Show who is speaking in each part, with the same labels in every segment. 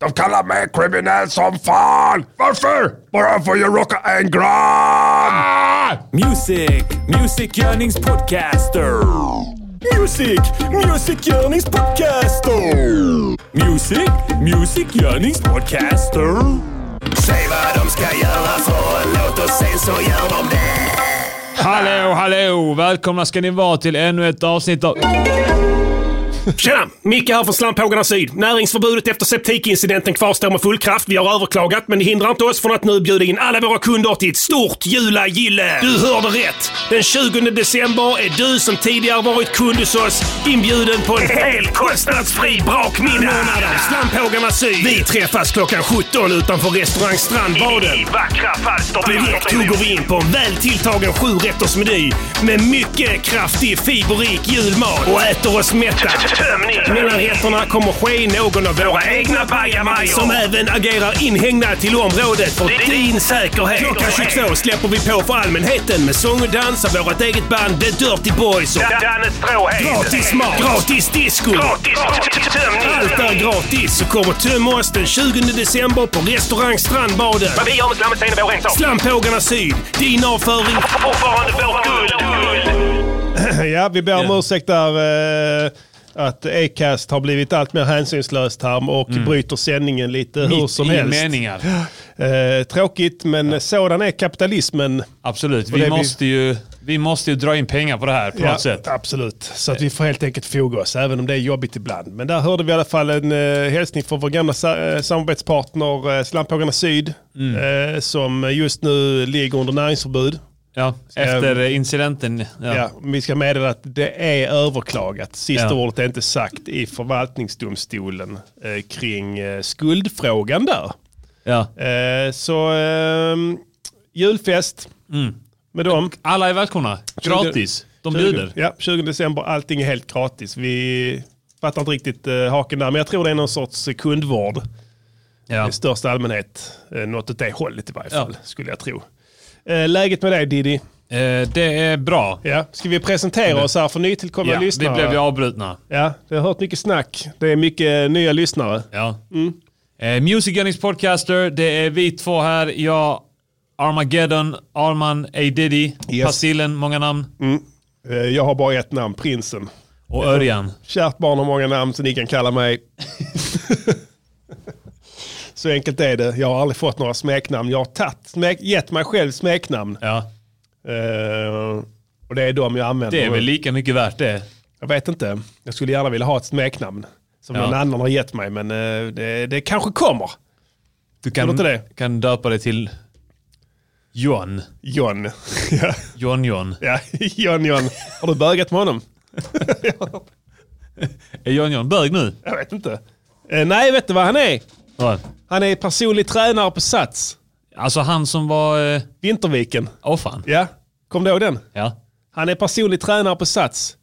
Speaker 1: De kallar mig kriminell som fan! Varför? Bara för jag råkar en gram!
Speaker 2: Music, Music Yearnings Podcaster. Music, Music Yearnings Podcaster. Music, Music Yearnings Podcaster.
Speaker 3: Säg vad de ska göra för en låt och sen så gör de det.
Speaker 4: Hallå, hallå! Välkomna ska ni vara till ännu ett avsnitt av...
Speaker 5: Tjena! Micke här från Slampågarna Syd. Näringsförbudet efter septikincidenten kvarstår med full kraft. Vi har överklagat, men det hindrar inte oss från att nu bjuda in alla våra kunder till ett stort jula-gille. Du hörde rätt! Den 20 december är du som tidigare varit kund hos oss inbjuden på en helt kostnadsfri brakmiddag. Slampågarna Syd. Vi träffas klockan 17 utanför restaurang Strandbaden.
Speaker 3: vackra Falsterbo.
Speaker 5: Direkt hugger vi in på en väl tilltagen sjurättersmeny med mycket kraftig fiberrik julmat och äter oss mätta. Mellanrätterna kommer ske i någon av våra egna bajamajor som även agerar inhägnad till området för din säkerhet. Klockan 22 släpper vi på för allmänheten med sång och dans av vårt eget band The Dirty Boys och
Speaker 3: Danne Stråhed.
Speaker 5: gratis mat, gratis disco.
Speaker 3: Gratis
Speaker 5: Allt är
Speaker 3: tömning.
Speaker 5: gratis så kom och töm oss den 20 december på restaurang Strandbaden.
Speaker 3: Vad vi gör med slammet sen är vår ensak.
Speaker 5: Slampågarna Syd, din avföring
Speaker 3: Fortfarande vårt guld.
Speaker 6: Ja, vi ber om ursäkt där. Eh, att Acast har blivit allt mer hänsynslöst här och bryter sändningen lite hur
Speaker 4: Mitt
Speaker 6: som
Speaker 4: i
Speaker 6: helst.
Speaker 4: meningar.
Speaker 6: Eh, tråkigt, men sådan är kapitalismen.
Speaker 4: Absolut.
Speaker 6: det
Speaker 4: Vi
Speaker 6: blir-
Speaker 4: måste, ju, vi måste ju dra in pengar på det här på
Speaker 6: Ja,
Speaker 4: något sätt.
Speaker 6: Absolut, så att vi får helt enkelt foga oss, även om det är jobbigt ibland. Men där hörde vi i alla fall en eh, hälsning från vår gamla sa- eh, samarbetspartner eh, Slampågarna Syd, eh, som just nu ligger under näringsförbud.
Speaker 4: Ja, efter incidenten. Ja.
Speaker 6: Ja, vi ska meddela att det är överklagat. Sista
Speaker 4: Ja.
Speaker 6: ordet är inte sagt i förvaltningsdomstolen eh, kring eh, skuldfrågan där.
Speaker 4: Ja.
Speaker 6: Eh, så eh, julfest med dem.
Speaker 4: Alla är välkomna. Mm. Eh, Gratis. De
Speaker 6: 20
Speaker 4: bjuder.
Speaker 6: Ja, 20 december, allting är helt gratis. Vi fattar inte riktigt eh, haken där, men jag tror det är någon sorts eh, kundvård
Speaker 4: Ja.
Speaker 6: i största allmänhet. Eh, något åt det hållet i varje
Speaker 4: Ja.
Speaker 6: fall, skulle jag tro. Eh, läget med dig Diddy?
Speaker 4: Eh, Det är bra.
Speaker 6: Ja. Ska vi
Speaker 4: Mm.
Speaker 6: presentera oss här för nytillkomna
Speaker 4: Ja, vi
Speaker 6: lyssnare?
Speaker 4: blev ju avbrutna.
Speaker 6: Ja, det har hört mycket snack. Det är mycket nya lyssnare.
Speaker 4: Ja.
Speaker 6: Mm.
Speaker 4: Eh, Music Gunnings Podcaster, det är vi två här. Jag, Armageddon, Arman, A Diddy,
Speaker 6: Yes.
Speaker 4: Pasillen, många namn.
Speaker 6: Eh, Jag har bara ett namn, Prinsen.
Speaker 4: Och Örjan.
Speaker 6: Kärt barn har många namn så ni kan kalla mig. så enkelt är det. Jag har aldrig fått några smeknamn. Jag har tagit, smek, gett mig själv smeknamn.
Speaker 4: Ja.
Speaker 6: Eh, och det är de jag använder.
Speaker 4: Det är väl lika mycket värt det.
Speaker 6: Jag vet inte. Jag skulle gärna vilja ha ett smeknamn som
Speaker 4: Ja.
Speaker 6: någon annan har gett mig. Men eh, det, det kanske kommer.
Speaker 4: Du
Speaker 6: Tror
Speaker 4: kan,
Speaker 6: du inte det?
Speaker 4: Mm. kan döpa det till John.
Speaker 6: John. ja,
Speaker 4: John John.
Speaker 6: ja, John, John. Har du bögat med honom?
Speaker 4: Är John John bög nu?
Speaker 6: Jag vet inte. Eh, nej, vet du vad han är?
Speaker 4: Ja.
Speaker 6: Han är personlig tränare på Sats.
Speaker 4: Alltså han som var... eh,
Speaker 6: Vinterviken.
Speaker 4: Åh fan.
Speaker 6: Ja, kom du ihåg den?
Speaker 4: Ja.
Speaker 6: Han är personlig tränare på Sats.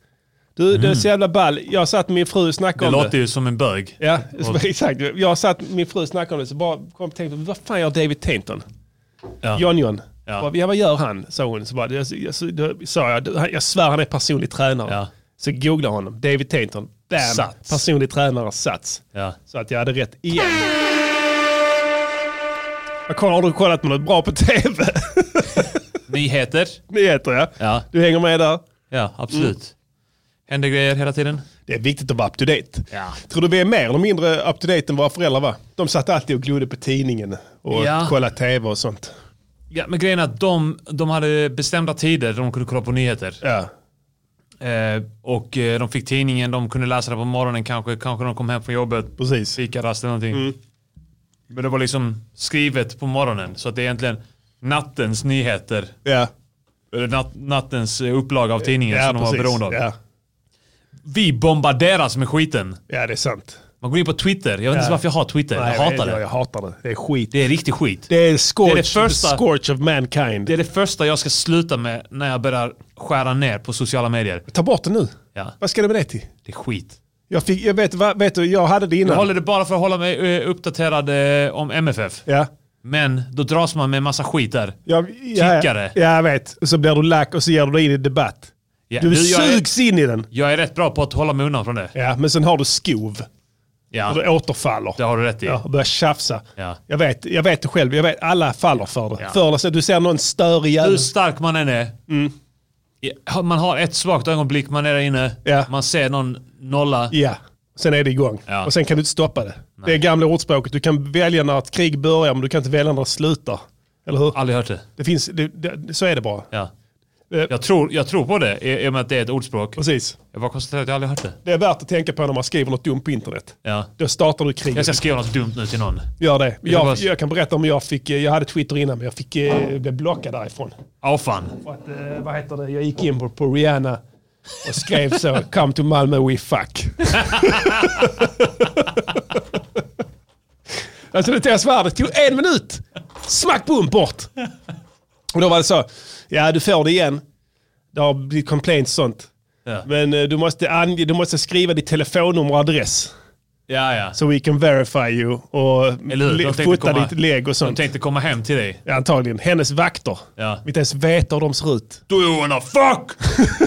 Speaker 6: Du, det är så jävla ball. Jag satt med min fru och
Speaker 4: Det
Speaker 6: snackade om
Speaker 4: låter
Speaker 6: det.
Speaker 4: ju som en bög.
Speaker 6: Ja, exakt. Jag satt med min fru och snackade om det, så bara kom och tänkte, vad fan gör David Tainton?
Speaker 4: Ja.
Speaker 6: John-John.
Speaker 4: Ja.
Speaker 6: Ja. ja, vad gör han? Sa hon. Så bara, jag, jag, så- då sa jag, du, han- jag svär han är personlig tränare.
Speaker 4: Ja.
Speaker 6: Så googla honom. David Tainton. Bam.
Speaker 4: Sats.
Speaker 6: Personlig tränare, Sats.
Speaker 4: Ja.
Speaker 6: Så att jag hade rätt igen. Jag kollar, har du kollat på något bra på tv?
Speaker 4: Nyheter.
Speaker 6: Nyheter ja.
Speaker 4: Ja.
Speaker 6: Du hänger med där.
Speaker 4: Ja, absolut. Mm. Händer grejer hela tiden.
Speaker 6: Det är viktigt att vara up to date.
Speaker 4: Ja.
Speaker 6: Tror du vi är mer eller mindre up to date än våra föräldrar va? De satt alltid och glodde på tidningen och
Speaker 4: Ja.
Speaker 6: kollade tv och sånt.
Speaker 4: Ja, men grejen är att de, de hade bestämda tider där de kunde kolla på nyheter.
Speaker 6: Ja.
Speaker 4: Eh, och eh, de fick tidningen, de kunde läsa det på morgonen kanske. Kanske de kom hem från jobbet,
Speaker 6: Precis. Mm.
Speaker 4: fikarast eller någonting. Men det var liksom skrivet på morgonen. Så att det är egentligen nattens nyheter.
Speaker 6: Ja,
Speaker 4: Eller nat, nattens eh, upplaga av tidningen
Speaker 6: ja
Speaker 4: som de var beroende av.
Speaker 6: Ja.
Speaker 4: Vi bombarderas med skiten.
Speaker 6: ja, det är sant.
Speaker 4: Man går in på Twitter. Jag vet inte ens varför jag har Twitter.
Speaker 6: Nej,
Speaker 4: jag hatar
Speaker 6: vet
Speaker 4: det.
Speaker 6: Jag hatar det. Det är skit.
Speaker 4: Det är riktig skit.
Speaker 6: Det är scorch,
Speaker 4: Det är det första-
Speaker 6: the scorch of mankind.
Speaker 4: Det är det första jag ska sluta med när jag börjar skära ner på sociala medier.
Speaker 6: Ta bort det nu.
Speaker 4: Ja.
Speaker 6: Vad ska det med det till?
Speaker 4: Det är skit.
Speaker 6: Jag, fick, jag vet, vad- vet du, jag hade det
Speaker 4: Jag
Speaker 6: innan.
Speaker 4: håller det bara för att hålla mig eh, uppdaterad eh, om MFF.
Speaker 6: Ja.
Speaker 4: Men då dras man med massa skit där.
Speaker 6: Jag, ja,
Speaker 4: Tickare.
Speaker 6: Ja, jag vet. Och så blir du lack och så ger du dig in i debatt.
Speaker 4: Ja,
Speaker 6: Du
Speaker 4: jag, är,
Speaker 6: sugs in i den.
Speaker 4: jag är rätt bra på att hålla mig undan från det.
Speaker 6: Ja, men sen har du skov.
Speaker 4: Ja.
Speaker 6: Och det återfaller.
Speaker 4: Det har du rätt i.
Speaker 6: Alltså, Ja, och börjar tjafsa.
Speaker 4: Ja.
Speaker 6: Jag, vet, jag vet det själv. Jag vet, alla faller för det.
Speaker 4: Ja.
Speaker 6: Förr eller senare, du ser någon
Speaker 4: Hur
Speaker 6: störig jävel.
Speaker 4: stark man än är.
Speaker 6: Mm.
Speaker 4: Ja, Man har ett svagt ögonblick, man är där inne.
Speaker 6: Ja.
Speaker 4: Man ser någon nolla.
Speaker 6: Ja, sen är det igång.
Speaker 4: Ja.
Speaker 6: Och sen kan du inte stoppa det. Det är gamla ordspråket. Du kan välja när ett krig börjar, men du kan inte välja när det slutar. Eller hur?
Speaker 4: Aldrig hört det.
Speaker 6: Det finns, det, det, så är det bara.
Speaker 4: Ja.
Speaker 6: Eh, Alltså-
Speaker 4: Jag, tror, jag tror på det i i och med att det är ett ordspråk.
Speaker 6: Precis.
Speaker 4: Jag bara konstaterar att jag aldrig hört det.
Speaker 6: Det är värt att tänka på när man skriver något dumt på internet.
Speaker 4: Ja.
Speaker 6: Då startar du kriget.
Speaker 4: Jag ska skriva något dumt nu till någon.
Speaker 6: Gör det.
Speaker 4: kan
Speaker 6: Jag,
Speaker 4: bara-
Speaker 6: jag kan berätta om jag fick, jag hade Twitter innan, men jag fick, eh, blev blockad därifrån.
Speaker 4: Åh fan.
Speaker 6: För att, eh, vad heter det, jag gick in på, på Rihanna och skrev så, come to Malmö we fuck. alltså det tog svärdet, tog en minut. Smack bom bort. Och då var det så, ja du får det igen. Det har blivit complaints och sånt.
Speaker 4: Ja.
Speaker 6: Men eh, du måste, ange, du måste skriva ditt telefonnummer och adress.
Speaker 4: Ja, ja.
Speaker 6: So we can verify you och
Speaker 4: Eller hur? De
Speaker 6: le-
Speaker 4: tänkte
Speaker 6: fota
Speaker 4: komma-
Speaker 6: ditt lägg och
Speaker 4: De
Speaker 6: sånt.
Speaker 4: tänkte komma hem till dig.
Speaker 6: Ja, Antagligen. Hennes vakter.
Speaker 4: Ja.
Speaker 6: Vi inte ens vet hur de ser ut.
Speaker 1: Do you wanna fuck?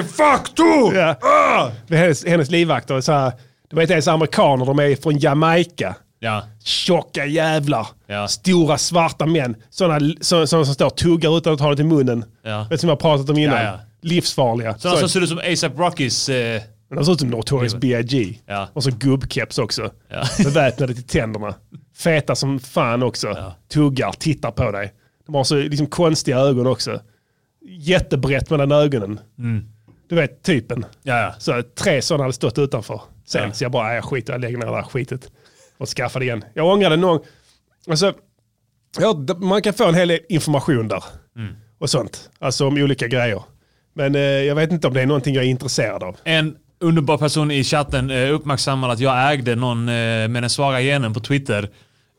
Speaker 1: I fuck too!
Speaker 6: Ja.
Speaker 1: Ah!
Speaker 6: Hennes, hennes livvakter är så här, de är inte ens amerikaner, de är från Jamaica.
Speaker 4: Ja.
Speaker 6: Tjocka jävlar.
Speaker 4: Ja.
Speaker 6: Stora svarta män. Sådana så, såna som står och tuggar utan att ha det i munnen.
Speaker 4: Ja.
Speaker 6: Vet som jag har pratat om innan.
Speaker 4: Ja, ja.
Speaker 6: Livsfarliga.
Speaker 4: Sådana som
Speaker 6: Så-
Speaker 4: ser ut som ASAP Rockys... Eh,
Speaker 6: men de ser ut som Notorious B.I.G.
Speaker 4: Ja.
Speaker 6: Och så gubbkeps också.
Speaker 4: Ja.
Speaker 6: Beväpnade till tänderna. Feta som fan också. Tuggar, tittar på dig. De har så liksom konstiga ögon också. Jättebrett mellan ögonen. Du vet typen.
Speaker 4: Mm. ja, ja.
Speaker 6: Så tre sådana hade stått utanför. Sen
Speaker 4: Ja.
Speaker 6: så jag bara, "Nej, jag skiter jag lägger ner det här skitet. Och skaffade igen. Jag ångrade någon. Alltså, ja, d- man kan få en hel del information där.
Speaker 4: Mm.
Speaker 6: Och sånt. Alltså om olika grejer. Men eh, jag vet inte om det är någonting jag är intresserad av.
Speaker 4: En underbar person i chatten eh, uppmärksammade att jag ägde någon eh, med den svaga genen på Twitter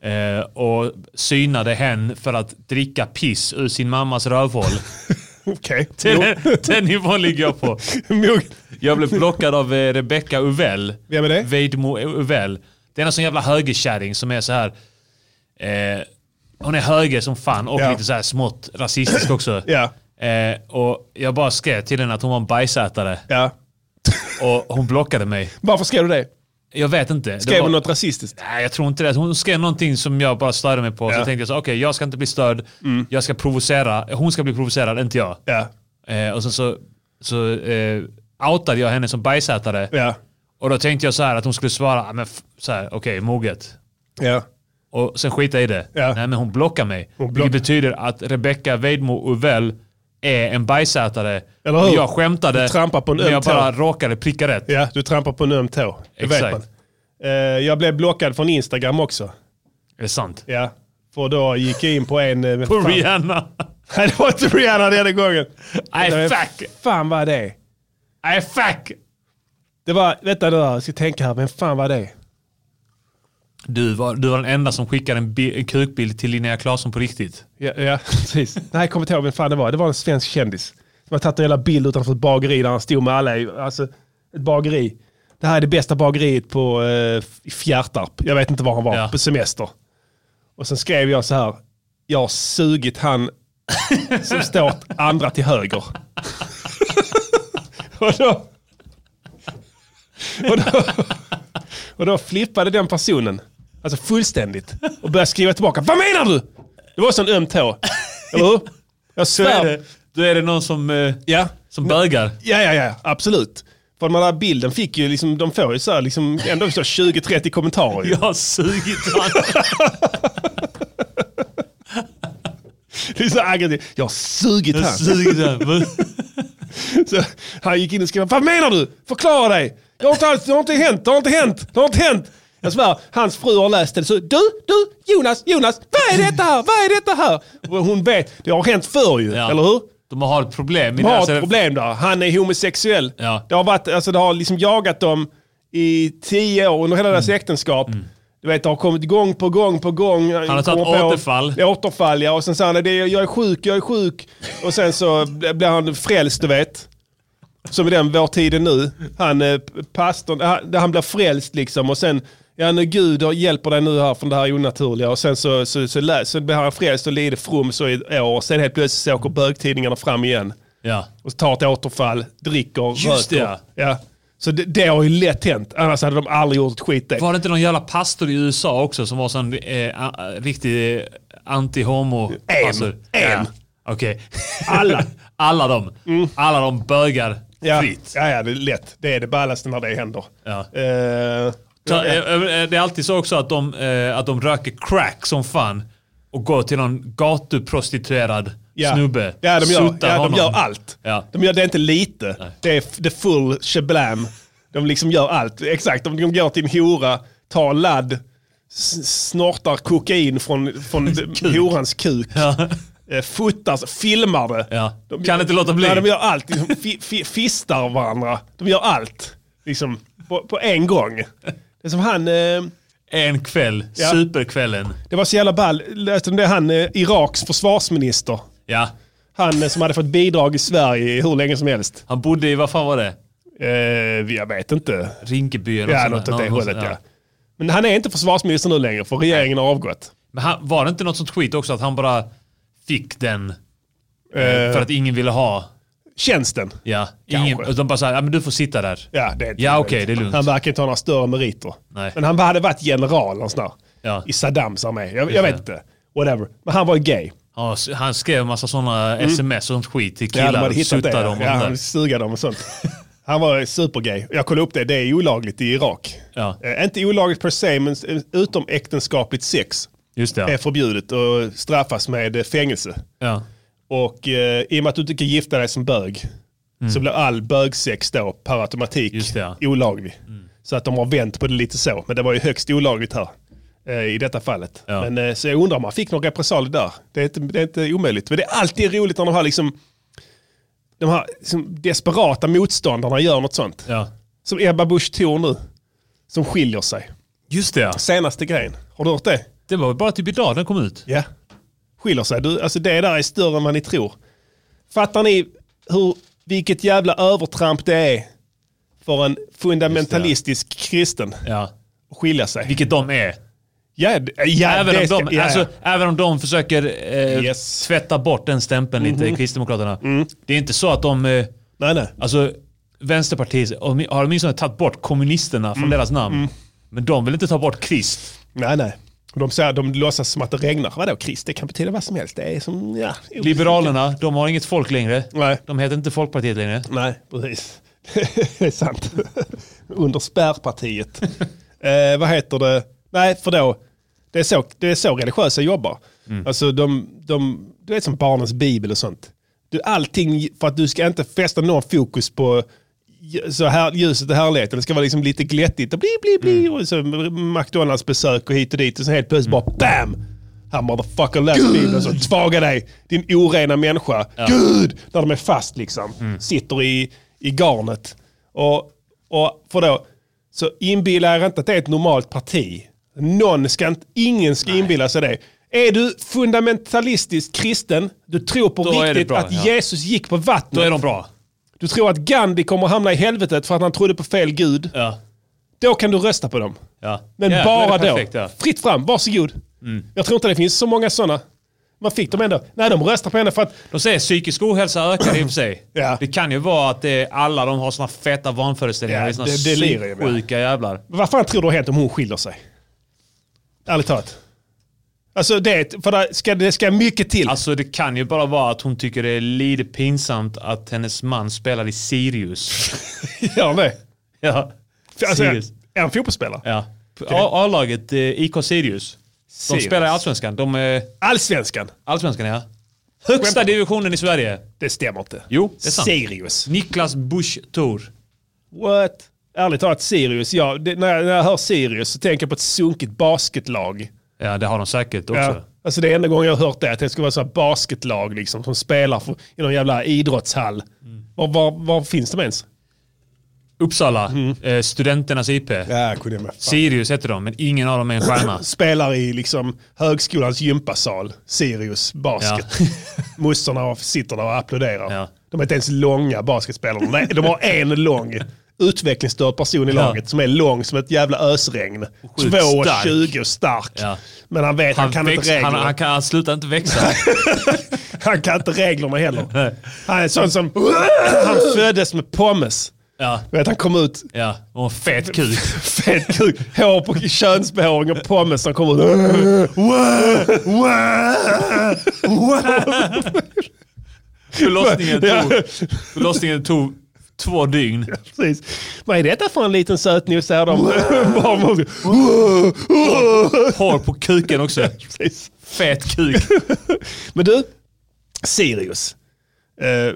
Speaker 4: eh, och synade hen för att dricka piss ur sin mammas rövhål.
Speaker 6: Okej.
Speaker 4: Den, den nivån ligger jag på.
Speaker 6: Mugg.
Speaker 4: Jag blev blockad av eh, Rebecca Uvell.
Speaker 6: Vem är det?
Speaker 4: Veidmo Uvell. Det är en sån jävla högerkärring som är så här. Eh, hon är höger som fan och
Speaker 6: Ja.
Speaker 4: lite så här smått rasistisk också.
Speaker 6: Ja.
Speaker 4: Eh, och jag bara skrev till henne att hon var en bajsätare
Speaker 6: Ja.
Speaker 4: och hon blockade mig.
Speaker 6: Varför skrev du det?
Speaker 4: Jag vet inte. Det
Speaker 6: Skrev
Speaker 4: var-
Speaker 6: hon något rasistiskt?
Speaker 4: Nej, jag tror inte det. Hon skrev någonting som jag bara störde mig på. Så
Speaker 6: Ja. Mm.
Speaker 4: jag tänkte jag så, okej, jag ska inte bli störd. Jag ska provocera. Hon ska bli provocerad, inte jag.
Speaker 6: Ja.
Speaker 4: Eh, och sen så, så eh, outade jag henne som bajsätare.
Speaker 6: Ja.
Speaker 4: Och då tänkte jag så här att hon skulle svara, "Ah, men f- så här, okej, moget.
Speaker 6: Ja.
Speaker 4: Och sen skita i det.
Speaker 6: Ja.
Speaker 4: Nej, men hon blockar mig.
Speaker 6: Hon block-
Speaker 4: Vilket betyder att Rebecca Weidmo Uvell är en bajsätare.
Speaker 6: Eller hur?
Speaker 4: Och Jag skämtade,
Speaker 6: Du trampar på en
Speaker 4: men
Speaker 6: öm
Speaker 4: jag bara
Speaker 6: tå.
Speaker 4: råkade pricka rätt.
Speaker 6: Ja, du trampar på en öm tå. Det vet
Speaker 4: Exakt.
Speaker 6: man. Eh, jag blev blockad från Instagram också.
Speaker 4: Är det sant?
Speaker 6: Ja. För då gick jag in på en... eh,
Speaker 4: På
Speaker 6: fan.
Speaker 4: Rihanna!
Speaker 6: Nej, det var inte Rihanna denna gången.
Speaker 4: Nej,
Speaker 6: Det-
Speaker 4: fuck!
Speaker 6: Fan vad det är.
Speaker 4: Nej, fuck!
Speaker 6: Det var... Vänta nu, jag ska tänka här. Vem fan var det?
Speaker 4: Du var, du var den enda som skickade en, bi- en kukbild till Linnea Claesson på riktigt.
Speaker 6: Ja, ja precis. Nej, jag kommer inte ihåg vem fan det var. Det var en svensk kändis. Som hade tagit en jävla bild utanför ett bageri där han stod med alla. i- Alltså, ett bageri. Det här är det bästa bageriet på eh, i Fjärtarp. Jag vet inte var han var.
Speaker 4: Ja.
Speaker 6: På semester. Och sen skrev jag så här. Jag har sugit han som står åt andra till höger. och då... Och då, och då flippade den personen. Alltså fullständigt. Och började skriva tillbaka. Vad menar du? Det var en sån öm tå. Eller hur? Jag
Speaker 4: Då är
Speaker 6: svär.
Speaker 4: det, då är det någon som, eh,
Speaker 6: Ja.
Speaker 4: som bögar.
Speaker 6: ja, ja, ja. Absolut. För den här bilden fick ju liksom, de får ju så här, liksom, ändå så 20-30 kommentarer. ju.
Speaker 4: Jag har sugit han.
Speaker 6: Det är så aggressivt. Jag har sugit
Speaker 4: Jag har
Speaker 6: han.
Speaker 4: sugit han.
Speaker 6: Så han gick in och skrev, vad menar du? Förklara dig! Det har inte, alls, det har inte hänt, det har inte hänt, det har inte hänt! Jag svär, hans fru har läst det. Så, du, du, Jonas, Jonas, vad är detta här? Vad är detta här? Och hon vet, det har hänt förr ju,
Speaker 4: Ja.
Speaker 6: eller hur?
Speaker 4: De har ett problem.
Speaker 6: De har ett problem där. Han är homosexuell.
Speaker 4: Alltså- Ja.
Speaker 6: Det, har varit, alltså, det har liksom jagat dem i tio år under hela
Speaker 4: Mm.
Speaker 6: deras äktenskap. Du vet, det har kommit gång på gång på gång. Han
Speaker 4: har tagit återfall.
Speaker 6: Ja, återfall ja. Och sen säger han, "Det är- jag är sjuk, jag är sjuk. Och sen så blir han frälst, du vet. Som i den Vår tid är nu. Han, eh, pastorn, han, han blir frälst liksom. Och sen, ja nu Gud och hjälper dig nu här från det här onaturliga. Och sen så, så, så, lä- så blir han frälst och lider from så i ett år. Och sen helt plötsligt så åker bögtidningarna fram igen.
Speaker 4: Ja.
Speaker 6: Och tar ett återfall, dricker,
Speaker 4: Just det,
Speaker 6: röker. Ja. Så det, det har ju lätt hänt. Annars hade de aldrig gjort ett skit det.
Speaker 4: Var det inte någon jävla pastor i USA också som var sån eh, a- riktig eh, anti-homo?
Speaker 6: En.
Speaker 4: pastor?
Speaker 6: En.
Speaker 4: Ja. Okej.
Speaker 6: Alla. Mm.
Speaker 4: Alla de. Alla de bögar
Speaker 6: Ja.
Speaker 4: fritt.
Speaker 6: Ja, ja, det är lätt. Det är det ballaste när det händer.
Speaker 4: Ja.
Speaker 6: Eh,
Speaker 4: Så, eh, eh, Det är alltid så också att de, eh, att de röker crack som fan och går till någon gatuprostituerad
Speaker 6: ja.
Speaker 4: snubbe.
Speaker 6: Ja, de gör,
Speaker 4: Sutar
Speaker 6: ja, de
Speaker 4: honom.
Speaker 6: gör allt.
Speaker 4: Ja.
Speaker 6: De gör det inte lite. Det är f- the full shablam. De liksom gör allt. Exakt, de, de går till en hora, tar ladd, s- snortar kokain från, från horans kuk.
Speaker 4: Ja.
Speaker 6: eh, fotar, filmar det.
Speaker 4: Ja. Kan inte låta bli.
Speaker 6: Ja, de gör allt. Liksom, fi, fi, fistar varandra. De gör allt. Liksom, på, på en gång. Det är som han... Eh,
Speaker 4: En kväll,
Speaker 6: Ja.
Speaker 4: superkvällen.
Speaker 6: det var så jävla ball. Läste om det? Han, eh, Iraks försvarsminister.
Speaker 4: Ja.
Speaker 6: Han eh, som hade fått bidrag i Sverige hur länge som helst.
Speaker 4: Han bodde i, vad fan var det?
Speaker 6: Eh, jag vet inte.
Speaker 4: Rinkeby eller
Speaker 6: Ja,
Speaker 4: något
Speaker 6: något
Speaker 4: sånt
Speaker 6: åt
Speaker 4: där.
Speaker 6: det
Speaker 4: Någon-
Speaker 6: hållet
Speaker 4: ja.
Speaker 6: ja. Men han är inte försvarsminister nu längre för regeringen har avgått.
Speaker 4: Men han, var det inte något sånt skit också att han bara fick den eh,
Speaker 6: Eh.
Speaker 4: för att ingen ville ha?
Speaker 6: Tjänsten.
Speaker 4: Ja, ingen,
Speaker 6: Kanske.
Speaker 4: utan bara såhär, ja men du får sitta där.
Speaker 6: Ja, det är inte
Speaker 4: Ja,
Speaker 6: möjligt.
Speaker 4: okej, det är lugnt.
Speaker 6: Han verkar inte ha några större meriter.
Speaker 4: Nej.
Speaker 6: Men han hade varit general någonstans
Speaker 4: Ja.
Speaker 6: i Saddams armé. Jag, jag vet
Speaker 4: det.
Speaker 6: inte. Whatever. Men han var ju gay.
Speaker 4: Ja, s- han skrev en massa sådana sms och sånt skit till
Speaker 6: Mm. Ja, de
Speaker 4: killar.
Speaker 6: hade
Speaker 4: och
Speaker 6: hittat det.
Speaker 4: suttade dem
Speaker 6: Ja,
Speaker 4: och sånt där.
Speaker 6: han sugade dem och sånt. Han var supergay. Jag kollade upp det. Det är olagligt i Irak.
Speaker 4: Ja.
Speaker 6: Eh, inte olagligt per se, men s- utom äktenskapligt sex
Speaker 4: Just det.
Speaker 6: är
Speaker 4: ja.
Speaker 6: förbjudet och straffas med eh, fängelse.
Speaker 4: Ja.
Speaker 6: Och eh, i och med att du inte kan gifta dig som bög så blir all bögsex då per automatik
Speaker 4: Mm. Just det, Mm.
Speaker 6: olaglig. Så att de har vänt på det lite så. Men det var ju högst olagligt här eh, i detta fallet.
Speaker 4: Ja.
Speaker 6: Men, eh, så jag undrar om man fick någon repressalier där. Det är, inte, det är inte omöjligt. Men det är alltid roligt när de här, liksom, de här liksom, desperata motståndarna gör något sånt.
Speaker 4: Ja.
Speaker 6: Som Ebba Busch Thor nu. Som skiljer sig.
Speaker 4: Just det. ja.
Speaker 6: Senaste grejen. Har du hört det?
Speaker 4: Det var väl bara typ idag den kom ut.
Speaker 6: Ja. Skiljer sig. Du, alltså det där är större än vad ni tror. Fattar ni hur, vilket jävla övertramp det är för en fundamentalistisk kristen
Speaker 4: Ja.
Speaker 6: att skilja sig?
Speaker 4: Vilket de är.
Speaker 6: ja, d- ja,
Speaker 4: Även,
Speaker 6: det
Speaker 4: om
Speaker 6: ska-
Speaker 4: de,
Speaker 6: ja,
Speaker 4: alltså,
Speaker 6: ja.
Speaker 4: även om de försöker eh,
Speaker 6: Yes. Mhm. Mm.
Speaker 4: tvätta bort den stämpeln lite, Kristdemokraterna. Det är inte så att de... Eh,
Speaker 6: Nej, nej.
Speaker 4: alltså, Vänsterpartiet om- har åtminstone tagit bort kommunisterna från
Speaker 6: Mm.
Speaker 4: deras namn. Men de vill inte ta bort krist.
Speaker 6: nej, nej. De, säger, de låtsas som att det regnar. Vadå Chris, det kan betyda vad som helst. Det är som, ja.
Speaker 4: Liberalerna, de har inget folk längre.
Speaker 6: Nej.
Speaker 4: De heter inte Folkpartiet längre.
Speaker 6: Nej, precis. det är sant. Under spärrpartiet. eh, vad heter det? Nej, för då. Det är så, det är så religiösa jobbar. Alltså de, de, du vet som barnens bibel och sånt. Du, allting för att du ska inte fästa någon fokus på lj- så här, ljuset och härligheten. Det ska vara liksom lite glättigt och bli, bli, bli. Och så McDonalds besök och hit och dit. Och så helt plötsligt bara BAM! Här motherfucker läs bibeln så svaga dig, din orena människa. Gud! När de är fast liksom.
Speaker 4: Mm.
Speaker 6: Sitter i, i garnet. Och, och för då, så inbilla er inte att det är ett normalt parti. Någon ska inte, ingen ska inbilla sig det. Är du fundamentalistisk kristen, du tror på
Speaker 4: Då är det
Speaker 6: riktigt
Speaker 4: bra,
Speaker 6: att
Speaker 4: ja.
Speaker 6: Jesus gick på vattnet.
Speaker 4: Då är de bra.
Speaker 6: Du tror att Gandhi kommer att hamna i helvetet för att han trodde på fel gud.
Speaker 4: Ja.
Speaker 6: Då kan du rösta på dem.
Speaker 4: Ja.
Speaker 6: Men
Speaker 4: Ja, då
Speaker 6: bara
Speaker 4: är det
Speaker 6: då.
Speaker 4: perfekt, ja. Mm.
Speaker 6: Fritt fram, varsågod. Jag tror inte det finns så många sådana. Man fick dem ändå. Nej, de röstar på henne för att...
Speaker 4: De säger psykisk ohälsa ökar i och för sig.
Speaker 6: Ja.
Speaker 4: Det kan ju vara att det är alla de har såna feta vanföreställningar.
Speaker 6: Ja,
Speaker 4: det är såna
Speaker 6: det- det lirar ju med.
Speaker 4: sjuka jävlar.
Speaker 6: Vad fan tror du har hänt om hon skiljer sig? Ärligt talat. Alltså det, är ett- för det, ska, det ska mycket till.
Speaker 4: Alltså det kan ju bara vara att hon tycker det är lite pinsamt att hennes man spelar i Sirius.
Speaker 6: Gör det.
Speaker 4: ja.
Speaker 6: För Alltså, är
Speaker 4: Sirius.
Speaker 6: är han fotbollsspelare?
Speaker 4: Ja. A- A-laget, eh, IK Sirius. De
Speaker 6: Sirius.
Speaker 4: spelar i Allsvenskan. De är
Speaker 6: Allsvenskan?
Speaker 4: Allsvenskan ja. Högsta divisionen i Sverige.
Speaker 6: Det stämmer inte.
Speaker 4: Jo, det är sant.
Speaker 6: Sirius.
Speaker 4: Niklas Busch Thor.
Speaker 6: What? Ärligt talat, Sirius. Ja, det, när, jag, när jag hör Sirius så tänker jag på ett sunkigt basketlag.
Speaker 4: Ja, det har de säkert också.
Speaker 6: Ja. Alltså det är enda gången jag har hört det, att det ska vara så här basketlag liksom, som spelar för, i någon jävla idrottshall. Var, var, var finns de ens?
Speaker 4: Uppsala, eh, Studenternas IP.
Speaker 6: Mm. Ja, kunde jag
Speaker 4: Sirius heter de, men ingen av dem är en stjärna.
Speaker 6: Spelar i liksom högskolans gympasal, Sirius basket. Mosterna och- sitter där och applåderar.
Speaker 4: Ja.
Speaker 6: De är inte ens långa basketspelarna. Nej, de har en lång utvecklingsstörd person i
Speaker 4: Ja.
Speaker 6: laget som är lång som ett jävla ösregn.
Speaker 4: sjukt
Speaker 6: 2,20 stark.
Speaker 4: Ja.
Speaker 6: Men han vet, han, kan inte
Speaker 4: väx-
Speaker 6: reglerna.
Speaker 4: han, han, kan, han slutar inte växa.
Speaker 6: Han kan inte reglerna heller. Han är sån som... Han föddes med pommes.
Speaker 4: Ja.
Speaker 6: Du Vet, han kom ut,
Speaker 4: Ja, och en fet kuk.
Speaker 6: fet kuk, hår på könsbehåring och pommes som kom ut.
Speaker 4: Förlossningen
Speaker 6: Ja.
Speaker 4: tog, förlossningen tog två dygn.
Speaker 6: Precis. Vad är detta för en liten sötnos? säger de. Barnmorskan.
Speaker 4: Hår på kuken också.
Speaker 6: Precis.
Speaker 4: Fet kuk.
Speaker 6: Men du, Sirius. Eh,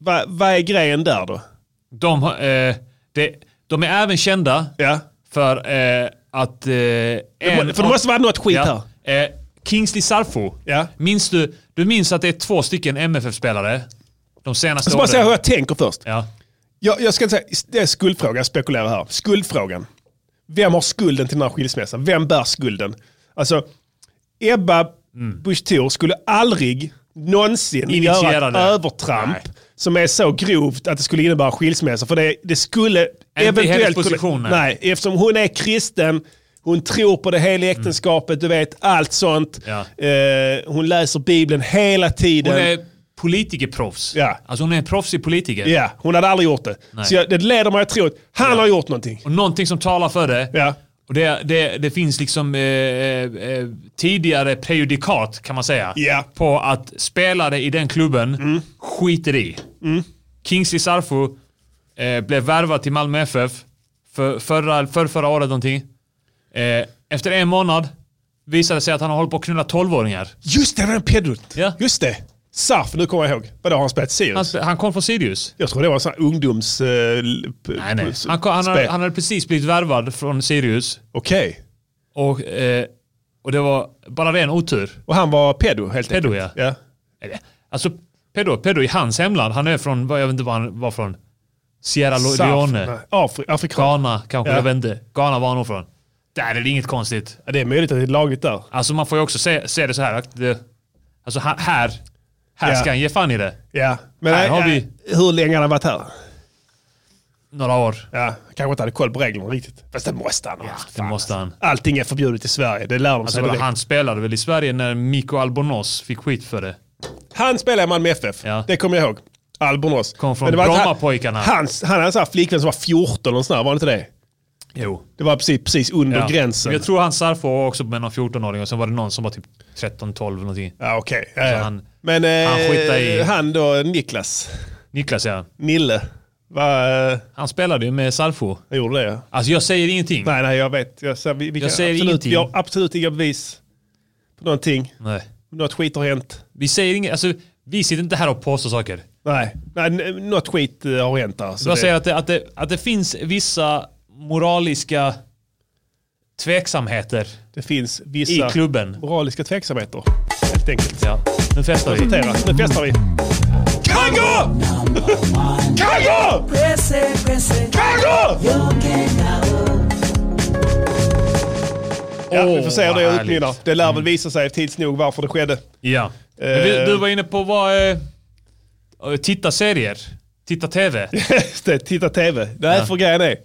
Speaker 6: vad, vad är grejen där då?
Speaker 4: De, har, eh, det, de är även kända
Speaker 6: Ja.
Speaker 4: för eh, att... Eh, en,
Speaker 6: För det måste vara något skit här.
Speaker 4: ja, eh, Kingsley Sarfo.
Speaker 6: Ja.
Speaker 4: Minns du, du minns att det är två stycken MFF-spelare de
Speaker 6: Jag
Speaker 4: senaste
Speaker 6: ska bara säga hur jag tänker först.
Speaker 4: Ja.
Speaker 6: Jag, jag ska inte säga, det är skuldfrågan, jag spekulerar här. Skuldfrågan. Vem har skulden till den här skilsmässan? Vem bär skulden? Alltså, Ebba
Speaker 4: Mm.
Speaker 6: Busch Thor skulle aldrig någonsin
Speaker 4: Initiera
Speaker 6: göra ett
Speaker 4: det.
Speaker 6: övertramp
Speaker 4: Nej.
Speaker 6: som är så grovt att det skulle innebära skilsmässa. För det, det skulle
Speaker 4: i hennes
Speaker 6: eventuellt...
Speaker 4: position,
Speaker 6: kunna,
Speaker 4: nej.
Speaker 6: nej, eftersom hon är kristen, hon tror på det heliga äktenskapet, du vet, allt sånt.
Speaker 4: Ja.
Speaker 6: Eh, hon läser Bibeln hela tiden.
Speaker 4: Hon är politikerproffs.
Speaker 6: Ja.
Speaker 4: Alltså hon är en proffsig politiker.
Speaker 6: Ja, hon hade aldrig gjort det. Så jag, det leder mig att tro att han har gjort någonting.
Speaker 4: Och någonting som talar för det.
Speaker 6: Ja.
Speaker 4: Och det, det, det finns liksom eh, eh, tidigare prejudikat kan man säga.
Speaker 6: Ja. Mm.
Speaker 4: På att spelare i den klubben skiter i. Kingsley Sarfo eh, blev värvad till Malmö FF för, förra, för förra året någonting. Eh, efter en månad visade det sig att han har hållit på att knulla 12-åringar.
Speaker 6: Just det, det var en pedot.
Speaker 4: Ja.
Speaker 6: Just det. Sarf, nu kommer jag ihåg. Vadå, har han spelat Sirius?
Speaker 4: Han, sp- han kom från Sirius.
Speaker 6: Jag tror det var en sån här ungdoms... eh, l- p-
Speaker 4: Nej, nej.
Speaker 6: p-
Speaker 4: Han, kom, han, hade,
Speaker 6: spel.
Speaker 4: han hade precis blivit värvad från Sirius.
Speaker 6: Okej.
Speaker 4: Och, eh, och det var bara ren otur.
Speaker 6: Och han var pedo helt
Speaker 4: Pedo,
Speaker 6: enkelt? ja.
Speaker 4: Eller, Alltså, Pedro, Pedro i hans hemland, han är från, vad- jag vet inte var han var från. Sierra Lo-
Speaker 6: Sarf,
Speaker 4: Leone,
Speaker 6: nej. Afri Afrikan.
Speaker 4: Ghana kanske,
Speaker 6: Ja.
Speaker 4: jag vet inte. Ghana var han nog från. Där är det inget konstigt.
Speaker 6: Ja, det är möjligt att det är lagligt där.
Speaker 4: Alltså man får ju också se, se det så här. Att det, alltså ha- här, här
Speaker 6: Ja.
Speaker 4: ska han ge fan i det.
Speaker 6: Ja. Men
Speaker 4: Här
Speaker 6: eh,
Speaker 4: har
Speaker 6: eh,
Speaker 4: vi-
Speaker 6: hur länge han har varit här?
Speaker 4: Några år.
Speaker 6: Ja, kanske inte hade koll på reglerna riktigt. Fast det måste han ha haft.
Speaker 4: Det måste han.
Speaker 6: Allting är förbjudet i Sverige, alltså. det lär de sig.
Speaker 4: Alltså,
Speaker 6: direkt.
Speaker 4: han spelade väl i Sverige när Mikko Albornoz fick skit för det.
Speaker 6: Han spelade i Malmö FF,
Speaker 4: Ja.
Speaker 6: det kommer jag ihåg. Albornoz.
Speaker 4: Kom från
Speaker 6: Men det var inte han-
Speaker 4: Brommapojkarna.
Speaker 6: hans- Han hade en sån här flickvän som var 14 eller sån här, var det inte det?
Speaker 4: Jo.
Speaker 6: Det var precis, precis under
Speaker 4: Ja.
Speaker 6: gränsen.
Speaker 4: Jag tror han Sarfo var också med någon 14-åring och sen var det någon som var typ 13-12 någonting.
Speaker 6: Ja, okej. Ja, ja.
Speaker 4: han-
Speaker 6: Men eh,
Speaker 4: han
Speaker 6: han,
Speaker 4: skitar i-
Speaker 6: då, Niklas,
Speaker 4: Niklas ja.
Speaker 6: Nille, vad eh,
Speaker 4: Han spelade ju med Sarfo.
Speaker 6: han gjorde det? ja.
Speaker 4: Alltså jag säger ingenting.
Speaker 6: Nej, nej, jag vet. Jag, så, vi, vi
Speaker 4: Jag
Speaker 6: kan
Speaker 4: säger
Speaker 6: absolut,
Speaker 4: ingenting.
Speaker 6: Vi har absolut inga bevis på någonting.
Speaker 4: Nej.
Speaker 6: Något skit har hänt.
Speaker 4: Vi säger inget, alltså vi sitter inte här och påstår saker.
Speaker 6: Nej, nej n- något skit eh, har hänt där. Så
Speaker 4: Jag
Speaker 6: det-
Speaker 4: säger att det, att, det, att det finns vissa moraliska tveksamheter
Speaker 6: det finns
Speaker 4: i
Speaker 6: vissa
Speaker 4: klubben.
Speaker 6: moraliska tveksamheter, helt enkelt.
Speaker 4: Ja. Nu festar vi.
Speaker 6: Notera, nu festar vi. Kango! Kango! Kango! Ja, vi får se hur
Speaker 4: vad
Speaker 6: det
Speaker 4: härligt. Mm.
Speaker 6: utmynnar. Det lär väl visa sig tids nog varför det skedde. Eh.
Speaker 4: Ja. Men vi, du var inne på vad... eh, eh, Titta serier. Titta TV.
Speaker 6: Just det, titta tv. Nej, för grejen är.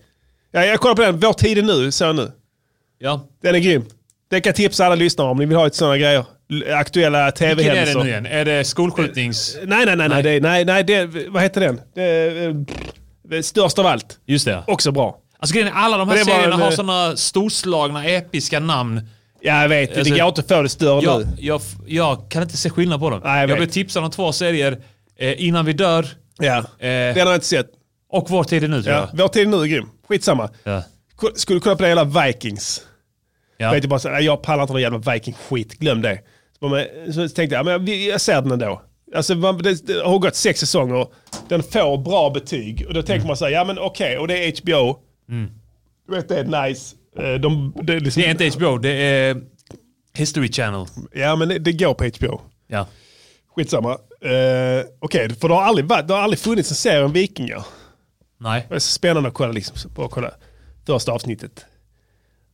Speaker 6: Ja, jag kollar på den. Vår tid är nu, så nu.
Speaker 4: Ja.
Speaker 6: Den är grym. Den kan tipsa alla lyssnare om ni vill ha ett sådana grejer. L- Aktuella
Speaker 4: Vilken är det
Speaker 6: tv-händelser.
Speaker 4: nu
Speaker 6: Nej,
Speaker 4: igen? Är det skolskjutnings...
Speaker 6: nej, nej. nej. nej. Det, är- nej, nej det, vad heter den? Det, är, eh, störst av allt.
Speaker 4: Just det. ja.
Speaker 6: Också bra.
Speaker 4: Alltså grejen är, alla de här
Speaker 6: Det var
Speaker 4: serierna
Speaker 6: en,
Speaker 4: har
Speaker 6: eh,
Speaker 4: sådana storslagna, episka namn.
Speaker 6: Ja, jag vet.
Speaker 4: Alltså,
Speaker 6: det går inte att få det större
Speaker 4: Jag,
Speaker 6: nu.
Speaker 4: jag, jag kan inte se skillnad på dem.
Speaker 6: Nej, jag
Speaker 4: jag
Speaker 6: vet.
Speaker 4: blev tipsad om två serier. Eh, innan vi dör
Speaker 6: Ja.
Speaker 4: Eh.
Speaker 6: Den har jag inte sett.
Speaker 4: och Vår tid är nu tror
Speaker 6: Ja.
Speaker 4: jag.
Speaker 6: Vår tid är nu är grym. Skitsamma.
Speaker 4: Ja.
Speaker 6: Ko- Skulle kolla på den jävla Vikings.
Speaker 4: Ja.
Speaker 6: Jag, vet ju bara, så här, "Nej, jag pallar inte den jävla Viking-skit, glöm det. Så, bara, men, så tänkte jag, men jag, jag ser den ändå. Alltså, man, det, det har gått sex säsonger, den får bra betyg. Och då tänker man så här, ja men okej, och det är HBO. Du vet, det är nice. Eh, De, det är liksom,
Speaker 4: Det är inte HBO, det är History Channel.
Speaker 6: Ja men det, det går på HBO.
Speaker 4: Ja.
Speaker 6: Skitsamma. Uh, okej, för det har, aldrig, varit- det har aldrig funnits en serie om vikingar.
Speaker 4: Nej.
Speaker 6: Det är så spännande att kolla, liksom, så bara kolla första avsnittet.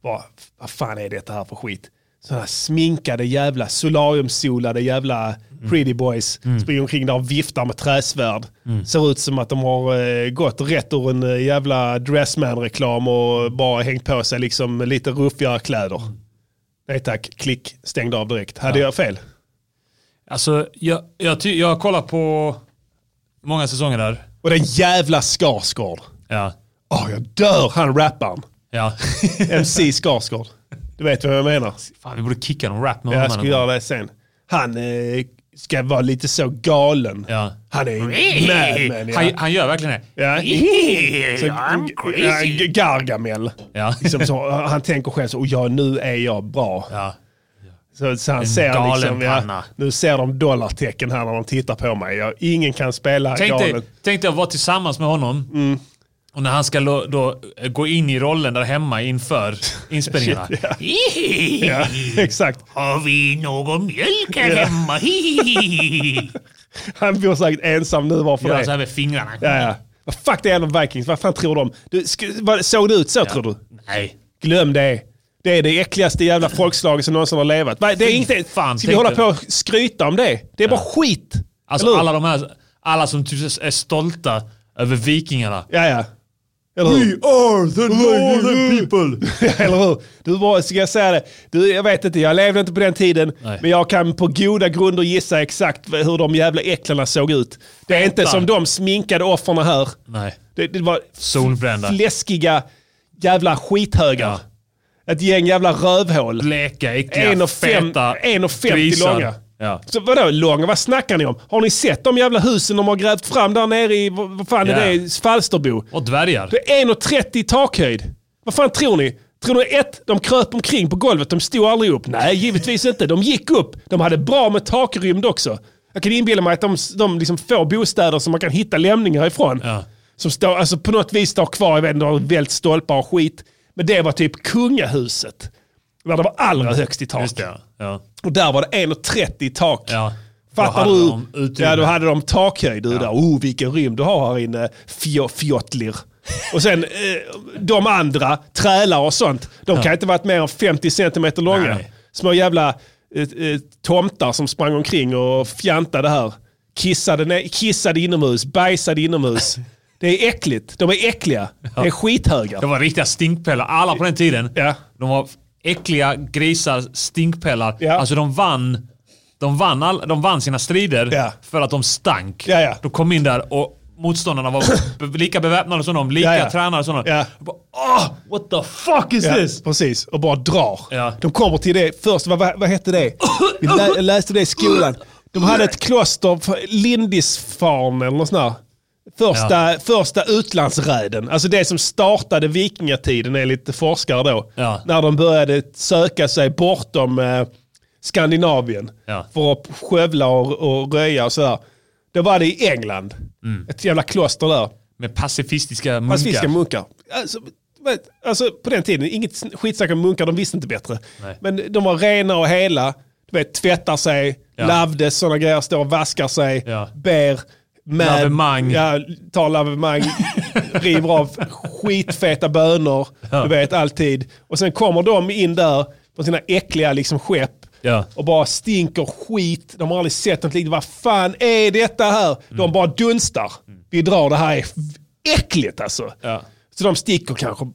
Speaker 6: Bara, vad fan är detta här för skit? Sådana sminkade jävla solariumsolade jävla
Speaker 4: Mm.
Speaker 6: pretty boys springer omkring där och viftar med träsvärd.
Speaker 4: Mm.
Speaker 6: Ser ut som att de har eh, gått rätt ur en eh, jävla Dressman-reklam och bara hängt på sig liksom lite ruffigare kläder.
Speaker 4: Mm.
Speaker 6: Nej tack, klick, stängde av direkt. Hade jag fel?
Speaker 4: Alltså, jag, jag, ty- jag kollar på många säsonger där.
Speaker 6: Och
Speaker 7: Och den jävla Skarsgård.
Speaker 4: Ja.
Speaker 7: Åh, jag dör han rapparen.
Speaker 4: Ja.
Speaker 7: MC Skarsgård. Du vet vad jag menar.
Speaker 4: Fan, vi borde kicka någon rap med
Speaker 7: Jag
Speaker 4: honom.
Speaker 7: skulle göra det sen. Han eh, ska vara lite så galen.
Speaker 4: Ja.
Speaker 7: Han är en madman.
Speaker 4: han,
Speaker 7: Ja.
Speaker 4: han gör verkligen det.
Speaker 7: Ja. Så, ja, Gargamel.
Speaker 4: Ja.
Speaker 7: Liksom så, han tänker själv så, "Och ja, nu är jag bra.
Speaker 4: Ja.
Speaker 7: Så, så han ser
Speaker 4: galen
Speaker 7: liksom, ja,
Speaker 4: panna.
Speaker 7: nu ser de dollartecken här när de tittar på mig. Ja, ingen kan spela
Speaker 4: Tänk, dig,
Speaker 7: galen.
Speaker 4: tänk dig att vara tillsammans med honom.
Speaker 7: Mm.
Speaker 4: Och när han ska lo, då eh, gå in i rollen där hemma inför inspelningarna.
Speaker 7: Ja, exakt.
Speaker 4: Har vi någon mjölk här hemma? Hihihi.
Speaker 7: Han bor säkert ensam nu bara för
Speaker 4: Gör
Speaker 7: det.
Speaker 4: så här med fingrarna.
Speaker 7: Ja, ja. Vad Fuck, det är en Vikings. Vad fan tror de? Du, sk- vad- såg det ut så tror du?
Speaker 4: Nej.
Speaker 7: Glöm det. Det är det äckligaste jävla folkslaget som någonsin har levat. Va, Det är inte,
Speaker 4: fan,
Speaker 7: ska vi
Speaker 4: tänk
Speaker 7: hålla
Speaker 4: du-
Speaker 7: på och skryta om det? Det är bara skit.
Speaker 4: Alltså
Speaker 7: Eller hur?
Speaker 4: alla de här, alla som typ är stolta över vikingarna.
Speaker 7: Ja, ja. Eller hur?
Speaker 4: are the northern people!
Speaker 7: Eller hur? Du var, ska jag säga det? Du, jag vet inte, jag levde inte på den tiden.
Speaker 4: Nej.
Speaker 7: Men jag kan på goda grunder gissa exakt v- hur de jävla äcklarna såg ut. Det är inte
Speaker 4: Fettan.
Speaker 7: som de sminkade offren här.
Speaker 4: Nej,
Speaker 7: Det, det var
Speaker 4: solbrända.
Speaker 7: fläskiga jävla skithögar.
Speaker 4: Ja.
Speaker 7: Ett gäng jävla rövhål.
Speaker 4: Bleka, äckliga,
Speaker 7: En och fem-
Speaker 4: feta
Speaker 7: en och femtio
Speaker 4: grisar.
Speaker 7: långa.
Speaker 4: Ja.
Speaker 7: Så vadå långa? Vad snackar ni om? Har ni sett de jävla husen de har grävt fram där nere i, vad vad fan
Speaker 4: Ja.
Speaker 7: är det, Falsterbo?
Speaker 4: Och dvärgar.
Speaker 7: Det är 1,30 i takhöjd. Vad fan tror ni? Tror ni ett, de kröp omkring på golvet, de stod aldrig upp? Nej, givetvis inte. De gick upp. De hade bra med takrymd också. Jag kan inbilla mig att de, de liksom får bostäder som man kan hitta lämningar ifrån.
Speaker 4: Ja.
Speaker 7: Som står, alltså på något vis står kvar, jag vet inte, de har vält stolpar och skit. Men det var typ kungahuset. Där det var allra högst i tak.
Speaker 4: Just det, ja.
Speaker 7: Och där var det 1,30 i tak.
Speaker 4: ja.
Speaker 7: Fattar
Speaker 4: Då hade
Speaker 7: du?
Speaker 4: de utrymme.
Speaker 7: Ja, då hade de takhöjd. Du där. Oh, vilken rymd du har här inne, fjå, fjottlir. Och sen eh, de andra, trälar och sånt, de kan inte varit mer än 50 centimeter långa.
Speaker 4: Nej.
Speaker 7: Små jävla eh, eh, tomtar som sprang omkring och fjantade här. Kissade, ner- kissade inomhus, bajsade inomhus. Det är äckligt. De är äckliga. Det är skithögar.
Speaker 4: Det var riktiga stinkpellar. Alla på den tiden.
Speaker 7: Ja.
Speaker 4: De var äckliga grisar, stinkpellar.
Speaker 7: Ja.
Speaker 4: Alltså de vann, de vann, all, de vann sina strider
Speaker 7: Ja.
Speaker 4: för att de stank.
Speaker 7: Ja, ja.
Speaker 4: De kom in där och motståndarna var be- lika beväpnade som dem, lika
Speaker 7: Ja, ja.
Speaker 4: tränade som dem.
Speaker 7: Ja.
Speaker 4: Jag Bara, "Åh, what the fuck is this?
Speaker 7: Ja, precis, och bara drar.
Speaker 4: Ja.
Speaker 7: De kommer till det först, vad, vad, vad hette det? Vi lä, jag läste det i skolan. De hade ett kloster, för- Lindisfarne eller något sånt där. Första, första utlandsräden, alltså det som startade vikingatiden enligt forskare då.
Speaker 4: Ja.
Speaker 7: När de började söka sig bortom eh, Skandinavien
Speaker 4: Ja.
Speaker 7: för att skövla och, och röja och sådär. Då var det i England, ett jävla kloster där.
Speaker 4: Med pacifistiska munkar.
Speaker 7: Pacifistiska munkar. Alltså, vet, alltså på den tiden, inget sn- skitsnack om munkar, de visste inte bättre.
Speaker 4: Nej.
Speaker 7: Men de var rena och hela, du vet, tvättar sig,
Speaker 4: Ja.
Speaker 7: lavdes, sådana grejer, står och vaskar sig,
Speaker 4: Ja.
Speaker 7: ber, med,
Speaker 4: Lavemang.
Speaker 7: Ja, tar lavemang, river av skitfeta bönor,
Speaker 4: Ja.
Speaker 7: du vet alltid. Och sen kommer de in där på sina äckliga liksom, skepp
Speaker 4: Ja.
Speaker 7: och bara stinker skit. De har aldrig sett något liknande. Vad fan är detta här?
Speaker 4: Mm.
Speaker 7: De bara dunstar. Vi drar, det här är äckligt alltså.
Speaker 4: Ja.
Speaker 7: Så de sticker kanske,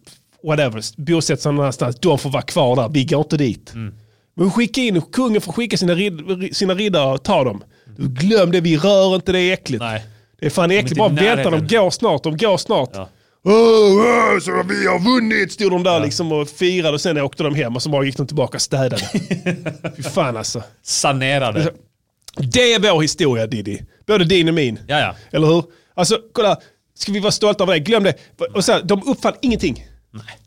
Speaker 7: whatever, bosätter sig någon annanstans. De får vara kvar där, vi går inte dit.
Speaker 4: Mm.
Speaker 7: Men skicka in, kungen får skicka sina, rid, sina riddare och ta dem. Du, glöm det, vi rör inte det, det är äckligt.
Speaker 4: Nej.
Speaker 7: Det är fan äckligt,
Speaker 4: inte i
Speaker 7: bara vänta, de
Speaker 4: typ närheten.
Speaker 7: går snart, de går snart.
Speaker 4: Ja.
Speaker 7: Åh, åh, så vi har vunnit, stod de där liksom och firade och sen åkte de hem och så bara gick de tillbaka och städade. Fy fan alltså.
Speaker 4: Sanerade.
Speaker 7: Det är vår historia Diddy. Både din och min.
Speaker 4: Ja, ja.
Speaker 7: Eller hur? Alltså, kolla. Ska vi vara stolta över det? Glöm det. Och så här, de uppfann ingenting.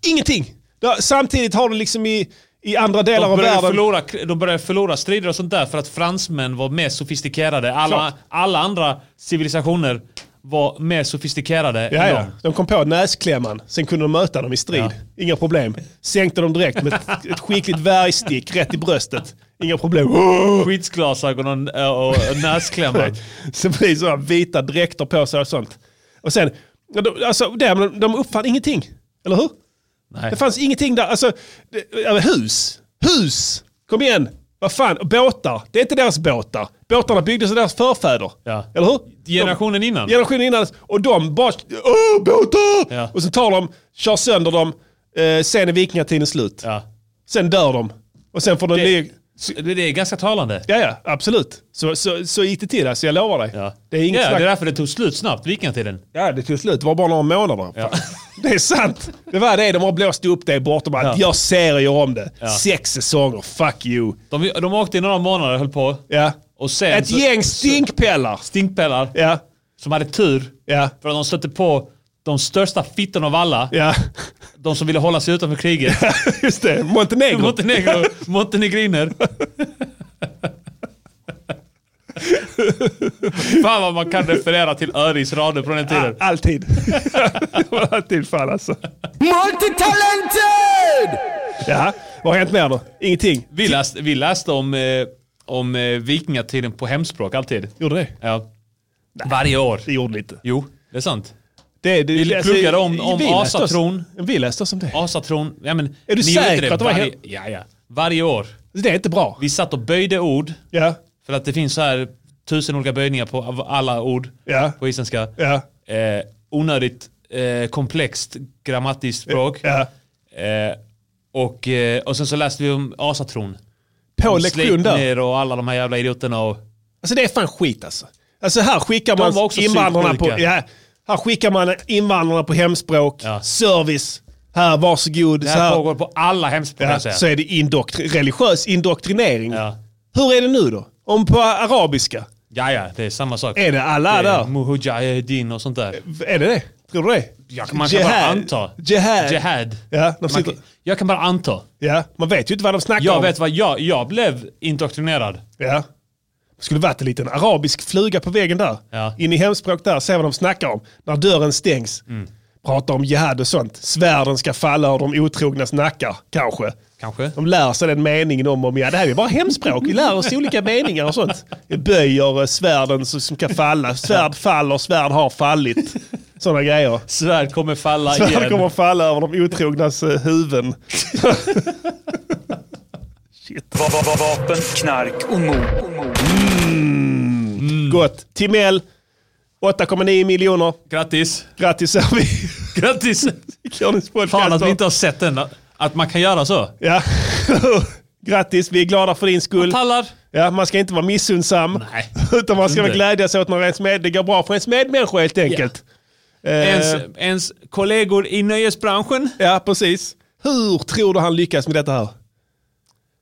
Speaker 7: Ingenting. Ja, Samtidigt har du liksom i, i andra delar
Speaker 4: De
Speaker 7: av
Speaker 4: började,
Speaker 7: världen...
Speaker 4: förlora, de började förlora strider och sånt där för att fransmän var mer sofistikerade. Alla,
Speaker 7: Klart.
Speaker 4: alla andra civilisationer var mer sofistikerade
Speaker 7: Ja,
Speaker 4: än
Speaker 7: ja.
Speaker 4: dem.
Speaker 7: De kom på näsklämman, sen kunde de möta dem i strid.
Speaker 4: Ja.
Speaker 7: Inga problem. Sänkte dem direkt med ett, ett skickligt värjstick rätt i bröstet. Inga problem. Åh!
Speaker 4: Skyddsglasögon och, eh, och, och näsklämmar.
Speaker 7: Så blir det sådana vita dräkter på sig och sånt. Och sen, ja, de- alltså, där, men de uppfann ingenting. Eller hur?
Speaker 4: Nej.
Speaker 7: Det fanns ingenting där. Alltså, det, ja, men hus. Hus! Kom igen! Vad fan, Och båtar. Det är inte deras båtar. Båtarna byggdes av deras förfäder.
Speaker 4: Ja.
Speaker 7: Eller hur?
Speaker 4: Generationen
Speaker 7: de,
Speaker 4: innan.
Speaker 7: Generationen innan. Och de bara... Åh, båtar!
Speaker 4: Ja.
Speaker 7: Och så tar de, kör sönder dem. Eh, sen är vikingatiden slut.
Speaker 4: Ja.
Speaker 7: Sen dör de. Och sen får de ny...
Speaker 4: Så Det det är ganska talande.
Speaker 7: Ja, ja, absolut. Så, så, så gick det till, alltså, jag lovar dig.
Speaker 4: Ja.
Speaker 7: Det är inget
Speaker 4: ja,
Speaker 7: snack.
Speaker 4: det är därför det tog slut snabbt, vikingatiden.
Speaker 7: Ja, det tog slut. Det var bara några månader.
Speaker 4: Ja.
Speaker 7: Det är sant. Det var det. De har blåst upp det bort och bara,
Speaker 4: Ja.
Speaker 7: gör serier om det. Sex säsonger, fuck you.
Speaker 4: De, de åkte i några månader och höll på.
Speaker 7: Ja.
Speaker 4: Och sen
Speaker 7: Ett
Speaker 4: så-
Speaker 7: gäng stinkpellar.
Speaker 4: stinkpellar
Speaker 7: Ja,
Speaker 4: som hade tur
Speaker 7: ja,
Speaker 4: för att de stötte på de största fittorna av alla.
Speaker 7: ja.
Speaker 4: De som ville hålla sig utanför kriget.
Speaker 7: Just det, Montenegro.
Speaker 4: Montenegro, montenegriner. Fan vad man kan referera till Öris rader från den tiden.
Speaker 7: Alltid. Det var Alltid fall alltså.
Speaker 3: Multitalented!
Speaker 7: Ja, vad har hänt mer då? Ingenting.
Speaker 4: Vi läste, vi läste om, eh, om eh, vikingatiden på hemspråk alltid.
Speaker 7: Gjorde det?
Speaker 4: Ja. Varje år.
Speaker 7: Det gjorde lite.
Speaker 4: Jo, det är sant.
Speaker 7: Det, alltså, det,
Speaker 4: Vi pluggade om- om
Speaker 7: vi läste oss-
Speaker 4: asatron.
Speaker 7: Vi läste oss om det.
Speaker 4: Asatron. Ja, men,
Speaker 7: Är du
Speaker 4: ni gjorde
Speaker 7: säker på att det var
Speaker 4: varje,
Speaker 7: hem-
Speaker 4: ja, ja. varje år.
Speaker 7: Det är inte bra.
Speaker 4: Vi satt och böjde ord.
Speaker 7: Ja,
Speaker 4: För att det finns så här tusen olika böjningar på av alla ord
Speaker 7: Ja.
Speaker 4: på isländska.
Speaker 7: ja,
Speaker 4: Eh, onödigt eh, komplext grammatiskt språk.
Speaker 7: ja.
Speaker 4: Eh, och, eh, och sen så läste vi om asatron.
Speaker 7: På
Speaker 4: Om
Speaker 7: lektion där.
Speaker 4: Sleipner och alla de här jävla idioterna. Och,
Speaker 7: Alltså det är fan skit alltså. Alltså här skickar
Speaker 4: De
Speaker 7: man
Speaker 4: var också
Speaker 7: invandrarna på,
Speaker 4: psyksjuka.
Speaker 7: ja, här skickar man invandrarna på hemspråk,
Speaker 4: Ja.
Speaker 7: service, här varsågod.
Speaker 4: det
Speaker 7: så
Speaker 4: här
Speaker 7: här,
Speaker 4: pågår på alla hemspråk
Speaker 7: ja,
Speaker 4: jag
Speaker 7: så
Speaker 4: säga.
Speaker 7: är det indoktri- religiös indoktrinering.
Speaker 4: Ja.
Speaker 7: Hur är det nu då? Om på arabiska?
Speaker 4: ja, ja, det är samma sak.
Speaker 7: Är det alla
Speaker 4: Det är
Speaker 7: där?
Speaker 4: Mujahedin och sånt där.
Speaker 7: Är det det? Tror du det?
Speaker 4: Ja, man kan bara anta.
Speaker 7: Jihad.
Speaker 4: Jihad.
Speaker 7: Ja, de
Speaker 4: Man,
Speaker 7: sitter,
Speaker 4: jag kan bara anta.
Speaker 7: ja, man vet ju inte vad de snackar
Speaker 4: Jag
Speaker 7: om.
Speaker 4: vet vad jag, jag blev indoktrinerad.
Speaker 7: Ja. Det skulle varit en liten arabisk fluga på väggen där.
Speaker 4: Ja.
Speaker 7: In i hemspråk där, se vad de snackar om. När dörren stängs.
Speaker 4: Mm.
Speaker 7: Prata om jihad och sånt. Svärden ska falla ur de otrognas nackar, kanske.
Speaker 4: Kanske.
Speaker 7: De lär sig den meningen om och om. Ja, det här är ju bara hemspråk. Vi lär oss olika meningar och sånt. Vi böjer eh, svärden som som ska falla. Svärd faller, svärd har fallit. Sådana grejer.
Speaker 4: Svärd kommer falla
Speaker 7: Svärd
Speaker 4: igen.
Speaker 7: kommer att falla över de otrognas eh, huvuden.
Speaker 4: Mm.
Speaker 8: Va- va- va- Vapen, knark och mord.
Speaker 7: Gott. Timell, 8,9 miljoner.
Speaker 4: Grattis.
Speaker 7: Grattis är vi.
Speaker 4: Grattis.
Speaker 7: Körnings podcast.
Speaker 4: Fan att vi inte har sett den. Att man kan göra så.
Speaker 7: Ja. Grattis, vi är glada för din skull.
Speaker 4: Tallar.
Speaker 7: Ja, man ska inte vara missunnsam.
Speaker 4: Nej.
Speaker 7: Utan man ska
Speaker 4: Inte.
Speaker 7: väl glädjas åt när ens med, det går bra för ens medmänniskor helt enkelt. Eh,
Speaker 4: Ens, ens kollegor i nöjesbranschen.
Speaker 7: Ja, precis. Hur tror du han lyckas med detta här?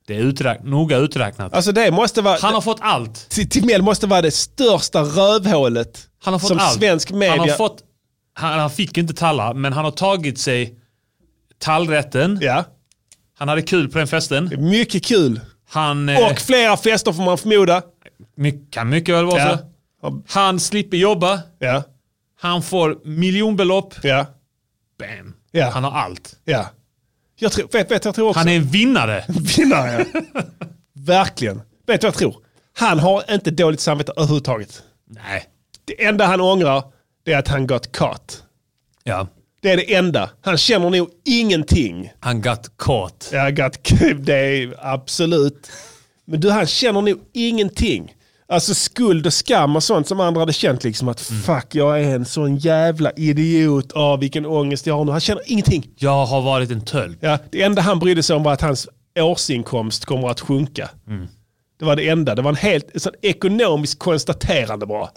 Speaker 4: Det är uträk- noga uträknat.
Speaker 7: Alltså det måste vara...
Speaker 4: Han har fått allt.
Speaker 7: T- Timell måste vara det största rövhålet
Speaker 4: Han har fått
Speaker 7: som
Speaker 4: allt.
Speaker 7: svensk media...
Speaker 4: Han, har fått, han, han fick ju inte talla, men han har tagit sig tallrätten.
Speaker 7: Ja,
Speaker 4: Han hade kul på den festen.
Speaker 7: mycket kul.
Speaker 4: Han eh,
Speaker 7: Och flera fester får man förmoda.
Speaker 4: my- kan mycket väl vara
Speaker 7: Ja.
Speaker 4: så. Han slipper jobba.
Speaker 7: Ja,
Speaker 4: Han får miljonbelopp.
Speaker 7: ja,
Speaker 4: Bam.
Speaker 7: Ja.
Speaker 4: Han har allt.
Speaker 7: ja. Jag tror, vet, vet, jag tror också...
Speaker 4: Han är en vinnare.
Speaker 7: vinnare. Verkligen. Vet du vad jag tror? Han har inte dåligt samvete överhuvudtaget.
Speaker 4: Nej.
Speaker 7: Det enda han ångrar det är att han got caught.
Speaker 4: Ja.
Speaker 7: Det är det enda. Han känner nog ingenting.
Speaker 4: Han got caught.
Speaker 7: Ja, got c- det är absolut. Men du, han känner nog ingenting. Alltså skuld och skam och sånt som andra hade känt liksom att fuck jag är en sån jävla idiot. Åh, vilken ångest jag har nu. Han känner ingenting.
Speaker 4: Jag har varit en töl.
Speaker 7: Ja, det enda han brydde sig om var att hans årsinkomst kommer att sjunka.
Speaker 4: Mm.
Speaker 7: Det var det enda. Det var en helt sån ekonomisk konstaterande bara.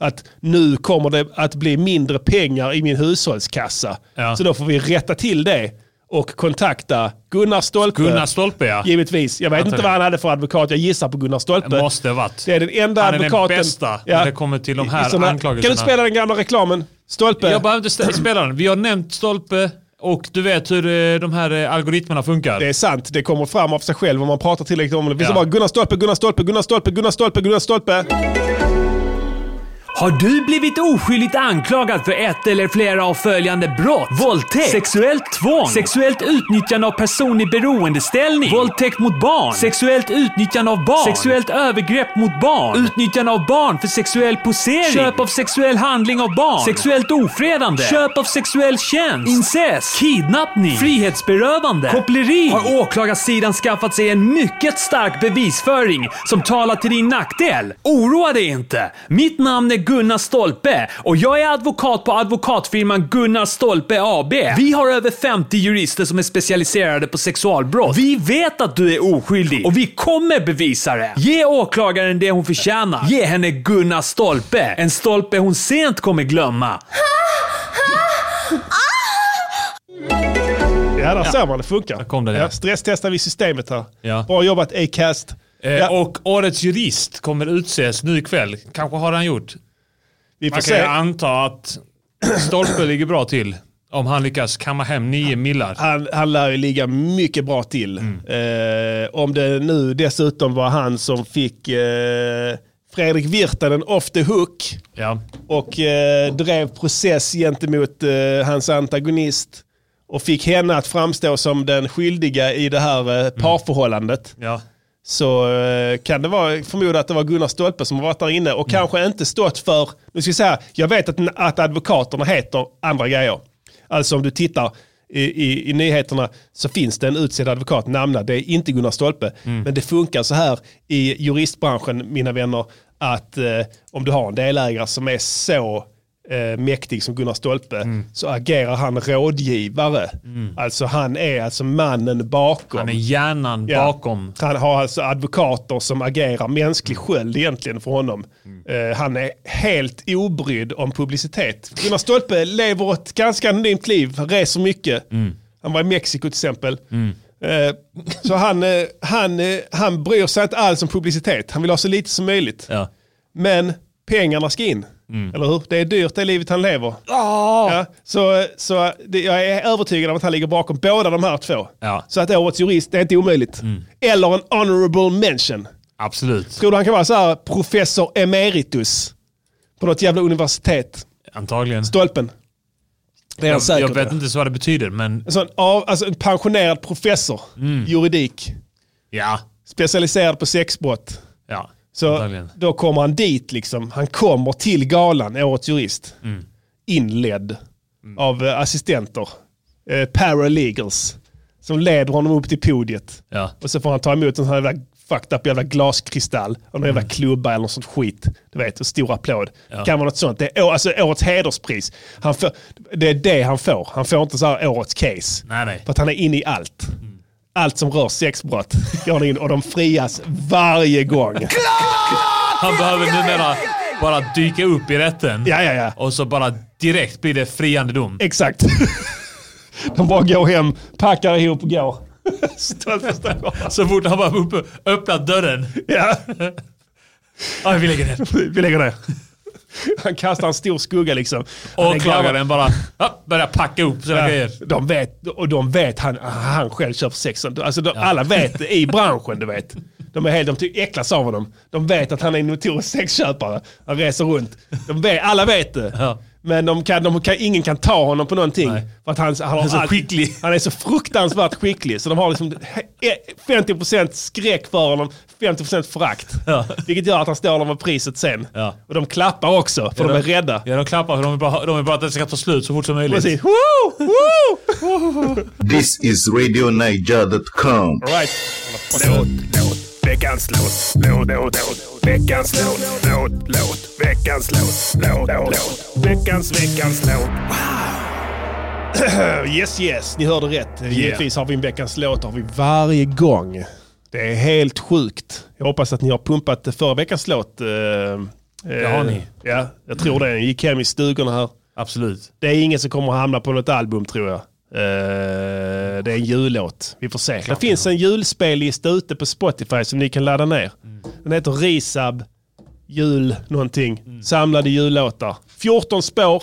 Speaker 7: Att nu kommer det att bli mindre pengar i min hushållskassa.
Speaker 4: Ja.
Speaker 7: Så då får vi rätta till det och kontakta Gunnar Stolpe.
Speaker 4: Gunnar Stolpe ja.
Speaker 7: Givetvis. Jag vet
Speaker 4: Antar
Speaker 7: inte vad
Speaker 4: jag.
Speaker 7: han hade för advokat. Jag gissar på Gunnar Stolpe.
Speaker 4: Måste varit.
Speaker 7: Det är den enda
Speaker 4: Han är den
Speaker 7: advokaten.
Speaker 4: bästa när det kommer till de
Speaker 7: I- i
Speaker 4: här
Speaker 7: såna
Speaker 4: anklagelserna.
Speaker 7: Kan du spela den gamla reklamen? Stolpe.
Speaker 4: Jag behöver inte stä- spela den. Vi har nämnt Stolpe och du vet hur eh, de här eh, algoritmerna funkar.
Speaker 7: Det är sant, det kommer fram av sig själv om man pratar tillräckligt om det. Vi
Speaker 4: Ja.
Speaker 7: ja. bara Gunnar Stolpe, Gunnar Stolpe, Gunnar Stolpe, Gunnar Stolpe, Gunnar Stolpe.
Speaker 2: Har du blivit oskyldigt anklagad för ett eller flera av följande brott? Våldtäkt, sexuellt tvång, sexuellt utnyttjande av person i beroendeställning, våldtäkt mot barn, sexuellt utnyttjande av barn, sexuellt övergrepp mot barn, utnyttjande av barn för sexuell posering, köp av sexuell handling av barn, sexuellt ofredande, köp av sexuell tjänst, incest, kidnappning, frihetsberövande, koppleri. Har åklagarsidan skaffat sig en mycket stark bevisföring som talar till din nackdel? Oroa dig inte! Mitt namn är Gunnar Stolpe och jag är advokat på advokatfirman Gunnar Stolpe AB. Vi har över 50 jurister som är specialiserade på sexualbrott. Vi vet att du är oskyldig och vi kommer bevisa det. Ge åklagaren det hon förtjänar. Ge henne Gunnar Stolpe. En stolpe hon sent kommer glömma.
Speaker 7: Ja, där ser man. Det funkar.
Speaker 4: kom den, ja.
Speaker 7: ja, stresstestar vi systemet här.
Speaker 4: Ja.
Speaker 7: Bra jobbat Acast.
Speaker 4: Eh,
Speaker 7: Ja,
Speaker 4: Och årets jurist kommer utses nu ikväll. Kanske har han gjort.
Speaker 7: vi får
Speaker 4: Man kan ju
Speaker 7: se.
Speaker 4: anta att Stolpe ligger bra till. Om han lyckas kamma hem nio millar.
Speaker 7: Han, han lär ju ligga mycket bra till.
Speaker 4: Mm.
Speaker 7: Eh, om det nu dessutom var han som fick eh, Fredrik Virtanen off the hook
Speaker 4: Ja.
Speaker 7: och eh, drev process gentemot eh, hans antagonist och fick henne att framstå som den skyldiga i det här eh, parförhållandet.
Speaker 4: Ja.
Speaker 7: så eh, kan det vara, förmoda att det var Gunnar Stolpe som har varit där inne
Speaker 4: Mm.
Speaker 7: och kanske inte stått för, nu ska jag säga, jag vet att, att advokaterna heter andra grejer. Alltså om du tittar i, i, i nyheterna så finns det en utsedd advokat namnad, det är inte Gunnar Stolpe.
Speaker 4: Mm.
Speaker 7: Men det funkar så här i juristbranschen, mina vänner, att eh, om du har en delägare som är så eh, mäktig som Gunnar Stolpe
Speaker 4: Mm.
Speaker 7: så agerar han rådgivare. Alltså han är alltså mannen bakom.
Speaker 4: Han är hjärnan
Speaker 7: Ja.
Speaker 4: bakom.
Speaker 7: Han har alltså advokater som agerar mänsklig sköld egentligen för honom.
Speaker 4: Mm.
Speaker 7: Eh, han är helt obrydd om publicitet. Gunnar Stolpe lever ett ganska anonymt liv, han reser mycket.
Speaker 4: Mm.
Speaker 7: Han var i Mexiko till exempel. Eh, så han, eh, han, eh, han bryr sig inte alls om publicitet. Han vill ha så lite som möjligt.
Speaker 4: Ja.
Speaker 7: Men pengarna ska in.
Speaker 4: Mm.
Speaker 7: Eller hur? Det är dyrt det livet han lever. Ja, så så det, jag är övertygad om att han ligger bakom båda de här två.
Speaker 4: Ja. Mm.
Speaker 7: Så att årets jurist, det är inte omöjligt. Eller en honorable mention.
Speaker 4: Absolut.
Speaker 7: Tror du han kan vara så här professor emeritus? På något jävla universitet.
Speaker 4: Antagligen.
Speaker 7: Stolpen. Det är han
Speaker 4: Jag,
Speaker 7: säkert.
Speaker 4: jag vet inte så vad det betyder, men
Speaker 7: En, sån, av, alltså en pensionerad professor.
Speaker 4: Mm.
Speaker 7: Juridik.
Speaker 4: ja.
Speaker 7: Specialiserad på sexbrott.
Speaker 4: ja.
Speaker 7: Så
Speaker 4: Antagligen.
Speaker 7: då kommer han dit liksom. Han kommer till galan, Årets Jurist.
Speaker 4: Mm.
Speaker 7: Inledd av eh, assistenter. Eh, paralegals. Som leder honom upp till podiet.
Speaker 4: Ja.
Speaker 7: Och så får han ta emot en sån här jävla fucked up jävla glaskristall. Och någon
Speaker 4: Mm.
Speaker 7: jävla klubba eller något sånt skit. Du vet, och stor applåd. Det kan vara något sånt. Det är å- alltså årets hederspris. Han får, det är det han får. Han får inte så här årets case.
Speaker 4: Nej, nej. Mm.
Speaker 7: För att han är inne i allt. Allt som rör sexbrott går han in och de frias varje gång.
Speaker 4: Han behöver numera bara dyka upp i rätten.
Speaker 7: Ja, ja, ja.
Speaker 4: Och så bara direkt blir det friande dom.
Speaker 7: Exakt. De bara går hem, packar ihop och går. Stolpe står kvar.
Speaker 4: Så fort han bara uppe, öppnat dörren.
Speaker 7: Ja,
Speaker 4: Aj, vi lägger ner.
Speaker 7: vi lägger ner. Han kastar en stor skugga liksom. Han är
Speaker 4: Åklagaren bara ja, börjar packa upp sina
Speaker 7: gammal.
Speaker 4: grejer.
Speaker 7: De vet, och de vet han, han själv köper sex. Alltså de, alla vet det i branschen, du vet. De, är helt, de ty- äcklas av honom. De vet att han är en notorisk sexköpare. Han reser runt. De vet, alla vet det.
Speaker 4: Ja.
Speaker 7: Men de kan, de kan, ingen kan ta honom på någonting.
Speaker 4: Nej.
Speaker 7: För att han, han, har
Speaker 4: är så
Speaker 7: all-
Speaker 4: skicklig.
Speaker 7: Han är så fruktansvärt skicklig. Så de har liksom he- 50% skräck för honom, 50% förakt.
Speaker 4: Ja.
Speaker 7: Vilket gör att han står där med priset sen.
Speaker 4: Ja.
Speaker 7: Och de klappar också, för de är rädda.
Speaker 4: Ja, de klappar för de vill bara, de vill bara att det ska ta slut så fort som möjligt.
Speaker 7: Precis. Woo! Woo!
Speaker 9: This is RadioNiger.com.
Speaker 7: Right.
Speaker 3: Låt, låt, veckans låt, låt, låt, låt, veckans låt, låt, låt, veckans låt, låt, låt, veckans, veckans låt.
Speaker 7: Yes, yes, ni hörde rätt. Givetvis har vi en veckans låt har vi varje gång. Det är helt sjukt. Jag hoppas att ni har pumpat förra veckans låt. Det
Speaker 4: har ni.
Speaker 7: Ja, jag tror det. Jag gick hem i stugorna här.
Speaker 4: Absolut.
Speaker 7: Det är ingen som kommer att hamna på något album tror jag. Eh, det är en jullåt. Vi får se. Det finns en julspellista ute på Spotify som ni kan ladda ner.
Speaker 4: Mm.
Speaker 7: Den heter Risab jul någonting.
Speaker 4: Mm.
Speaker 7: Samlade jullåtar. 14 spår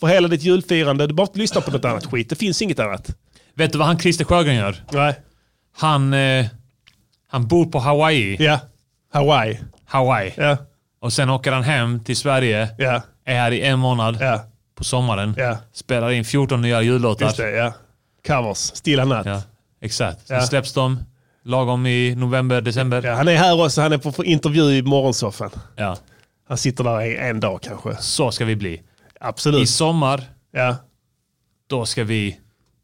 Speaker 7: för hela ditt julfirande. Du behöver inte lyssna på något annat skit. Det finns inget annat.
Speaker 4: Vet du vad han Christer Sjögren gör?
Speaker 7: Nej.
Speaker 4: Han, eh, han bor på Hawaii.
Speaker 7: Ja. Hawaii.
Speaker 4: Hawaii.
Speaker 7: Ja.
Speaker 4: Och sen åker han hem till Sverige.
Speaker 7: Ja.
Speaker 4: Är här i en månad
Speaker 7: Ja.
Speaker 4: på sommaren.
Speaker 7: Ja.
Speaker 4: Spelar in 14 nya jullåtar.
Speaker 7: Just det. Ja. Covers. Stilla natt.
Speaker 4: Ja, exakt. Sen
Speaker 7: Ja.
Speaker 4: släpps de lagom i november, december.
Speaker 7: Ja, han är här också. Han är på intervju i morgonsoffan.
Speaker 4: Ja.
Speaker 7: Han sitter där i en dag kanske.
Speaker 4: Så ska vi bli. I
Speaker 7: Absolut.
Speaker 4: sommar,
Speaker 7: Ja.
Speaker 4: då ska vi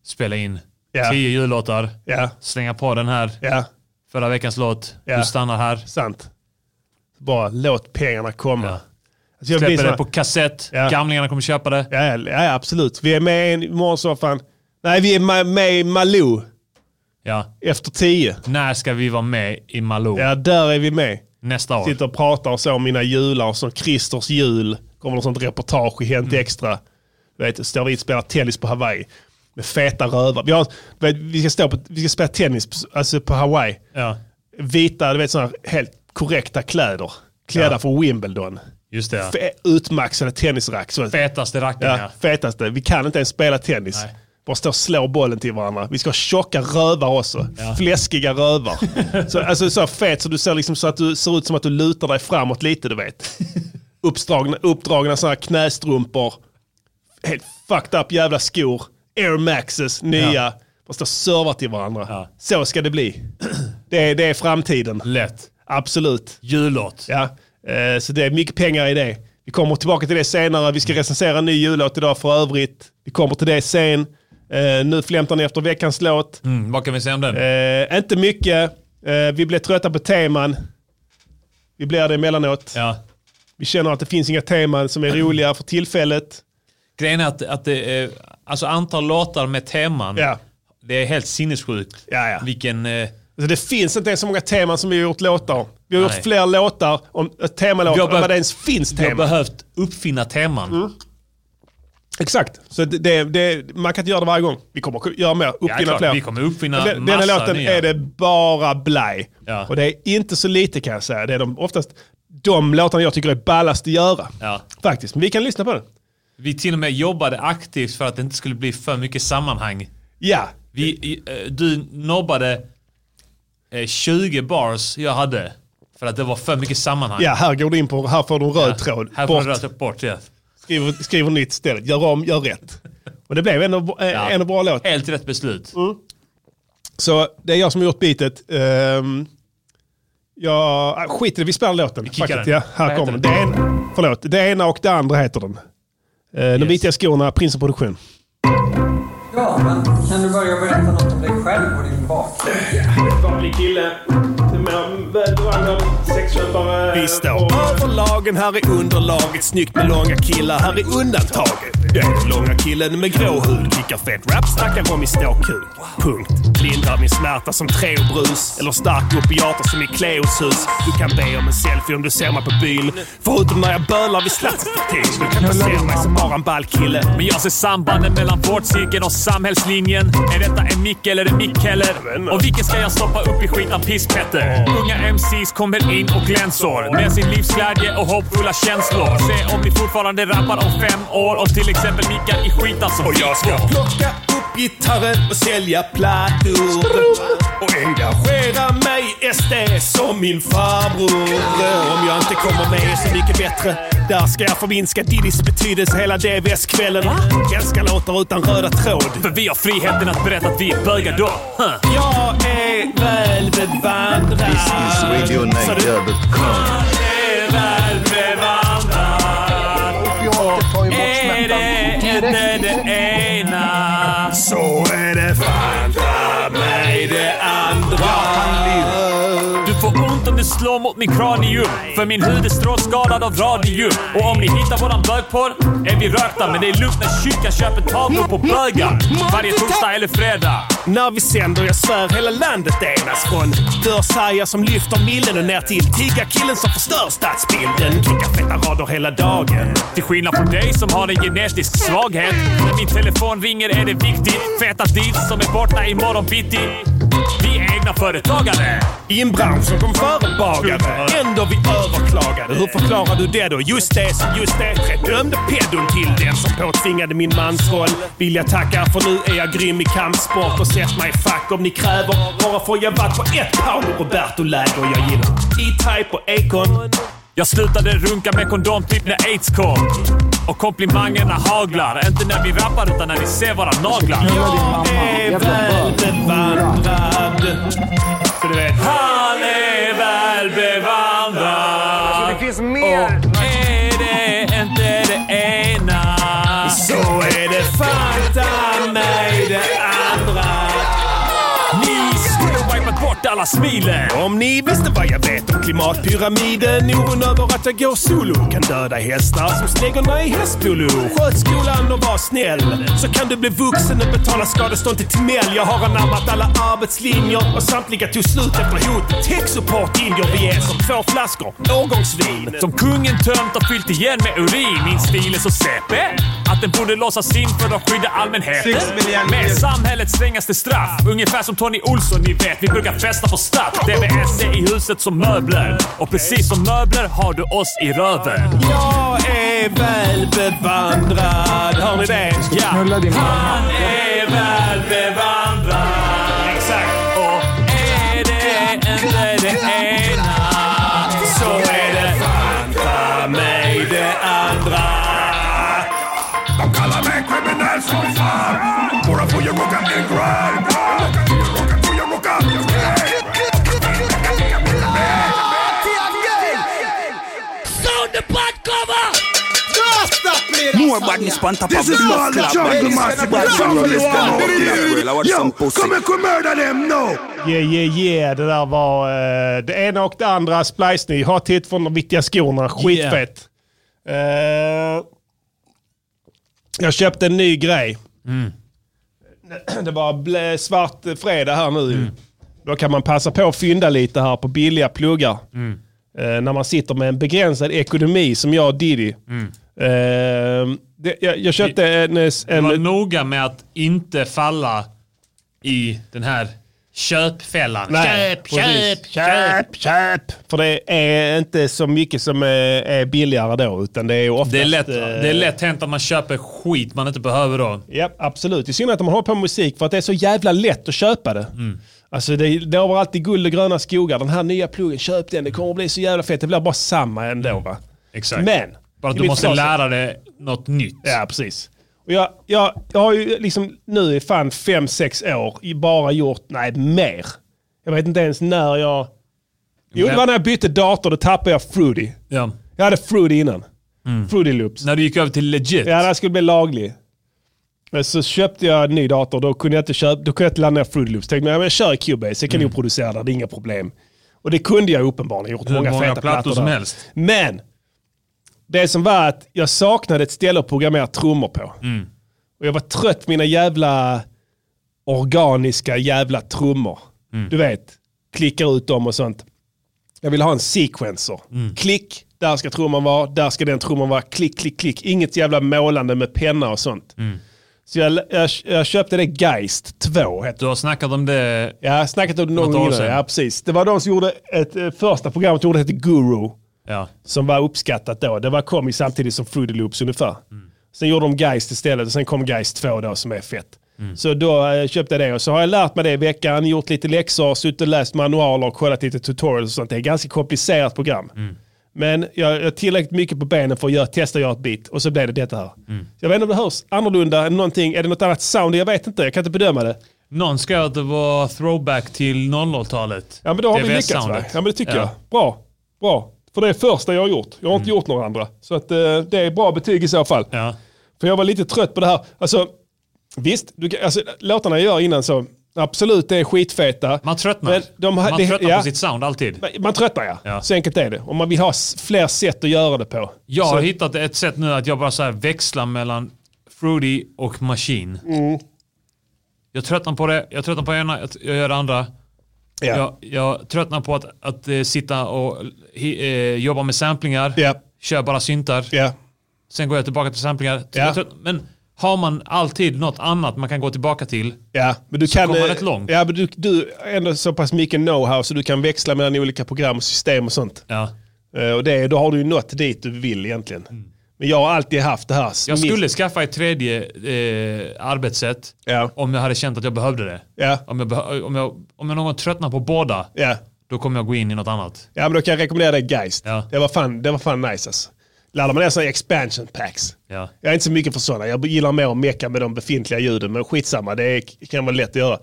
Speaker 4: spela in
Speaker 7: Ja.
Speaker 4: tio jullåtar.
Speaker 7: Ja.
Speaker 4: Slänga på den här
Speaker 7: Ja.
Speaker 4: förra veckans låt.
Speaker 7: Ja.
Speaker 4: Du stannar här.
Speaker 7: Sant. Bara låt pengarna komma.
Speaker 4: Ja.
Speaker 7: Alltså jag blir
Speaker 4: Släpper det
Speaker 7: såna-
Speaker 4: på kassett.
Speaker 7: Ja.
Speaker 4: Gamlingarna kommer köpa det.
Speaker 7: Ja, ja, ja, absolut. Vi är med i en- morgonsoffan. Nej, vi är ma- med i Malou
Speaker 4: Ja.
Speaker 7: efter tio.
Speaker 4: När ska vi vara med i Malou?
Speaker 7: Ja, där är vi med.
Speaker 4: Nästa år.
Speaker 7: Sitter och pratar och så om mina jular, som Christers jul. Kommer något sånt reportage i
Speaker 4: Mm.
Speaker 7: Hänt Extra. Du vet, står vi och spelar tennis på Hawaii. Med feta rövar. Vi, har, du vet, vi, ska, stå på, vi ska spela tennis på, alltså på Hawaii.
Speaker 4: Ja,
Speaker 7: Vita, du vet sådana helt korrekta kläder. Klädda för Wimbledon.
Speaker 4: just det. ja.
Speaker 7: Fe, utmaxade tennisrack. Så,
Speaker 4: Fetaste rackaren
Speaker 7: ja,
Speaker 4: ja.
Speaker 7: fetaste. Vi kan inte ens spela tennis.
Speaker 4: Nej.
Speaker 7: Bara stå och slå bollen till varandra. Vi ska ha tjocka rövar också. Fläskiga rövar. så, alltså så fet så du ser liksom så att du ser ut som att du lutar dig framåt lite, du vet. Uppdragna, uppdragna sådana här knästrumpor. Helt fucked up jävla skor. Air Maxes, nya. Bara stå och serva till varandra.
Speaker 4: Ja.
Speaker 7: Så ska det bli. Det är, det är framtiden.
Speaker 4: Lätt.
Speaker 7: Absolut.
Speaker 4: Jullåt.
Speaker 7: Ja, eh, så det är mycket pengar i det. Vi kommer tillbaka till det senare. Vi ska recensera en ny jullåt idag för övrigt. Vi kommer till det sen. Eh, nu flämtar ni efter veckans låt.
Speaker 4: Mm, vad kan vi säga om den?
Speaker 7: Eh, inte mycket. Eh, vi blev trötta på teman. Vi blir det emellanåt.
Speaker 4: Ja.
Speaker 7: Vi känner att det finns inga teman som är roliga för tillfället.
Speaker 4: Grejen är att, att det, eh, alltså antal låtar med teman,
Speaker 7: Ja.
Speaker 4: det är helt sinnessjukt.
Speaker 7: Ja, ja.
Speaker 4: Vilken... Eh,
Speaker 7: Alltså, det finns inte ens så många teman som vi har gjort låtar om. Vi har
Speaker 4: Nej.
Speaker 7: gjort fler låtar om eh,
Speaker 4: Vi
Speaker 7: temalåtar
Speaker 4: har
Speaker 7: än vad
Speaker 4: behövt-
Speaker 7: det ens finns
Speaker 4: vi har
Speaker 7: teman. Mm.
Speaker 4: behövt uppfinna teman.
Speaker 7: Exakt. Så det, det, det, man kan inte göra det varje gång. Vi kommer att göra mer.
Speaker 4: Ja,
Speaker 7: Uppfinna
Speaker 4: klart,
Speaker 7: fler.
Speaker 4: vi kommer uppfinna
Speaker 7: Den, den
Speaker 4: massa
Speaker 7: här låten
Speaker 4: nya.
Speaker 7: är det bara blaj.
Speaker 4: Ja.
Speaker 7: Och det är inte så lite kan jag säga. Det är de, oftast de låtarna jag tycker är ballast att göra.
Speaker 4: Ja.
Speaker 7: Faktiskt. Men vi kan lyssna på den.
Speaker 4: Vi till och med jobbade aktivt för att det inte skulle bli för mycket sammanhang.
Speaker 7: Ja.
Speaker 4: Vi, i- eh, du nobbade eh, 20 bars jag hade för att det var för mycket sammanhang.
Speaker 7: ja, här går du in på, här får du en röd tråd.
Speaker 4: Här får
Speaker 7: Bort.
Speaker 4: du röta bort, ja.
Speaker 7: Skriver, skriver nytt istället. Gör om, gör rätt. Och det blev ändå, eh,
Speaker 4: Ja.
Speaker 7: ändå bra låt.
Speaker 4: Helt rätt beslut.
Speaker 7: Så det är jag som har gjort beatet. Ehm, ja, ah, skit i det, vi spelar låten.
Speaker 4: kickar
Speaker 7: Fuck it,
Speaker 4: den.
Speaker 7: Ja, här
Speaker 4: Vad
Speaker 7: kommer den.
Speaker 4: heter
Speaker 7: Det, en, förlåt, det ena och det andra heter den. Eh, De vita skorna, Prinsen Produktion.
Speaker 5: Ja, men kan du börja berätta något om dig själv och din bakgrund?
Speaker 6: Vanlig kille.
Speaker 7: Vi står
Speaker 6: över lagen, här är underlaget. Snyggt med långa killar, här är undantaget. Den långa killen med grå hud kickar fet rap, snackar om min ståkuk. Punkt. Lindrar min smärta som Treobrus. Eller stark opiater som i Cleos hus. Du kan be om en selfie om du ser mig på byn. Förutom när jag bölar vid slapsbeting. Du kan placera mig som bara en ball kille.
Speaker 2: Men jag ser sambanden mellan vårdcirkeln och samhällslinjen. Är detta en mick eller en mick heller? Och vilken ska jag stoppa upp i skitan pisspetter? Unga MCs kommer in och glänsar med sin livsglädje och hoppfulla känslor. Se om ni fortfarande rappar om fem år och till exempel mickar i alltså. skitan som
Speaker 6: Och jag ska plocka upp gitarren och sälja plattor. Och engagera mig i SD som min farbror. Om jag inte kommer med Så Mycket Bättre. Där ska jag förminska Didis betydelse hela DVS-kvällen. Älskar låtar utan röda tråd.
Speaker 2: För vi har friheten att berätta att vi är bögar då. Huh.
Speaker 6: Jag är väl bevandrad.
Speaker 9: This is RadioNiger.com.
Speaker 2: Är väl bevandrad. Är det inte det ena
Speaker 6: Så är det. Vandra mig det andra.
Speaker 2: Du får ont om du slår mot min kranium. För min hud är strålskadad av radium. Och om ni hittar våran bögporr är vi rökta. Men det är lugnt när kyrkan köper tavlor på bögar. Varje torsdag eller fredag.
Speaker 6: När vi sänder, jag svär, hela landet enas från dörrsajar som lyfter millen och ner till tiggarkillen som förstör stadsbilden. Kickar feta rader hela dagen.
Speaker 2: Till skillnad från dig som har en genetisk svaghet. När min telefon ringer är det viktigt. Feta deals som är borta imorgon bitti. Vi är egna företagare.
Speaker 6: I en bransch som kom före bagare. Ändå vi överklagade. Hur förklarar du det då? Just det, som just det. Tre dömde pedon till den som påtvingade min mansroll. Vill jag tacka för nu är jag grym i kampsport och sätt mig i fack om ni kräver. Bara för jag varit på ett Paolo Roberto-läger jag gillar. E-Type och Akon.
Speaker 2: Jag slutade runka med kondom typ när aids kom. Och komplimangerna haglar. Inte när vi rappar utan när ni ser våra naglar.
Speaker 6: Jag är väl bevandrad. Så du vet.
Speaker 2: Han är väl bevandrad.
Speaker 5: Det finns mer!
Speaker 2: Och är det inte det ena
Speaker 6: Så är det fanta mig det andra.
Speaker 2: Ni skulle ha wipat bort alla smilen.
Speaker 6: Om ni visste vad jag vet om
Speaker 5: Klimatpyramiden, oron över att jag går solo. Kan döda hästar som snäggorna i hästpolo. Sköt skolan och var snäll. Så kan du bli vuxen och betala skadestånd till Timell. Jag har anammat alla arbetslinjer och samtliga tog slut efter hot. Tech-support ingår vi är som två flaskor årgångsvin.
Speaker 2: Som kungen tömt och fyllt igen med urin. Min stil är så säpe att den borde låsas in för att skydda allmänheten.
Speaker 10: Sex miljarder.
Speaker 2: Med samhällets strängaste straff. Ungefär som Tony Olsson, ni vet. Vi brukar festa på Statt. DBS är i huset som möbler. Och precis som möbler har du oss i röven.
Speaker 5: Jag är väl bevandrad. Hör ni det?
Speaker 2: Ja.
Speaker 5: Knulla din
Speaker 2: Han är väl bevandrad. Exakt. Och är det inte det ena så är det fan ta mig det andra.
Speaker 1: De kallar mig kriminell som fan. Bara får jag rocka en grind. Får jag rocka, får jag rocka.
Speaker 10: Sound the butt cover! No, stop playing
Speaker 11: More badness on top of
Speaker 10: This
Speaker 11: the
Speaker 10: is all
Speaker 11: blood
Speaker 10: the
Speaker 11: clot.
Speaker 10: jungle,
Speaker 11: Ladies
Speaker 10: massive
Speaker 11: gonna
Speaker 10: ass
Speaker 11: be
Speaker 10: jungle.
Speaker 11: rollers
Speaker 10: Yeah.
Speaker 11: down.
Speaker 1: Yo, kom och mörda dem nu!
Speaker 7: Yeah, yeah, yeah. Det där var eh, det ena och det andra. Splice ny. Ha titt från de viktiga skorna. Skitfett. Eh, jag köpte en ny grej.
Speaker 4: Mm.
Speaker 7: Det var ble- svart eh, fredag här nu.
Speaker 4: Mm.
Speaker 7: Då kan man passa på att fynda lite här på billiga pluggar.
Speaker 4: Mm.
Speaker 7: Eh, när man sitter med en begränsad ekonomi som jag och Diddy.
Speaker 4: Mm.
Speaker 7: Eh, det, jag, jag köpte en... en
Speaker 4: Var noga med att inte falla i den här köpfällan.
Speaker 7: Nej,
Speaker 4: köp, köp,
Speaker 7: precis.
Speaker 4: köp.
Speaker 7: köp, köp. För det är inte så mycket som eh, är billigare då, utan det är ju oftast...
Speaker 4: Det är, lätt,
Speaker 7: eh,
Speaker 4: det är lätt hänt att man köper skit man inte behöver då.
Speaker 7: Ja, absolut. I synnerhet om man håller på med musik, för att det är så jävla lätt att köpa det. Alltså det lovar alltid guld och gröna skogar. Den här nya pluggen, köp den. Det kommer att bli så jävla fett. Det blir bara samma ändå va?
Speaker 4: Exakt.
Speaker 7: Men!
Speaker 4: Bara att
Speaker 7: i
Speaker 4: du
Speaker 7: mitt
Speaker 4: måste
Speaker 7: förslag-
Speaker 4: lära dig något nytt.
Speaker 7: Ja, precis. Och jag, jag, jag har ju liksom nu i fan fem sex år i- bara gjort, nej mer. Jag vet inte ens när jag... Jo, det var när jag bytte dator, då tappade jag Fruity.
Speaker 4: Ja.
Speaker 7: Jag hade Fruity innan. Fruity Loops.
Speaker 4: När du gick över till legit?
Speaker 7: Ja, den skulle bli laglig. Men så köpte jag en ny dator, då kunde jag inte, köpa, då kunde jag inte ladda ner Fruity Loops. Tänkte men, ja, men jag kör i Cubase, jag kan
Speaker 4: Mm.
Speaker 7: nog producera där, det är inga problem. Och det kunde jag uppenbarligen, gjort
Speaker 4: Hur
Speaker 7: många,
Speaker 4: många
Speaker 7: feta
Speaker 4: plattor
Speaker 7: plattor
Speaker 4: som
Speaker 7: där.
Speaker 4: helst.
Speaker 7: Men! Det som var att jag saknade ett ställe att programmera trummor på. Och jag var trött på mina jävla organiska jävla trummor. Du vet, klickar ut dem och sånt. Jag vill ha en sequencer. Klick, där ska trumman vara, där ska den trumman vara, klick, klick, klick. Inget jävla målande med penna och sånt. Så jag, jag, jag köpte det Geist 2. Heter
Speaker 4: Du har snackat om det...
Speaker 7: Ja, jag har snackat om det någon
Speaker 4: Något
Speaker 7: gång
Speaker 4: år
Speaker 7: innan.
Speaker 4: sedan.
Speaker 7: Ja, precis. Det var de som gjorde ett, eh, första programmet, gjorde hette Guru.
Speaker 4: Ja.
Speaker 7: Som var uppskattat då. Det var, kom ju samtidigt som Fruity Loops ungefär. Sen gjorde de Geist istället och sen kom Geist 2 då som är fett.
Speaker 4: Mm.
Speaker 7: Så då eh, köpte jag det och så har jag lärt mig det i veckan, gjort lite läxor, suttit och läst manualer och kollat lite tutorials och sånt. Det är ett ganska komplicerat program.
Speaker 4: Mm.
Speaker 7: Men jag jag har tillräckligt mycket på benen för att göra, testa att göra ett bit och så blev det detta här.
Speaker 4: Mm.
Speaker 7: Jag vet inte om det hörs annorlunda än någonting. Är det något annat sound? Jag vet inte. Jag kan inte bedöma det.
Speaker 4: Någon skrev att det var throwback till 00-talet.
Speaker 7: Ja men då har vi lyckats va?
Speaker 4: DVS-soundet.
Speaker 7: Ja men det tycker jag. Bra. Bra. För det är första jag har gjort. Jag har
Speaker 4: Mm.
Speaker 7: inte gjort några andra. Så att, eh, det är bra betyg i så fall. För jag var lite trött på det här. Alltså, visst, du, kan- alltså, låtarna jag gör innan så, absolut det är skitfeta. Man
Speaker 4: tröttnar. Man tröttnar på sitt sound alltid.
Speaker 7: Man tröttnar ja. Så enkelt är det. Om man vill ha s- fler sätt att göra det på.
Speaker 4: Jag
Speaker 7: så,
Speaker 4: har hittat ett sätt nu att jag bara så här växlar mellan Fruity och Machine.
Speaker 7: Mm.
Speaker 4: Jag tröttnar på det, jag tröttnar på ena, jag- jag gör det andra.
Speaker 7: Ja.
Speaker 4: Jag, jag tröttnar på att, att eh, sitta och hi, eh, jobba med samplingar, kör bara syntar. Sen går jag tillbaka till samplingar. Så
Speaker 7: Ja.
Speaker 4: jag trött- Men har man alltid något annat man kan gå tillbaka till
Speaker 7: Ja, men du
Speaker 4: så
Speaker 7: kan,
Speaker 4: kommer man
Speaker 7: eh,
Speaker 4: rätt långt.
Speaker 7: Ja, men du, du har ändå så pass mycket know-how så du kan växla mellan olika program och system och sånt. Eh, Och det, då har du ju nått dit du vill egentligen. Men jag har alltid haft det här.
Speaker 4: Mm. Jag skulle skaffa ett tredje eh, arbetssätt om jag hade känt att jag behövde det. Om, jag behö- om, jag, om jag någon gång tröttnar på båda, då kommer jag gå in i något annat.
Speaker 7: Ja, men då kan jag rekommendera dig Geist. Det, var fan, det var fan nice alltså. Laddar man ner sådana expansion packs.
Speaker 4: Ja.
Speaker 7: Jag är inte så mycket för sådana. Jag gillar mer att meka med de befintliga ljuden. Men skitsamma, det är, kan vara lätt att göra.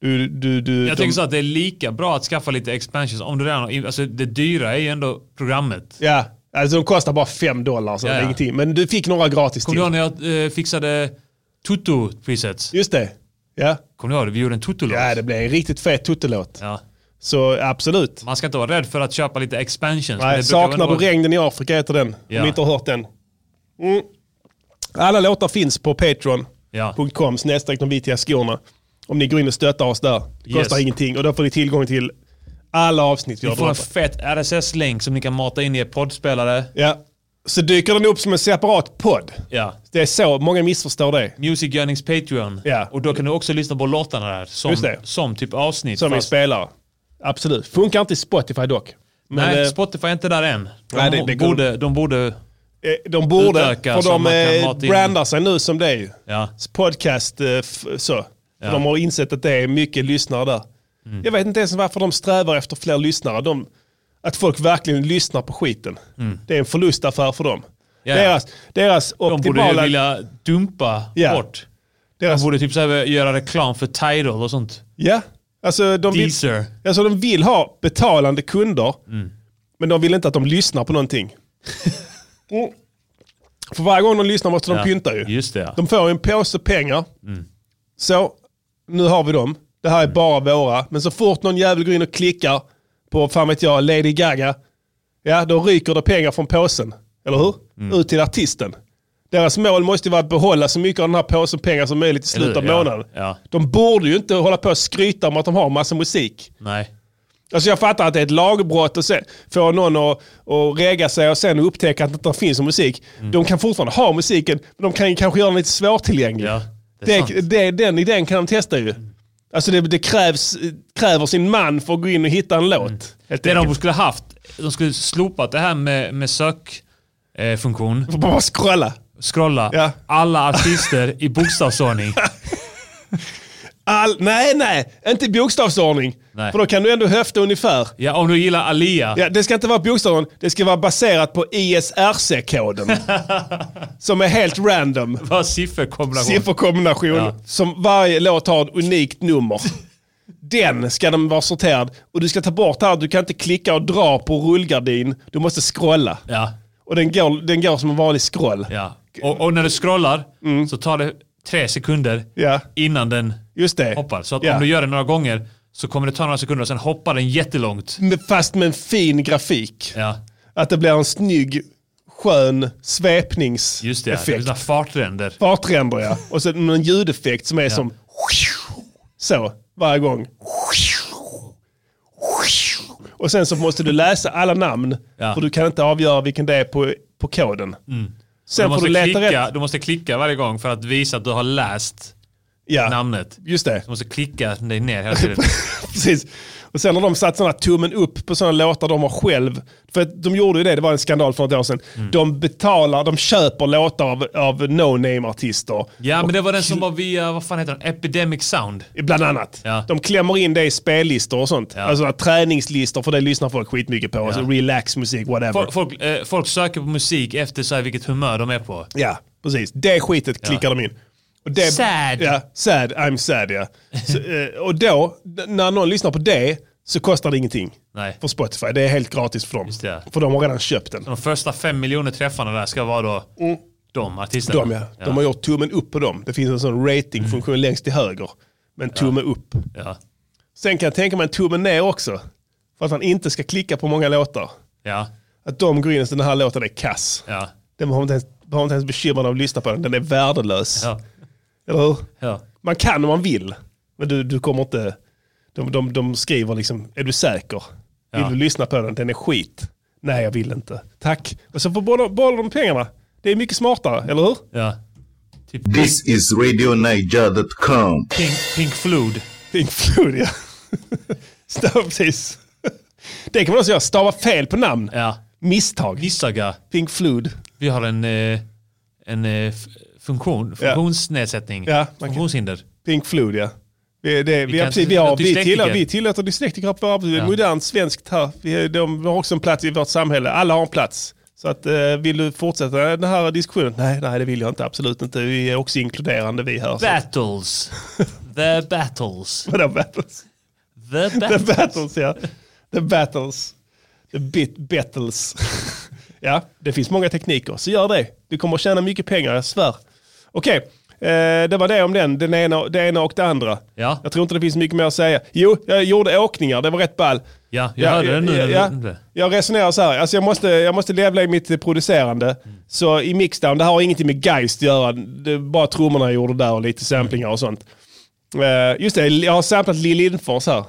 Speaker 7: Du, du, du,
Speaker 4: Jag
Speaker 7: de,
Speaker 4: tänker så att det är lika bra att skaffa lite expansions. Om du redan, har- alltså det dyra är ju ändå programmet.
Speaker 7: Ja, alltså de kostar bara 5 dollar. Så
Speaker 4: Ja,
Speaker 7: det är
Speaker 4: ja.
Speaker 7: ingenting. Men du fick några gratis
Speaker 4: Kommer du ihåg när jag eh, fixade Tutu presets?
Speaker 7: Just det. Ja.
Speaker 4: Kommer du ihåg det? Vi gjorde en Tutu-låt.
Speaker 7: Ja, det blev en riktigt fet tuttelåt.
Speaker 4: Ja.
Speaker 7: Så absolut.
Speaker 4: Man ska inte vara rädd för att köpa lite expansions. men
Speaker 7: Nej,
Speaker 4: det brukar
Speaker 7: saknar
Speaker 4: väl
Speaker 7: du
Speaker 4: vara-
Speaker 7: regnen i Afrika heter den. Om
Speaker 4: Ja.
Speaker 7: ni inte har hört den. Mm. Alla låtar finns på patreon.com snedstreck de vitiga skorna. Om ni går in och stöttar oss där. Det kostar
Speaker 4: Yes.
Speaker 7: ingenting och då får ni tillgång till alla avsnitt vi
Speaker 4: Ni
Speaker 7: har
Speaker 4: får en
Speaker 7: pratat.
Speaker 4: fet RSS-länk som ni kan mata in i er poddspelare.
Speaker 7: Ja. Så dyker den upp som en separat podd.
Speaker 4: Ja.
Speaker 7: Det är så, många missförstår det.
Speaker 4: Music Yearnings Patreon. Och då kan du också lyssna på låtarna där. Som,
Speaker 7: Just det.
Speaker 4: som typ avsnitt.
Speaker 7: Som vi
Speaker 4: fast-
Speaker 7: spelar. Absolut. Funkar inte i Spotify dock. Men,
Speaker 4: Nej,
Speaker 7: eh,
Speaker 4: Spotify är inte där än. De,
Speaker 7: Nej, det- det går-
Speaker 4: borde, de borde...
Speaker 7: Eh, De borde,
Speaker 4: utöka
Speaker 7: för
Speaker 4: så
Speaker 7: de
Speaker 4: man kan
Speaker 7: eh,
Speaker 4: mata in-
Speaker 7: brandar sig nu som det är ju.
Speaker 4: Ja.
Speaker 7: Podcast, eh, f- så.
Speaker 4: Ja. Mm.
Speaker 7: De har insett att det är mycket lyssnare där. Jag vet inte ens varför de strävar efter fler lyssnare. De, att folk verkligen lyssnar på skiten.
Speaker 4: Mm.
Speaker 7: Det är en förlustaffär för dem.
Speaker 4: Ja, ja.
Speaker 7: Deras, deras
Speaker 4: De borde
Speaker 7: optimala...
Speaker 4: ju vilja dumpa
Speaker 7: alltså Ja.
Speaker 4: bort.
Speaker 7: Deras-
Speaker 4: De borde typ så här göra reklam för Tidal och sånt.
Speaker 7: Ja, alltså de vill,
Speaker 4: Deezer. Mm.
Speaker 7: alltså de vill ha betalande kunder, men de vill inte att de lyssnar på någonting. Mm. För varje gång de lyssnar måste de
Speaker 4: Ja,
Speaker 7: pynta ju.
Speaker 4: Just det. ja.
Speaker 7: De får en påse pengar,
Speaker 4: Mm.
Speaker 7: så nu har vi dem. Det här är bara våra. Men så fort någon jävel går in och klickar på, fan vet jag, Lady Gaga, ja då ryker det pengar från påsen. Eller hur?
Speaker 4: Mm.
Speaker 7: Ut till artisten. Deras mål måste ju vara att behålla så mycket av den här påsen pengar som möjligt i slutet av
Speaker 4: Eller- ja,
Speaker 7: månaden.
Speaker 4: Ja.
Speaker 7: De borde ju inte hålla på och skryta om att de har massa musik.
Speaker 4: Nej.
Speaker 7: Alltså jag fattar att det är ett lagbrott och sen få någon att, att regga sig och sen upptäcka att det inte finns någon musik.
Speaker 4: Mm.
Speaker 7: De kan fortfarande ha musiken, men de kan ju kanske göra den lite svårtillgänglig.
Speaker 4: det är Mm.
Speaker 7: det, det, den idén kan de testa ju. Alltså det, det krävs, kräver sin man för att gå in och hitta en
Speaker 4: Mm.
Speaker 7: låt. Helt
Speaker 4: Det de
Speaker 7: enkelt.
Speaker 4: skulle haft, de skulle slopat det här med, med sökfunktion.
Speaker 7: Får bara scrolla.
Speaker 4: Scrolla. Alla artister i bokstavsordning.
Speaker 7: All, nej, nej, inte i bokstavsordning.
Speaker 4: Nej.
Speaker 7: För då kan du ändå höfta ungefär.
Speaker 4: Ja, om du gillar Alia.
Speaker 7: Ja, det ska inte vara bokstaven, det ska vara baserat på ISRC-koden. som är helt random.
Speaker 4: Vad sifferkombination.
Speaker 7: Sifferkombination.
Speaker 4: Ja.
Speaker 7: Som varje låt har ett unikt nummer. Den ska den vara sorterad. Och du ska ta bort här, du kan inte klicka och dra på rullgardin. Du måste scrolla.
Speaker 4: Ja.
Speaker 7: Och den går, den går som en vanlig scroll.
Speaker 4: Ja. Och, och när du scrollar så tar det tre sekunder
Speaker 7: Mm. Ja.
Speaker 4: innan den
Speaker 7: Just det.
Speaker 4: hoppar. Så att
Speaker 7: Ja.
Speaker 4: om du gör det några gånger så kommer det ta några sekunder och sen hoppar den jättelångt.
Speaker 7: Men Fast med en fin grafik.
Speaker 4: Ja,
Speaker 7: Att det blir en snygg, skön svepnings
Speaker 4: just det. Det är
Speaker 7: Effekt.
Speaker 4: sådana fartränder.
Speaker 7: Fartränder ja. Och så en ljudeffekt som är som så varje gång. Och sen så måste du läsa alla namn.
Speaker 4: Ja.
Speaker 7: För du kan inte avgöra vilken det är på, på koden.
Speaker 4: du,
Speaker 7: Sen får
Speaker 4: måste
Speaker 7: du leta
Speaker 4: klicka,
Speaker 7: rätt.
Speaker 4: du måste klicka varje gång för att visa att du har läst
Speaker 7: Ja.
Speaker 4: namnet.
Speaker 7: Just det.
Speaker 4: Du måste klicka dig ner hela tiden.
Speaker 7: Precis. Och sen har de satt sådana tummen upp på sådana låtar de har själv. För att de gjorde ju det, det var en skandal för något år sedan.
Speaker 4: Mm.
Speaker 7: De betalar, de köper låtar av, av no-name-artister.
Speaker 4: Ja, men det var den som var via, vad fan heter den? Epidemic Sound.
Speaker 7: Bland annat.
Speaker 4: Ja.
Speaker 7: De klämmer in det i spellistor och sånt. Alltså att träningslistor, för det lyssnar folk skitmycket på. Alltså relaxmusik, whatever.
Speaker 4: Folk, folk, eh, folk söker på musik efter så här vilket humör de är på.
Speaker 7: Ja, precis. Det skitet klickar de in. Och det,
Speaker 4: Sad.
Speaker 7: Ja, sad, I'm sad ja. Så, eh, och då, d- när någon lyssnar på det, så kostar det ingenting.
Speaker 4: Nej.
Speaker 7: För Spotify, det är helt gratis för dem.
Speaker 4: det.
Speaker 7: För de har redan köpt den.
Speaker 4: De första fem miljoner träffarna där ska vara då de artisterna.
Speaker 7: Mm. De, ja. de har gjort tummen upp på dem. Det finns en sån ratingfunktion längst till höger. Men tumme upp.
Speaker 4: Mm. Ja.
Speaker 7: Sen kan jag tänka mig en tumme ner också. För att man inte ska klicka på många låtar.
Speaker 4: Ja.
Speaker 7: Att de går in och säger den här låten är kass.
Speaker 4: Ja.
Speaker 7: Den behöver inte ens, behöver inte ens bekymra dig om att lyssna på den. Den är värdelös.
Speaker 4: Ja.
Speaker 7: Eller hur?
Speaker 4: Ja.
Speaker 7: Man kan om man vill. Men du, du kommer inte... De, de, de skriver liksom, är du säker? Vill
Speaker 4: Ja.
Speaker 7: du lyssna på den? Den är skit. Nej, jag vill inte. Tack. Och så får behålla behålla de pengarna. Det är mycket smartare, eller hur?
Speaker 4: Ja. Typ
Speaker 9: This is RadioNiger.com.
Speaker 4: Pink, Pink Flood.
Speaker 7: Pink Floyd, ja. Stav, precis. Det kan man också göra. Stava fel på namn.
Speaker 4: Ja.
Speaker 7: Misstag.
Speaker 4: Nissaga.
Speaker 7: Pink Flood.
Speaker 4: Vi har en, eh, en eh, f- funktion, funktionsnedsättning.
Speaker 7: Ja, man kan-
Speaker 4: Funktionshinder.
Speaker 7: Pink Flood, ja. Vi, det, Eh, vi,
Speaker 4: kan
Speaker 7: ja, precis,
Speaker 4: inte-
Speaker 7: vi, har, vi,
Speaker 4: dyslektiker.
Speaker 7: tillåter, vi tillåter dyslektiker på arbetslivet.
Speaker 4: Ja.
Speaker 7: Modernt svenskt här. Vi, de har också en plats i vårt samhälle. Alla har en plats. Så att, eh, vill du fortsätta den här diskussionen? Nej, nej, det vill jag inte. Absolut inte. Vi är också inkluderande vi här. Så.
Speaker 4: Battles. The battles.
Speaker 7: Vadå battles?
Speaker 4: The
Speaker 7: The
Speaker 4: battles.
Speaker 7: battles, ja. The battles. The bit battles. ja, det finns många tekniker. Så gör det. Du kommer att tjäna mycket pengar, jag svär. Okej, Eh, det var det om den, den ena, det ena och det andra. Jag tror inte det finns mycket mer att säga. Jo, jag gjorde åkningar, det var rätt ball.
Speaker 4: Ja, jag hörde det nu när
Speaker 7: Ja,
Speaker 4: du-
Speaker 7: ja. Jag resonerar så här, alltså jag måste, jag måste levla i mitt eh, producerande. Så i mixdown, det här har ingenting med Geist att göra. Det är bara trummorna jag gjorde där och lite samplingar och sånt. Eh, just det, jag har samplat Lill Lindfors här.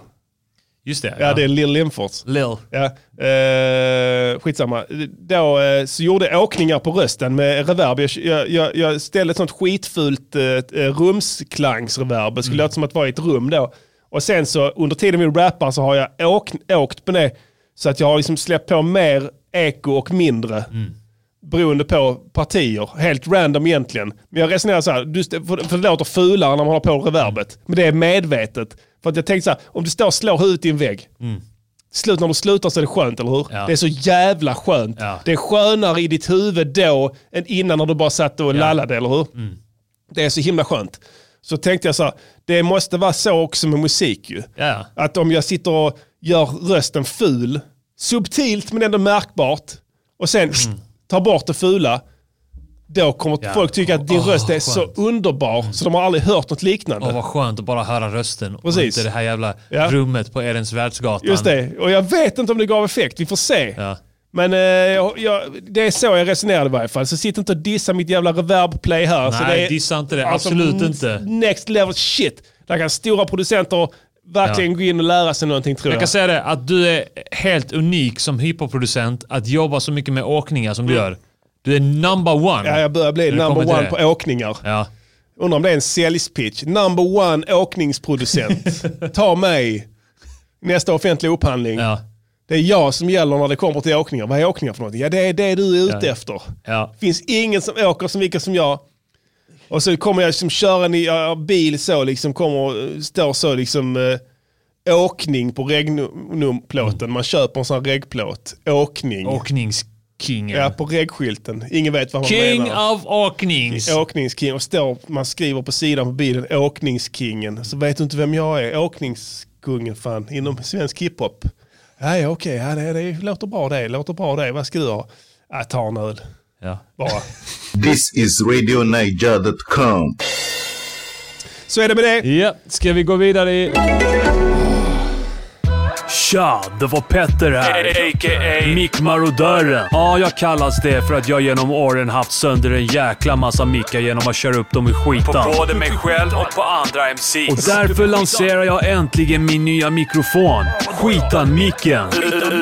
Speaker 4: Just det.
Speaker 7: Ja, det är Lill Lindfors.
Speaker 4: Lill.
Speaker 7: Ja, eh, skitsamma. Då eh, så gjorde jag åkningar på rösten med reverb. Jag, jag, jag, jag ställde ett sånt skitfult eh, rumsklangsreverb. Det skulle låta som att vara i ett rum då. Och sen så under tiden vi rappar så har jag åk, åkt på det. Så att jag har liksom släppt på mer eko och mindre. Beroende på partier. Helt random egentligen. Men jag resonerar så här, du, st- för, för det låter fulare när man har på reverbet. Men det är medvetet. För att jag tänkte så här, om du står och slår huvudet i en vägg. Slut när du slutar så är det skönt, eller hur? Det är så jävla skönt. Det är skönare i ditt huvud då än innan när du bara satt och lallade, eller hur? Det är så himla skönt. Så tänkte jag så här, det måste vara så också med musik ju.
Speaker 4: Ja.
Speaker 7: Att om jag sitter och gör rösten ful, subtilt men ändå märkbart, och sen tar bort det fula, då kommer
Speaker 4: Mm. Ja.
Speaker 7: folk tycka att din
Speaker 4: Åh,
Speaker 7: röst är
Speaker 4: skönt.
Speaker 7: så underbar så de har aldrig hört något liknande.
Speaker 4: Åh vad skönt att bara höra rösten och
Speaker 7: Precis.
Speaker 4: inte det här jävla
Speaker 7: Ja.
Speaker 4: rummet på Ehrensvärdsgatan.
Speaker 7: Just det, och jag vet inte om det gav effekt. Vi får se. Men eh, jag, jag, det är så jag resonerade i varje fall. Så sitt inte och dissa mitt jävla reverb-play här. så
Speaker 4: Nej,
Speaker 7: det är, alltså
Speaker 4: dissa inte det. Absolut inte.
Speaker 7: Next level shit. Där kan stora producenter verkligen
Speaker 4: Ja.
Speaker 7: gå in och lära sig någonting tror jag.
Speaker 4: Jag kan säga det, att du är helt unik som hiphopproducent att jobba så mycket med åkningar som du
Speaker 7: Mm.
Speaker 4: gör. Du är number one.
Speaker 7: Ja, jag börjar bli
Speaker 4: när det
Speaker 7: number
Speaker 4: kommer till
Speaker 7: one
Speaker 4: det.
Speaker 7: på åkningar. Undrar om det är en säljspitch. Number one åkningsproducent. Ta mig. Nästa offentliga upphandling. Det är jag som gäller när det kommer till åkningar. Vad är åkningar för någonting? Ja, det är det du är ute
Speaker 4: Ja.
Speaker 7: efter.
Speaker 4: Ja.
Speaker 7: finns ingen som åker som vilka som jag. Och så kommer jag liksom köra en ja, bil så, liksom kommer och eh, står så liksom eh, åkning på regnumplåten. Man köper en sån här regplåt. Åkning.
Speaker 4: Åkningskingen.
Speaker 7: Ja, på regskylten. Ingen vet vad man
Speaker 4: King
Speaker 7: menar.
Speaker 4: of åknings.
Speaker 7: Åkningsking. Och står, man skriver på sidan på bilen åkningskingen. Så vet du inte vem jag är. Åkningskungen fan, inom svensk hiphop. Ja, ja okej, ja, det, det låter bra det, låter bra det. Vad ska du ha? Ja, ta en öl.
Speaker 4: Ja.
Speaker 7: Bara.
Speaker 9: This is RadioNiger.com.
Speaker 7: Så är det med det.
Speaker 4: Ja, ska vi gå vidare i...
Speaker 2: Tja, det var Petter här. A.k.a. Mick Marodören. Ja, jag kallas det för att jag genom åren haft sönder en jäkla massa mickar genom att köra upp dem i skitan.
Speaker 11: mig själv och på andra MC.
Speaker 2: Och därför lanserar jag äntligen min nya mikrofon. Skitan-micken.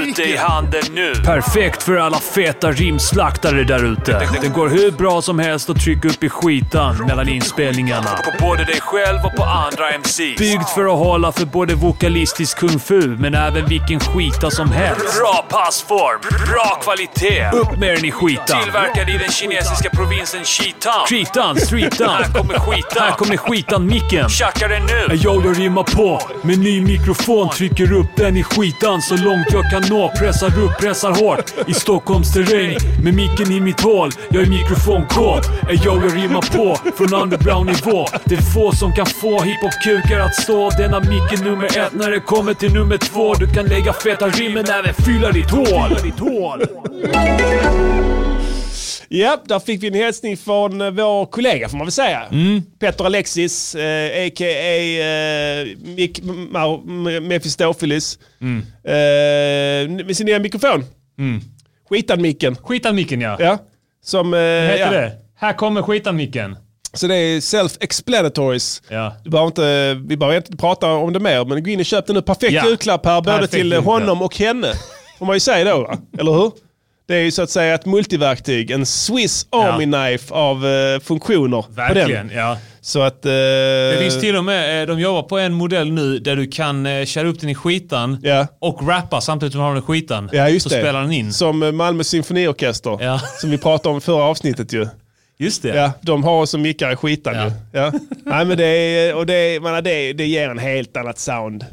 Speaker 11: Ute i handen nu.
Speaker 2: Perfekt för alla feta rimslaktare där ute. Det går hur bra som helst att trycka upp i skitan mellan inspelningarna.
Speaker 11: På både dig själv och på andra MC.
Speaker 2: Byggd för att hålla för både vokalistisk kung fu, men även vilken skita som helst.
Speaker 11: Bra passform. Bra kvalitet.
Speaker 2: Upp med den i skitan.
Speaker 11: Tillverkad i den kinesiska provinsen Xitan.
Speaker 2: Skitan, streetan.
Speaker 11: Här kommer skitan.
Speaker 2: Här kommer skitan-micken.
Speaker 11: Tjacka den nu.
Speaker 2: Jag, jag rimmar på med ny mikrofon. Trycker upp den i skitan så långt jag kan nå. Pressar upp, pressar hårt i Stockholms terräng. Med micken i mitt hål, jag är mikrofonkåt. Jag, jag rimmar på från underground-nivå. Det är få som kan få hiphop-kukar att stå. Denna mick är nummer ett när det kommer till nummer två. Du kan lägga feta rim men även fylla ditt hål.
Speaker 7: Ja, där fick vi en hälsning från eh, vår kollega får man väl säga. Petter Alexis, eh, a.k.a. Eh, Mick Mar- M- Mephistopheles.
Speaker 4: Mm.
Speaker 7: Eh, med sin nya mikrofon.
Speaker 4: Mm.
Speaker 7: Skitan-micken.
Speaker 4: Skitan-micken ja.
Speaker 7: ja. Som... Eh,
Speaker 4: Heter
Speaker 7: ja.
Speaker 4: det? Här kommer skitan-micken.
Speaker 7: Så det är self-explanatories.
Speaker 4: Ja.
Speaker 7: Du behöver inte, vi behöver inte prata om det mer, men gå in och köp den nu. Perfekt
Speaker 4: Ja.
Speaker 7: julklapp här, både
Speaker 4: Perfekt
Speaker 7: till
Speaker 4: julklapp.
Speaker 7: honom och henne. Får man ju säga då, va? eller hur? Det är ju så att säga ett multiverktyg, en Swiss Army Knife av eh, funktioner.
Speaker 4: Verkligen,
Speaker 7: på den.
Speaker 4: ja.
Speaker 7: Så att... eh,
Speaker 4: Det finns till och med, eh, de jobbar på en modell nu där du kan eh, köra upp den i skitan och rappa samtidigt som du har den i skitan.
Speaker 7: Ja, just
Speaker 4: så
Speaker 7: det.
Speaker 4: spelar den in.
Speaker 7: Som eh, Malmö symfoniorkester, som vi pratade om i förra avsnittet ju.
Speaker 4: Just det.
Speaker 7: Ja, de har oss som mickar i skitan ju. Ja. Nej, men det, är, och det, är- man, det, det ger en helt annat sound.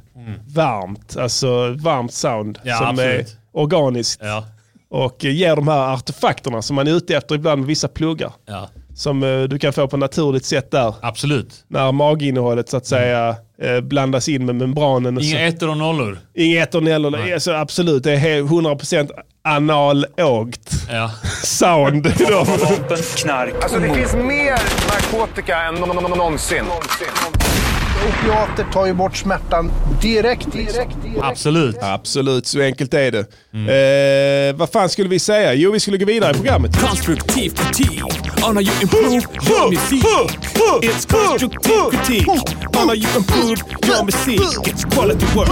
Speaker 7: Varmt, alltså varmt sound
Speaker 4: Mm. Ja,
Speaker 7: som
Speaker 4: absolut.
Speaker 7: är organiskt.
Speaker 4: Ja.
Speaker 7: Och eh, ger de här artefakterna som man är ute efter ibland med vissa pluggar.
Speaker 4: Ja.
Speaker 7: Som eh, du kan få på naturligt sätt där.
Speaker 4: Absolut.
Speaker 7: När maginnehållet så att säga eh, blandas in med membranen. och så-
Speaker 4: Inga ettor och nollor.
Speaker 7: Inga ettor eller alltså, absolut, det är he- 100% analogt sound. i dem.
Speaker 8: Vapen, knark
Speaker 12: Alltså
Speaker 8: och
Speaker 12: det
Speaker 8: mord.
Speaker 12: finns mer narkotika än nå- nå- nå- någonsin.
Speaker 13: Opiater tar ju bort smärtan direkt. direkt, direkt.
Speaker 7: Absolut. Absolut, så enkelt är det. Eh, vad fan skulle vi säga? Jo, vi skulle gå vidare i programmet. Konstruktiv kritik. On you improve your music. It's constructive kritik. On you improve your music. It's quality work.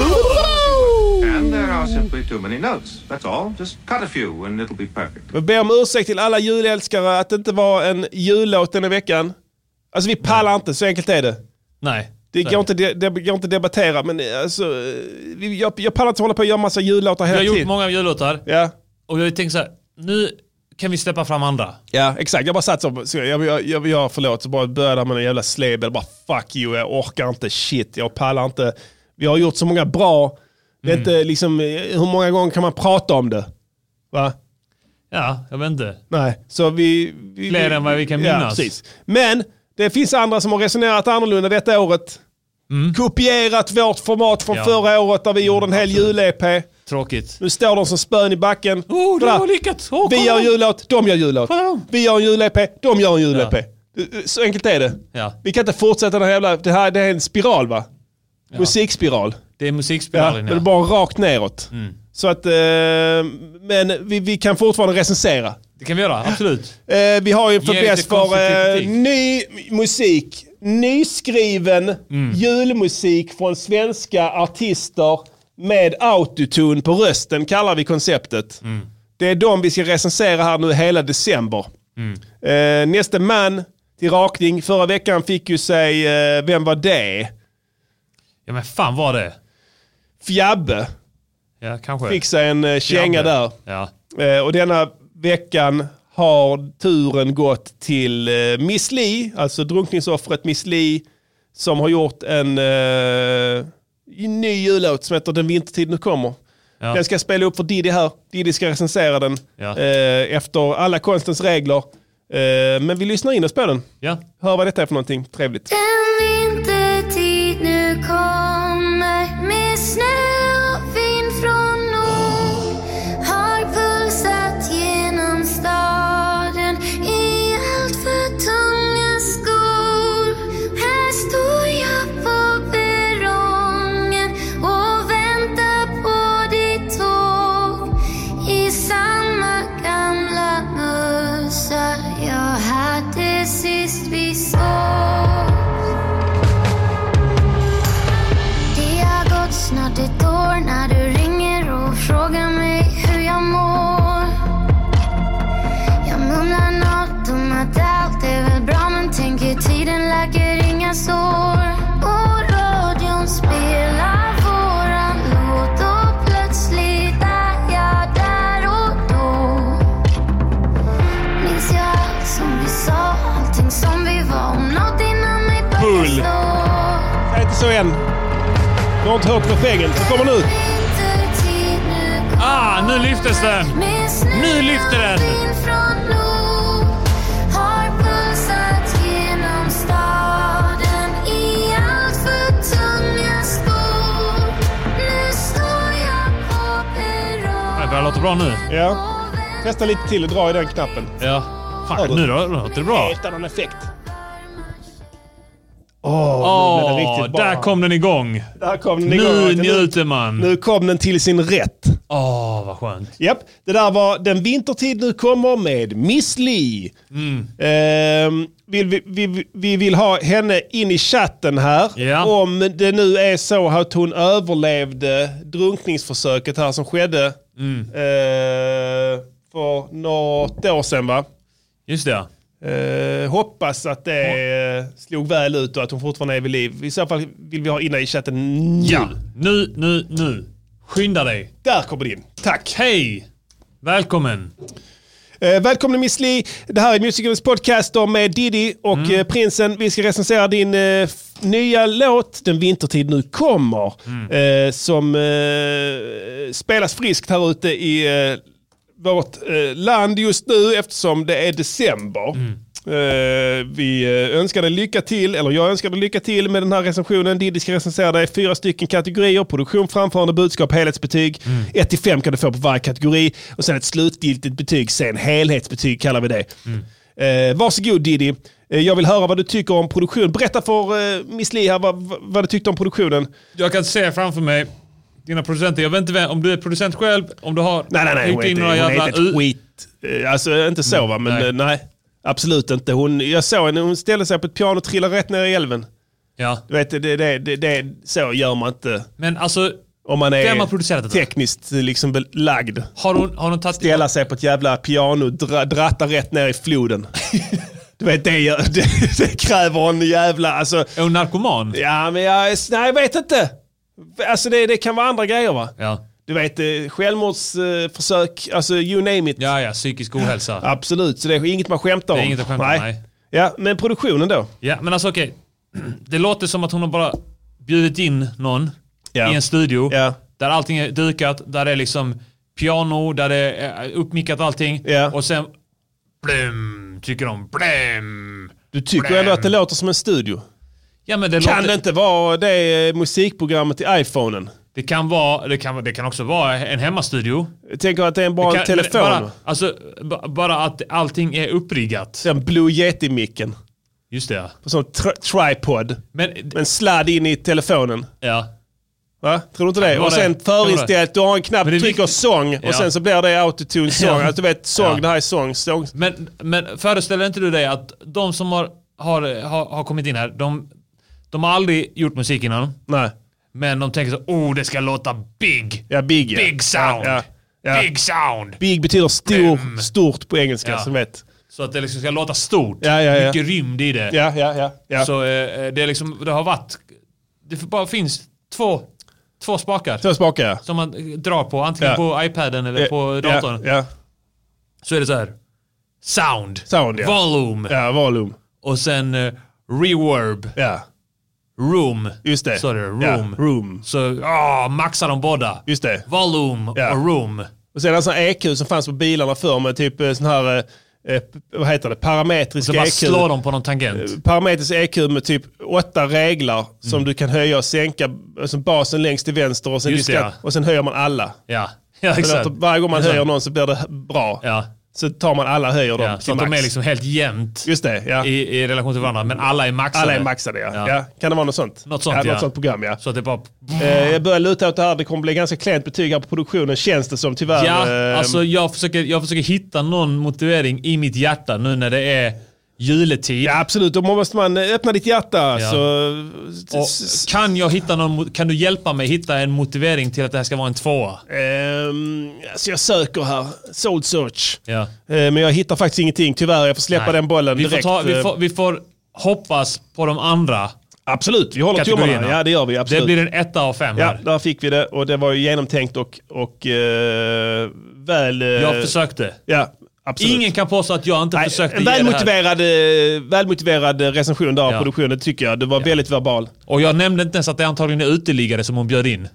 Speaker 14: And there are simply too many notes. That's all. Just cut a few and it'll be perfect.
Speaker 7: Jag ber om ursäkt till alla julälskare att det inte var en jullåt den här veckan. Alltså vi pallar inte, så enkelt är det.
Speaker 4: Nej.
Speaker 7: Det
Speaker 4: så
Speaker 7: går
Speaker 4: är
Speaker 7: inte, det, det går inte att debattera, men eh, alltså, eh, vi- jag, jag pallar inte hålla på och göra massa jullåtar
Speaker 4: Vi
Speaker 7: hela
Speaker 4: har
Speaker 7: tiden.
Speaker 4: gjort många jullåtar.
Speaker 7: Ja.
Speaker 4: Och jag tänkte så här, nu kan vi släppa fram andra.
Speaker 7: Ja, exakt. Jag bara satt så, så jag, jag, jag, jag förlåt, så bara började med en jävla släbel. Bara fuck you, jag orkar inte, shit, jag pallar inte. Vi har gjort så många bra, det
Speaker 4: Mm.
Speaker 7: är inte liksom, eh, hur många gånger kan man prata om det? Va?
Speaker 4: Ja, jag vet inte.
Speaker 7: Nej, så vi... vi
Speaker 4: Fler
Speaker 7: vi-
Speaker 4: än vad vi kan
Speaker 7: ja,
Speaker 4: minnas.
Speaker 7: precis. Men det finns andra som har resonerat annorlunda detta året. Kopierat vårt format från
Speaker 4: Mm. Ja.
Speaker 7: förra året där vi gjorde en hel jul-EP.
Speaker 4: Tråkigt.
Speaker 7: Nu står de som spön i backen.
Speaker 4: Oh,
Speaker 7: Kolla.
Speaker 4: de har lyckats! Oh,
Speaker 7: vi
Speaker 4: kolla
Speaker 7: gör en
Speaker 4: dem.
Speaker 7: jullåt, de gör jullåt.
Speaker 4: Kolla dem.
Speaker 7: Vi gör en jul-EP, de gör en jul-EP. Eh, Så enkelt är det.
Speaker 4: Ja.
Speaker 7: Vi kan inte fortsätta den här jävla... Det här det är en spiral va? Musikspiral.
Speaker 4: Det är Mm. musikspiralen,
Speaker 7: ja.
Speaker 4: ja.
Speaker 7: Det är bara rakt neråt. Så att... Eh, men vi, vi kan fortfarande recensera.
Speaker 4: Det kan vi göra, absolut.
Speaker 7: Eh, vi har ju en
Speaker 4: Ge lite
Speaker 7: förbäst för
Speaker 4: konstruktiv
Speaker 7: eh,
Speaker 4: kritik.
Speaker 7: ny musik. Nyskriven
Speaker 4: Mm.
Speaker 7: julmusik från svenska artister med autotune på rösten kallar vi konceptet.
Speaker 4: Mm.
Speaker 7: Det är de vi ska recensera här nu hela december.
Speaker 4: Mm.
Speaker 7: Eh, nästa man till rakning. Förra veckan fick ju sig, eh, vem var det?
Speaker 4: Ja men fan var det?
Speaker 7: Fjabbe
Speaker 4: Ja, kanske.
Speaker 7: fick sig en eh, känga
Speaker 4: Fjabbe.
Speaker 7: där.
Speaker 4: Ja.
Speaker 7: Eh, och denna veckan har turen gått till eh, Miss Li, alltså drunkningsoffret Miss Li, som har gjort en eh, ny jullåt som heter Den vintertid nu kommer.
Speaker 4: Ja.
Speaker 7: Den ska jag spela upp för Diddy här. Diddy ska recensera den
Speaker 4: Ja.
Speaker 7: eh, efter alla konstens regler. Eh, men vi lyssnar in oss på den.
Speaker 4: Ja.
Speaker 7: Hör vad detta är för någonting trevligt.
Speaker 15: Den vintertid nu kommer med snö och vind från norr har pulsat genom staden i alltför tunga skor. Här står jag på perrongen och väntar på ditt tåg i samma gamla mössa jag hade sist vi såg. Det har gått snart ett år när du ringer och frågar mig hur jag mår. Jag mumlar något om att allt är väl bra men tänker tiden läker inga sår. Och radion spelar våran låt och plötsligt är jag där och då. Minns jag allt som vi sa, allting som vi var, om något innan mig började
Speaker 7: Bull.
Speaker 15: slå.
Speaker 7: Säg inte så än. Du har inte hört refrängen. Den kommer nu.
Speaker 4: Ah, nu lyftes den! Nu lyfter den! Det börjar låta bra nu.
Speaker 7: Ja. Testa lite till och dra i den knappen.
Speaker 4: Ja.
Speaker 7: Hör du?
Speaker 4: Fan, nu då? låter det bra.
Speaker 7: Helt annan effekt.
Speaker 4: Åh,
Speaker 7: blev det riktigt bra.
Speaker 4: där kom den igång.
Speaker 7: Där kom den igång.
Speaker 4: Nu
Speaker 7: Nu-
Speaker 4: njuter man.
Speaker 7: Nu kom den till sin rätt.
Speaker 4: Åh, vad skönt.
Speaker 7: Japp, det där var Den vintertid nu kommer med Miss Li.
Speaker 4: Mm.
Speaker 7: Ehm, vill vi, vi, vi vill ha henne in i chatten här. Om det nu är så att hon överlevde drunkningsförsöket här som skedde
Speaker 4: Mm.
Speaker 7: eh, för något år sedan va?
Speaker 4: Just det.
Speaker 7: Eh, hoppas att det eh, slog väl ut och att hon fortfarande är vid liv. I så fall vill vi ha in henne i chatten nu.
Speaker 4: Ja, nu, nu, nu. Skynda dig.
Speaker 7: Där kommer det in. Tack.
Speaker 4: Hej! Välkommen.
Speaker 7: Eh, välkommen Miss Li. Det här är Musikernas podcast då med Diddy och
Speaker 4: Mm.
Speaker 7: eh, Prinsen. Vi ska recensera din eh, f- nya låt, Den vintertid nu kommer.
Speaker 4: Mm.
Speaker 7: Eh, som eh, spelas friskt här ute i eh, vårt eh, land just nu eftersom det är december.
Speaker 6: Eh, vi eh, önskar dig lycka till, eller jag önskar dig lycka till med den här recensionen. Diddy ska recensera dig i fyra stycken kategorier. Produktion, framförande, budskap, helhetsbetyg. 1-5 kan du få på varje kategori. Och sen ett slutgiltigt betyg, sen helhetsbetyg kallar vi det. Eh, varsågod Diddy. Eh, jag vill höra vad du tycker om produktion. Berätta för eh, Miss Li här vad, vad- vad du tyckte om produktionen.
Speaker 4: Jag kan se framför mig dina producenter. Jag vet inte vem, om du är producent själv, om du har...
Speaker 6: Nej, nej, nej. Hon
Speaker 4: hängt
Speaker 6: är
Speaker 4: in
Speaker 6: inte,
Speaker 4: några
Speaker 6: hon är
Speaker 4: jävla Mm,
Speaker 6: inte ett skit. eh, Alltså inte så va, men nej. nej absolut inte. Hon, jag såg henne, hon ställde sig på ett piano och trillade rätt ner i älven.
Speaker 4: Ja.
Speaker 6: Du vet, det, det, det, det, så gör man inte.
Speaker 4: Men alltså,
Speaker 6: om man
Speaker 4: vem har
Speaker 6: är tekniskt liksom belagd.
Speaker 4: Har hon, har hon tagit
Speaker 6: Ställa sig på ett jävla piano, dra, dratta rätt ner i floden. Du vet, det, gör, det, det kräver en jävla... Alltså, är
Speaker 4: hon narkoman?
Speaker 6: Ja, men jag, nej, jag vet inte. Alltså det, det kan vara andra grejer va?
Speaker 4: Ja.
Speaker 6: Du vet, eh, självmordsförsök, alltså you name it.
Speaker 4: Ja, ja, psykisk ohälsa.
Speaker 6: Absolut, så det är inget man skämtar om.
Speaker 4: Det är inget att skämta om, nej.
Speaker 6: Ja, men produktionen då?
Speaker 4: Ja, men alltså okej. Det låter som att hon har bara bjudit in någon
Speaker 6: Ja.
Speaker 4: i en studio.
Speaker 6: Ja.
Speaker 4: Där allting är dukat, där det är liksom piano, där det är eh, uppmickat allting. Och sen... Blum, tycker de. Blum.
Speaker 6: Du tycker ändå att det låter som en studio?
Speaker 4: Ja, men det
Speaker 6: kan
Speaker 4: låter-
Speaker 6: det inte vara det eh, musikprogrammet i iPhonen?
Speaker 4: Det kan, vara, det, kan, det kan också vara en hemmastudio.
Speaker 6: Jag tänker att det är en bra
Speaker 4: Det kan-
Speaker 6: telefon.
Speaker 4: Bara, alltså, ba- bara att allting är uppriggat.
Speaker 6: Den Blue Yeti-micken.
Speaker 4: Just det, ja.
Speaker 6: På sån tri- tripod.
Speaker 4: Men,
Speaker 6: en sladd in i telefonen.
Speaker 4: Ja.
Speaker 6: Va? Tror du inte det?
Speaker 4: Kan vara
Speaker 6: Och
Speaker 4: det.
Speaker 6: sen
Speaker 4: Kan vara det.
Speaker 6: förinställt, du har en knapp, trycker sång och
Speaker 4: Ja.
Speaker 6: sen så blir det autotune sång.
Speaker 4: Ja.
Speaker 6: Alltså, du vet, sång,
Speaker 4: Ja.
Speaker 6: det här är sång. sång.
Speaker 4: Men, men föreställer inte du dig att de som har, har, har, har kommit in här, de, de har aldrig gjort musik innan.
Speaker 6: Nej.
Speaker 4: Men de tänker så, oh det ska låta big.
Speaker 6: Ja, big ja.
Speaker 4: Big sound.
Speaker 6: Ja, ja.
Speaker 4: Big sound.
Speaker 6: Big betyder stor, stort på engelska
Speaker 4: Ja.
Speaker 6: som vet.
Speaker 4: Så att det liksom ska låta stort.
Speaker 6: Ja, ja, ja.
Speaker 4: Mycket rymd i det.
Speaker 6: Ja, ja, ja, ja.
Speaker 4: Så eh, det, är liksom, det har varit... Det bara finns två, två spakar.
Speaker 6: Två spakar ja.
Speaker 4: Som man eh, drar på, antingen
Speaker 6: Ja.
Speaker 4: på iPaden eller
Speaker 6: Ja,
Speaker 4: på datorn.
Speaker 6: Ja, ja.
Speaker 4: Så är det så här. Sound.
Speaker 6: Sound ja.
Speaker 4: Volum.
Speaker 6: Ja, volum.
Speaker 4: Och sen eh, reverb.
Speaker 6: Ja.
Speaker 4: Room.
Speaker 6: Just det.
Speaker 4: Så det, room.
Speaker 6: Ja, room.
Speaker 4: Så ah, maxar de båda.
Speaker 6: Just det.
Speaker 4: Volum
Speaker 6: Ja.
Speaker 4: och room.
Speaker 6: Och sen en sån här EQ som fanns på bilarna förr med typ eh, sån här, eh, eh, vad heter det, parametrisk
Speaker 4: Så bara
Speaker 6: EQ.
Speaker 4: slår de på någon tangent.
Speaker 6: Eh, Parametrisk EQ med typ åtta regler som du kan höja och sänka, alltså basen längst till vänster och sen,
Speaker 4: Just det, ja.
Speaker 6: diskant- och sen höjer man alla.
Speaker 4: Ja, ja
Speaker 6: Så
Speaker 4: exakt.
Speaker 6: att varje gång man
Speaker 4: Exakt.
Speaker 6: höjer någon så blir det bra.
Speaker 4: Ja.
Speaker 6: Så tar man alla höjer dem
Speaker 4: Ja,
Speaker 6: till
Speaker 4: så att de
Speaker 6: max.
Speaker 4: är liksom helt jämnt
Speaker 6: Just det, ja.
Speaker 4: i, i relation till varandra. Men alla är maxade.
Speaker 6: Alla är maxade ja. ja. Kan det vara något sånt?
Speaker 4: Något sånt,
Speaker 6: ja,
Speaker 4: ja.
Speaker 6: Något sånt program ja.
Speaker 4: Så att det bara...
Speaker 6: Eh, jag börjar luta åt det här, det kommer bli ganska klent betyg här på produktionen känns det som tyvärr.
Speaker 4: Ja,
Speaker 6: Eh,
Speaker 4: alltså jag försöker, jag försöker hitta någon motivering i mitt hjärta nu när det är juletid.
Speaker 6: Ja, absolut. Då måste man öppna ditt hjärta. så-
Speaker 4: Och kan, jag hitta någon, mo- kan du hjälpa mig hitta en motivering till att det här ska vara en tvåa?
Speaker 6: Ehm, alltså jag söker här, Soul Search.
Speaker 4: Ja.
Speaker 6: Eh, men jag hittar faktiskt ingenting tyvärr. Jag får släppa
Speaker 4: Nej.
Speaker 6: den bollen
Speaker 4: vi
Speaker 6: direkt.
Speaker 4: Får ta, vi,
Speaker 6: eh,
Speaker 4: får, vi får hoppas på de andra
Speaker 6: Absolut, vi håller tummarna. Ja, det gör vi. Absolut.
Speaker 4: Det blir en etta av fem
Speaker 6: Ja,
Speaker 4: här.
Speaker 6: där fick vi det och det var ju genomtänkt och, och eh, väl... eh,
Speaker 4: Jag försökte.
Speaker 6: Ja, absolut.
Speaker 4: Ingen kan påstå att jag inte försökte
Speaker 6: En
Speaker 4: ge det här.
Speaker 6: välmotiverad, eh, välmotiverad recension där av
Speaker 4: Ja.
Speaker 6: produktionen tycker jag. Det var väldigt verbal.
Speaker 4: Och jag nämnde inte ens att det antagligen är uteliggare som hon bjöd in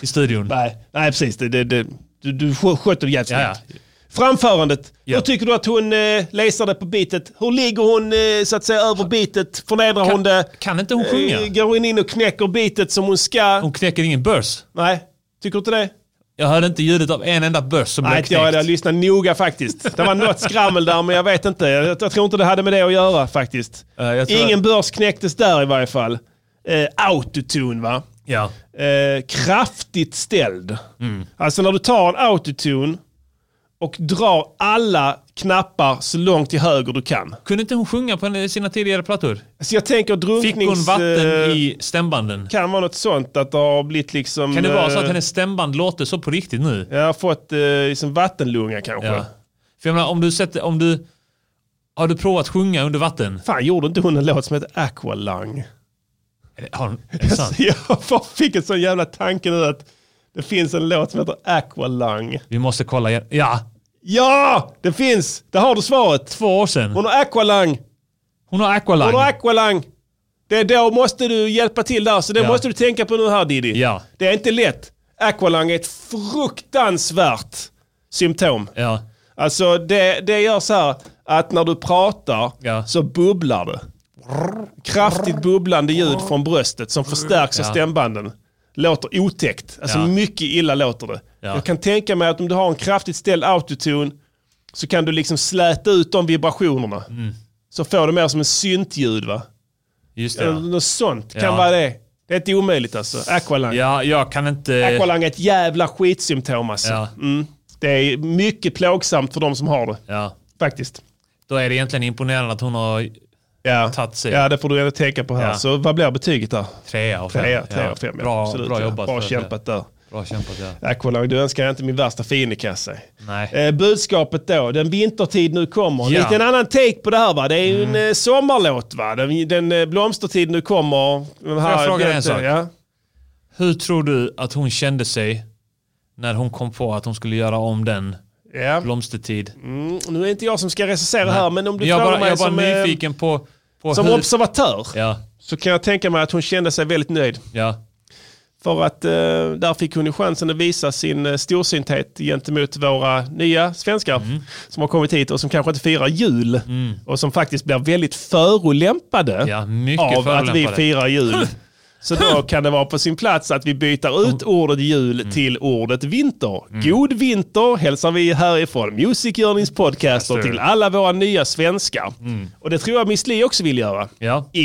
Speaker 4: i studion.
Speaker 6: Nej, nej precis. Det, det, det, du, du skö- skötte det jävligt
Speaker 4: Ja, ja.
Speaker 6: snyggt. Framförandet. Hur tycker du att hon eh, läsade på bitet? Hur ligger hon eh, så att säga över bitet? Förnedrar hon det?
Speaker 4: Kan inte hon sjunga?
Speaker 6: Eh, går hon in och knäcker bitet som hon ska?
Speaker 4: Hon knäcker ingen börs.
Speaker 6: Nej, tycker du inte det?
Speaker 4: Jag hörde inte ljudet av en enda börs som
Speaker 6: Nej,
Speaker 4: blev
Speaker 6: inte jag. Jag
Speaker 4: knäckt.
Speaker 6: lyssnade noga faktiskt. Det var något skrammel där, men jag vet inte. Jag, jag tror inte det hade med det att göra faktiskt.
Speaker 4: tror-
Speaker 6: Ingen börs knäcktes där i varje fall. Eh, autotune va?
Speaker 4: Ja.
Speaker 6: Eh, kraftigt ställd.
Speaker 4: Mm.
Speaker 6: Alltså när du tar en autotune och drar alla knappar så långt till höger du kan.
Speaker 4: Kunde inte hon sjunga på en- sina tidigare plattor?
Speaker 6: Så jag tänker
Speaker 4: Fick
Speaker 6: drunknings...
Speaker 4: hon vatten
Speaker 6: eh,
Speaker 4: i stämbanden?
Speaker 6: Kan vara något sånt att det har blivit liksom...
Speaker 4: Kan det vara så att
Speaker 6: eh,
Speaker 4: hennes stämband låter så på riktigt nu?
Speaker 6: Jag har fått eh, liksom vattenlunga kanske.
Speaker 4: Ja. För jag menar, om du sätter, om du... Har du provat sjunga under vatten?
Speaker 6: Fan, gjorde inte hon en låt som heter Aqualung?
Speaker 4: Har hon, är det sant?
Speaker 6: Jag bara fick en sån jävla tanke nu att det finns en låt som heter Aqualung.
Speaker 4: Vi måste kolla igen. Ja!
Speaker 6: Ja! Det finns! Där har du svaret.
Speaker 4: Två år sedan.
Speaker 6: Hon har Aqualung.
Speaker 4: Hon har Aqualung.
Speaker 6: Hon har Aqualung. Det är då måste du hjälpa till där, så det
Speaker 4: Ja.
Speaker 6: måste du tänka på nu här Diddy.
Speaker 4: Ja.
Speaker 6: Det är inte lätt. Aqualung är ett fruktansvärt symptom.
Speaker 4: Ja.
Speaker 6: Alltså det, det gör så här
Speaker 7: att när du pratar så bubblar det. Kraftigt bubblande ljud från bröstet som förstärks av
Speaker 3: Ja.
Speaker 7: stämbanden. Låter otäckt. Alltså
Speaker 3: Ja.
Speaker 7: mycket illa låter det.
Speaker 3: Ja.
Speaker 7: Jag kan tänka mig att om du har en kraftigt ställd autotune så kan du liksom släta ut de vibrationerna.
Speaker 3: Mm.
Speaker 7: Så får du mer som en syntljud va?
Speaker 4: Just
Speaker 3: det, ja.
Speaker 7: Eller Något sånt kan
Speaker 3: Ja.
Speaker 7: vara det. Det är inte omöjligt alltså. Aqualung.
Speaker 4: Ja, jag kan inte...
Speaker 7: Aqualung är ett jävla skitsymptom alltså.
Speaker 4: Ja.
Speaker 7: Mm. Det är mycket plågsamt för de som har det.
Speaker 4: Ja.
Speaker 7: Faktiskt.
Speaker 4: Då är det egentligen imponerande att hon har tagit sig.
Speaker 7: Ja, det får du ändå tänka på här.
Speaker 4: Ja.
Speaker 7: Så vad blir betyget där?
Speaker 4: Trea och fem.
Speaker 7: Trea, trea
Speaker 4: Ja.
Speaker 7: och fem ja.
Speaker 4: Bra,
Speaker 7: Absolut,
Speaker 4: bra
Speaker 7: ja.
Speaker 4: jobbat.
Speaker 7: Bra
Speaker 4: för-
Speaker 7: kämpat där.
Speaker 4: Bra kämpat, ja.
Speaker 7: Aqualung, du önskar jag inte min värsta fiende kan jag säga.
Speaker 4: Nej.
Speaker 7: Eh, budskapet då, den vintertid nu kommer. En
Speaker 4: Ja. Mm.
Speaker 7: liten annan take på det här va. Det är ju en eh, sommarlåt va. Den, den eh, blomstertid nu kommer. Den
Speaker 4: Får jag fråga dig en
Speaker 7: vet-
Speaker 4: sak?
Speaker 7: Ja.
Speaker 4: Hur tror du att hon kände sig när hon kom på att hon skulle göra om den blomstertid?
Speaker 7: Mm, nu är det inte jag som ska recensera här, men om du
Speaker 4: jag
Speaker 7: frågar
Speaker 4: bara,
Speaker 7: mig
Speaker 4: jag är bara
Speaker 7: som, eh,
Speaker 4: nyfiken på, på
Speaker 7: som
Speaker 4: hur...
Speaker 7: observatör
Speaker 4: Ja.
Speaker 7: så kan jag tänka mig att hon kände sig väldigt nöjd.
Speaker 4: Ja.
Speaker 7: För att eh, där fick hon ju chansen att visa sin eh, storsynthet gentemot våra nya svenskar
Speaker 4: Mm.
Speaker 7: som har kommit hit och som kanske inte firar jul och som faktiskt blir väldigt förolämpade
Speaker 4: mycket
Speaker 7: av att vi
Speaker 4: förolämpade.
Speaker 7: firar jul. Så då kan det vara på sin plats att vi byter
Speaker 4: Mm.
Speaker 7: ut ordet jul till ordet vinter. God vinter hälsar vi härifrån Music Journeys podcaster till alla våra nya svenskar.
Speaker 4: Mm.
Speaker 7: Och det tror jag Miss Li också vill göra.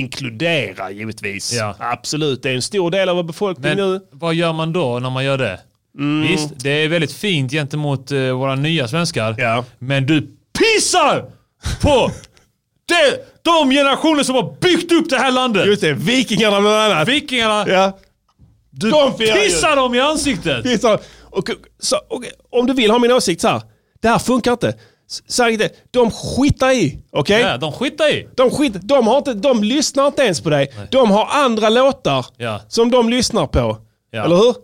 Speaker 7: Inkludera givetvis.
Speaker 4: Ja.
Speaker 7: Absolut, det är en stor del av vår befolkning
Speaker 4: Men
Speaker 7: nu. Mm.
Speaker 4: vad gör man då när man gör det? Visst, det är väldigt fint gentemot eh, våra nya svenskar. Men du pissar på det, de generationer som har byggt upp det här landet. Just
Speaker 7: det, vikingarna bland annat.
Speaker 4: Vikingarna.
Speaker 7: Ja.
Speaker 4: Du
Speaker 7: De firar jul.
Speaker 4: pissar dem i ansiktet.
Speaker 7: Det är så här, och, så, och, om du vill ha min åsikt så här. Det här funkar inte. S- Så här, är det. de skitar i. Okej?
Speaker 4: Ja, de skitar i.
Speaker 7: De, skit, de, har inte, de lyssnar inte ens på dig. De har andra låtar
Speaker 4: Ja.
Speaker 7: som de lyssnar på.
Speaker 4: Ja.
Speaker 7: Eller hur?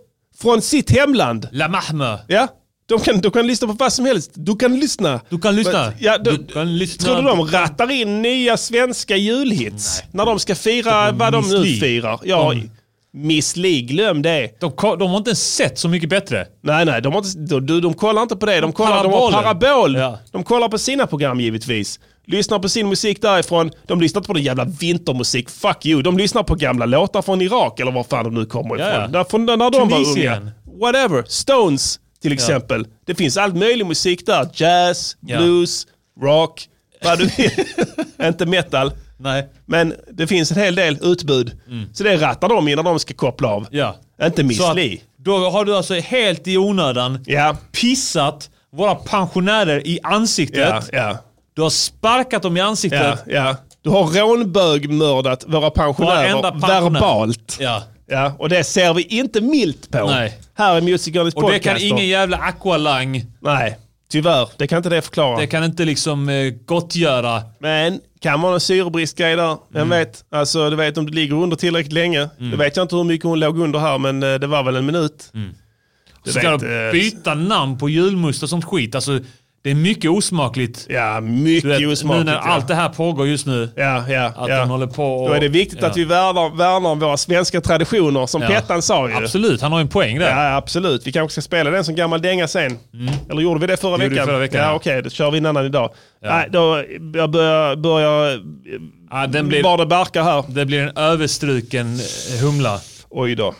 Speaker 7: Från sitt hemland.
Speaker 4: La Mahme.
Speaker 7: Ja. De kan, de kan lyssna på vad som helst. Du kan lyssna. Du kan
Speaker 4: lyssna.
Speaker 7: Ja, de,
Speaker 4: Du kan lyssna.
Speaker 7: Tror du de rattar in nya svenska julhits? När de ska fira vad de nu
Speaker 4: Miss Li.
Speaker 7: firar. Ja,
Speaker 4: De-
Speaker 7: Miss Li, glöm det.
Speaker 4: De, ko- de har inte ens sett så mycket bättre.
Speaker 7: Nej, nej, de, har inte, de, de, de kollar inte på det. De, kollar, de har
Speaker 4: Parabolen.
Speaker 7: parabol. De kollar på sina program givetvis. Lyssnar på sin musik därifrån. De lyssnar inte på den jävla vintermusik. Fuck you. De lyssnar på gamla låtar från Irak eller var fan de nu kommer ifrån.
Speaker 4: Ja, ja.
Speaker 7: Där, från, när de var unga.
Speaker 4: Tunisien.
Speaker 7: Whatever. Stones till
Speaker 4: Ja.
Speaker 7: exempel. Det finns all möjlig musik där. Jazz,
Speaker 4: Ja.
Speaker 7: blues, rock. Vad du vill. inte metal.
Speaker 4: Nej.
Speaker 7: Men det finns en hel del utbud. Så det rattar de innan de ska koppla av.
Speaker 4: Mm. Ja.
Speaker 7: Inte Miss
Speaker 4: Så att
Speaker 7: Li.
Speaker 4: Då har du alltså helt i onödan pissat våra pensionärer i ansiktet.
Speaker 7: Ja, ja.
Speaker 4: Du har sparkat dem i
Speaker 7: Ja,
Speaker 4: ansiktet.
Speaker 7: ja. Du har rånbögmördat våra pensionärer
Speaker 4: Varenda pensionär.
Speaker 7: verbalt.
Speaker 4: Ja.
Speaker 7: Ja, och det ser vi inte milt på.
Speaker 4: Nej.
Speaker 7: Här är Music Journeys
Speaker 4: Och det
Speaker 7: podcast.
Speaker 4: kan ingen jävla aqualang.
Speaker 7: Nej, tyvärr. Det kan inte det förklara.
Speaker 4: Det kan inte liksom eh, gottgöra.
Speaker 7: Men kan vara en syrebristgrej där. Vem vet? Alltså, du vet om du ligger under tillräckligt länge.
Speaker 4: Mm.
Speaker 7: Du vet jag inte hur mycket hon låg under här, men eh, det var väl en minut. Du
Speaker 4: Ska
Speaker 7: vet,
Speaker 4: de
Speaker 7: eh,
Speaker 4: byta namn på julmust och sånt skit? Alltså, det är mycket osmakligt.
Speaker 7: Ja, mycket
Speaker 4: du vet,
Speaker 7: osmakligt,
Speaker 4: Nu när
Speaker 7: ja.
Speaker 4: allt det här pågår just nu.
Speaker 7: Ja, ja,
Speaker 4: att
Speaker 7: ja.
Speaker 4: de håller på och,
Speaker 7: Då är det viktigt
Speaker 4: ja.
Speaker 7: att vi värnar, värnar om våra svenska traditioner, som
Speaker 4: Ja.
Speaker 7: Pettan sa ju.
Speaker 4: Absolut, han har ju en poäng där.
Speaker 7: Ja, absolut. Vi kanske ska spela den som gammal dänga sen. Eller gjorde vi det förra
Speaker 4: Mm. Gjorde vi
Speaker 7: veckan?
Speaker 4: förra veckan,
Speaker 7: ja,
Speaker 4: ja.
Speaker 7: okej. Då kör vi en annan idag. Nej, då jag börjar... börjar
Speaker 4: ja, den blir,
Speaker 7: var det barkar här.
Speaker 4: Det blir en överstruken eh, humla.
Speaker 7: Oj då.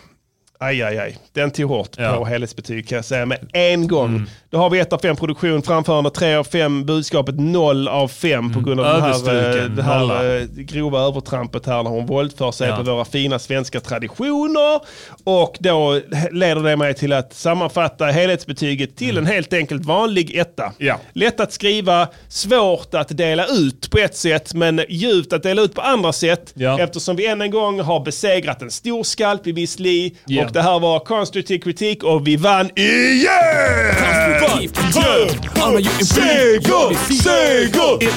Speaker 7: Aj, aj, aj. Den tog hårt
Speaker 4: Ja. Mm.
Speaker 7: på helhetsbetyg kan jag säga med en gång. Då har vi 1 av 5 produktion, framförande 3 av 5, budskapet 0 av 5 på grund av den här, eh,
Speaker 4: Överstruken
Speaker 7: det här
Speaker 4: nolla.
Speaker 7: eh, grova övertrampet här när hon våldför sig
Speaker 4: Ja.
Speaker 7: på våra fina svenska traditioner. Och då leder det mig till att sammanfatta helhetsbetyget till en helt enkelt vanlig etta. Lätt att skriva, svårt att dela ut på ett sätt, men djupt att dela ut på andra sätt. Eftersom vi än en gång har besegrat en stor skalp i Miss Li
Speaker 3: Ja.
Speaker 7: och det här var konstruktiv kritik och vi vann igen! Seger! Seger!